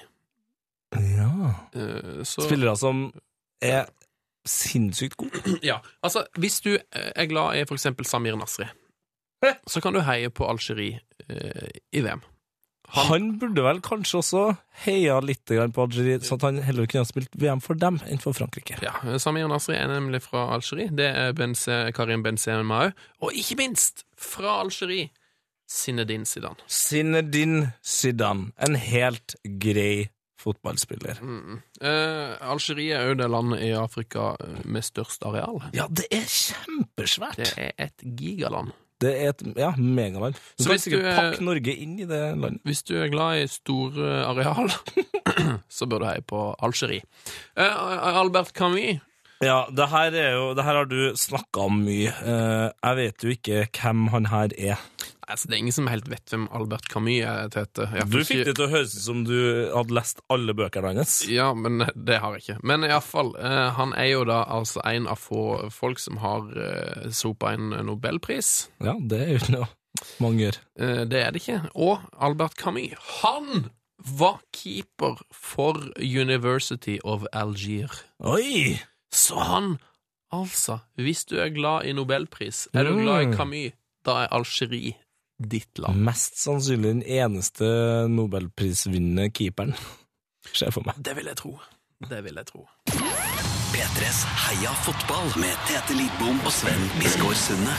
Speaker 2: Ja.
Speaker 1: Eh, så,
Speaker 2: Spillere som er sinnssykt gode.
Speaker 1: ja. Altså, hvis du eh, er glad i for eksempel Samir Nasri, så kan du heie på Algerie eh, i VM.
Speaker 2: Han, burde vel kanskje også heia litt grann på Algerie, så at han heller kunne ha spilt VM for dem enn for Frankrike.
Speaker 1: Ja, Samir Nasri er nemlig fra Algerie. Det er Benze, Karim Benzema òg. Og ikke minst, fra Algerie, Zinedine Zidane.
Speaker 2: Zinedine Zidane, en helt grei fotballspiller.
Speaker 1: Eh, Algerie er jo det landet i Afrika eh, med størst areal.
Speaker 2: Ja, det er kjempesvært!
Speaker 1: Det er et gigaland.
Speaker 2: Det er et ja, megaland. Du
Speaker 1: Så
Speaker 2: kan
Speaker 1: hvis du
Speaker 2: sikkert
Speaker 1: er-
Speaker 2: pakke Norge inn i det landet.
Speaker 1: Hvis du er glad i store areal, så bør du heie på Algerie. Eh, Albert Camus
Speaker 2: Ja, det her, er jo, det her har du snakka om mye. Eh, jeg vet jo ikke hvem han her er.
Speaker 1: Altså, Det er ingen som helt vet hvem Albert Camus er, Tete. Jeg
Speaker 2: Du
Speaker 1: får
Speaker 2: fikk
Speaker 1: ikke-
Speaker 2: det til å høres ut som du hadde lest alle bøkene hans.
Speaker 1: Ja, men eh, det har jeg ikke. Men iallfall, eh, han er jo da altså en av få folk som har eh, sopa en nobelpris.
Speaker 2: Ja, det er jo noe mange gjør.
Speaker 1: Eh, det er det ikke. Og Albert Camus, han var keeper for University of Algier.
Speaker 2: Oi!
Speaker 1: Så han Altså, hvis du er glad i nobelpris, er du glad i
Speaker 2: Mm.
Speaker 1: Camus, da er Algerie ditt land.
Speaker 2: Mest sannsynlig den eneste nobelprisvinnende keeperen. Ser jeg for meg.
Speaker 1: Det vil jeg tro. Det vil jeg tro.
Speaker 11: P3s Heia fotball med Tete Lidbom og Sven Biskår Sunde.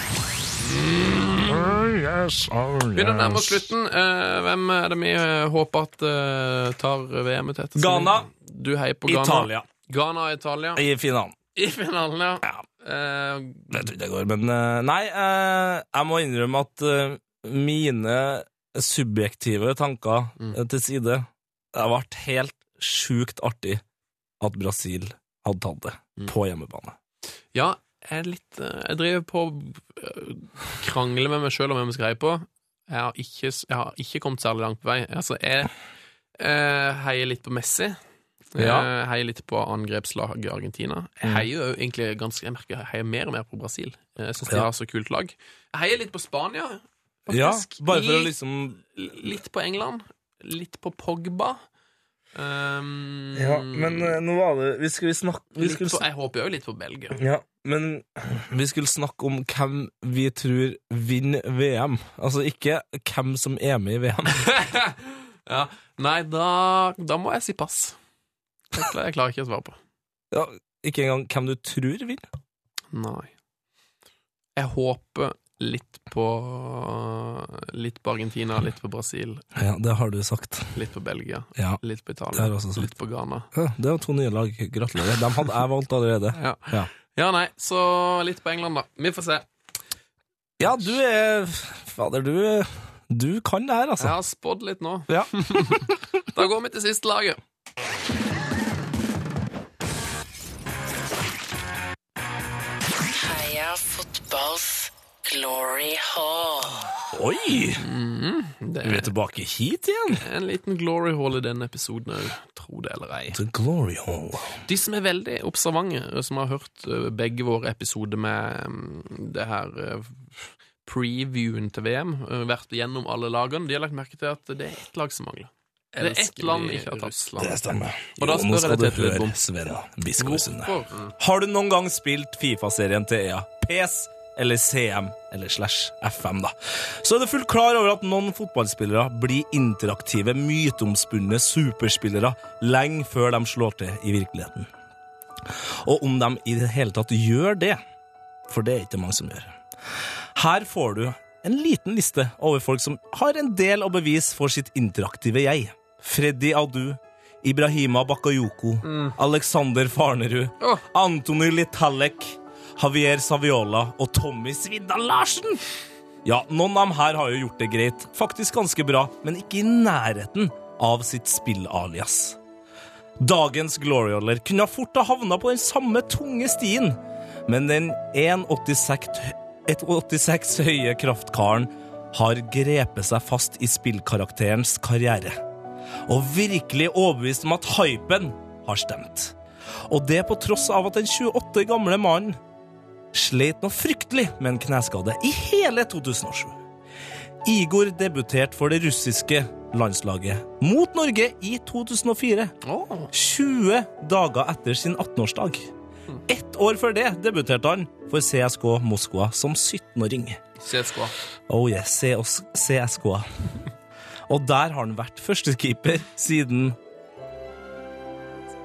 Speaker 1: Begynner å nærme oss slutten. Eh, hvem er det vi eh, håper at eh, tar VM-et til? Ettersom
Speaker 2: Ghana.
Speaker 1: Du heier på Ghana.
Speaker 2: Italia
Speaker 1: Ghana og Italia
Speaker 2: i finalen.
Speaker 1: i finalen, ja.
Speaker 2: Ja.
Speaker 1: Eh,
Speaker 2: Jeg tror ikke det går, men eh, Nei, eh, jeg må innrømme at eh, mine subjektive tanker eh, til side Det har vært helt sjukt artig at Brasil hadde tatt det på hjemmebane.
Speaker 1: ja, jeg er litt eh, Jeg driver på å eh, krangle med meg sjøl om hvem jeg skal heie på. Jeg har ikke, s- jeg har ikke kommet særlig langt på vei. Altså, jeg eh, heier litt på Messi.
Speaker 2: Ja. Mm.
Speaker 1: Jeg heier litt på angrepslaget i Argentina. Jeg heier jo egentlig ganske Jeg merker jeg heier mer og mer på Brasil. Eh, Jeg syns de
Speaker 2: Ja.
Speaker 1: har så kult lag. Jeg heier litt på Spania.
Speaker 2: Ja,
Speaker 1: Faktisk.
Speaker 2: bare for å
Speaker 1: Litt-
Speaker 2: liksom
Speaker 1: litt på England, litt på Pogba. Um,
Speaker 2: nå var det eh, Vi skulle snakke
Speaker 1: litt på, Jeg håper jo litt på Belgia.
Speaker 2: Ja, men vi skulle snakke om hvem vi tror vinner VM. Altså ikke hvem som er med i VM.
Speaker 1: ja. Nei, da, da må jeg si pass. Jeg klarer, jeg klarer ikke å svare på.
Speaker 2: Ja, ikke engang hvem du tror vinner.
Speaker 1: Nei. Jeg håper litt på Litt på Argentina, litt på Brasil,
Speaker 2: Ja, det har du sagt.
Speaker 1: litt på Belgia,
Speaker 2: Ja,
Speaker 1: litt på
Speaker 2: det har
Speaker 1: Italia,
Speaker 2: jeg også sagt.
Speaker 1: litt på Ghana.
Speaker 2: Ja, Det var to nye lag. Gratulerer. Dem hadde jeg valgt allerede.
Speaker 1: Ja.
Speaker 2: Ja.
Speaker 1: ja, nei, så litt på England, da. Vi får se.
Speaker 2: Ja, du er Fader, du Du kan det her,
Speaker 1: Jeg
Speaker 2: altså.
Speaker 1: har spådd litt nå.
Speaker 2: Ja.
Speaker 1: Da går vi til siste laget.
Speaker 12: Heia fotballs glory hall.
Speaker 2: Oi!
Speaker 1: Det
Speaker 2: Vi er tilbake hit igjen.
Speaker 1: en liten glory hall i denne episoden òg, tro det eller ei.
Speaker 2: The Glory Hall.
Speaker 1: De som er veldig observante, som har hørt eh, begge våre episoder med mm, det her eh, previewen til VM, eh, vært gjennom alle lagene, de har lagt merke til at det er ett lag som mangler. Det er ett land ikke har tatt.
Speaker 2: Det stemmer.
Speaker 1: Og da
Speaker 2: Jo,
Speaker 1: spør
Speaker 2: nå
Speaker 1: jeg
Speaker 2: skal
Speaker 1: deg,
Speaker 2: du
Speaker 1: Tete Lidbom.
Speaker 2: høre, Sven Biskår Sunde.
Speaker 1: Hvorfor?
Speaker 2: Har du noen gang spilt Fifa-serien til EA? PS eller CM, eller slash FM, da. Så er du fullt klar over at noen fotballspillere blir interaktive, myteomspunne superspillere lenge før de slår til i virkeligheten. Og om de i det hele tatt gjør det, for det er ikke mange som gjør. Her får du en liten liste over folk som har en del å bevise for sitt interaktive jeg. Freddy Adu, Ibrahima Bakayoko, Alexander Farnerud,
Speaker 1: Åh.
Speaker 2: Antony Litallek, Javier Saviola og Tommy Svidda Larsen. Ja, noen av dem her har jo gjort det greit. Faktisk ganske bra, men ikke i nærheten av sitt spill-alias. Dagens Glorioler kunne fort ha havna på den samme tunge stien, men den 1,86 et 86 høye kraftkaren har grepet seg fast i spillkarakterens karriere. Og virkelig overbevist om at hypen har stemt. Og det på tross av at den 28 gamle mannen sleit noe fryktelig med en kneskade i hele 2007. Igor debuterte for det russiske landslaget mot Norge i 2004. 20 dager etter sin 18-årsdag. Ett år før det debuterte han for CSK Moskva som 17-åring.
Speaker 1: CSKA.
Speaker 2: Oh yeah, CS CSKA. Og der har han vært førstekeeper siden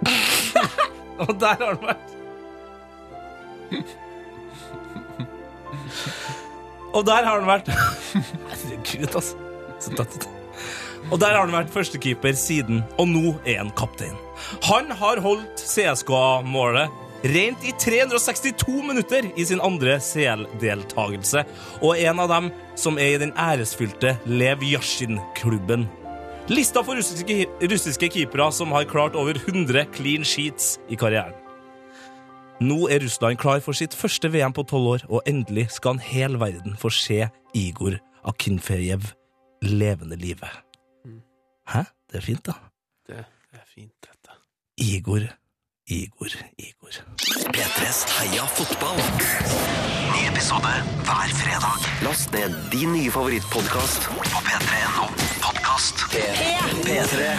Speaker 2: Og der har han vært Og der har han vært Herregud, altså. Så tett. Og der har han vært førstekeeper siden, og nå er han kaptein. Han har holdt CSKA-målet rent i 362 minutter i sin andre CL-deltagelse, og er en av dem som er i den æresfylte Lev Yashin-klubben. Lista for russiske, russiske keepere som har klart over 100 clean sheets i karrieren. Nå er Russland klar for sitt første VM på tolv år, og endelig skal en hel verden få se Igor Akinfejev levende livet. Hæ? Det er fint, da.
Speaker 1: Det er fint, dette.
Speaker 2: Igor, Igor, Igor.
Speaker 13: P3s Heia fotball. Ny episode hver fredag. Last ned din nye favorittpodkast på p3.no podkast. P3.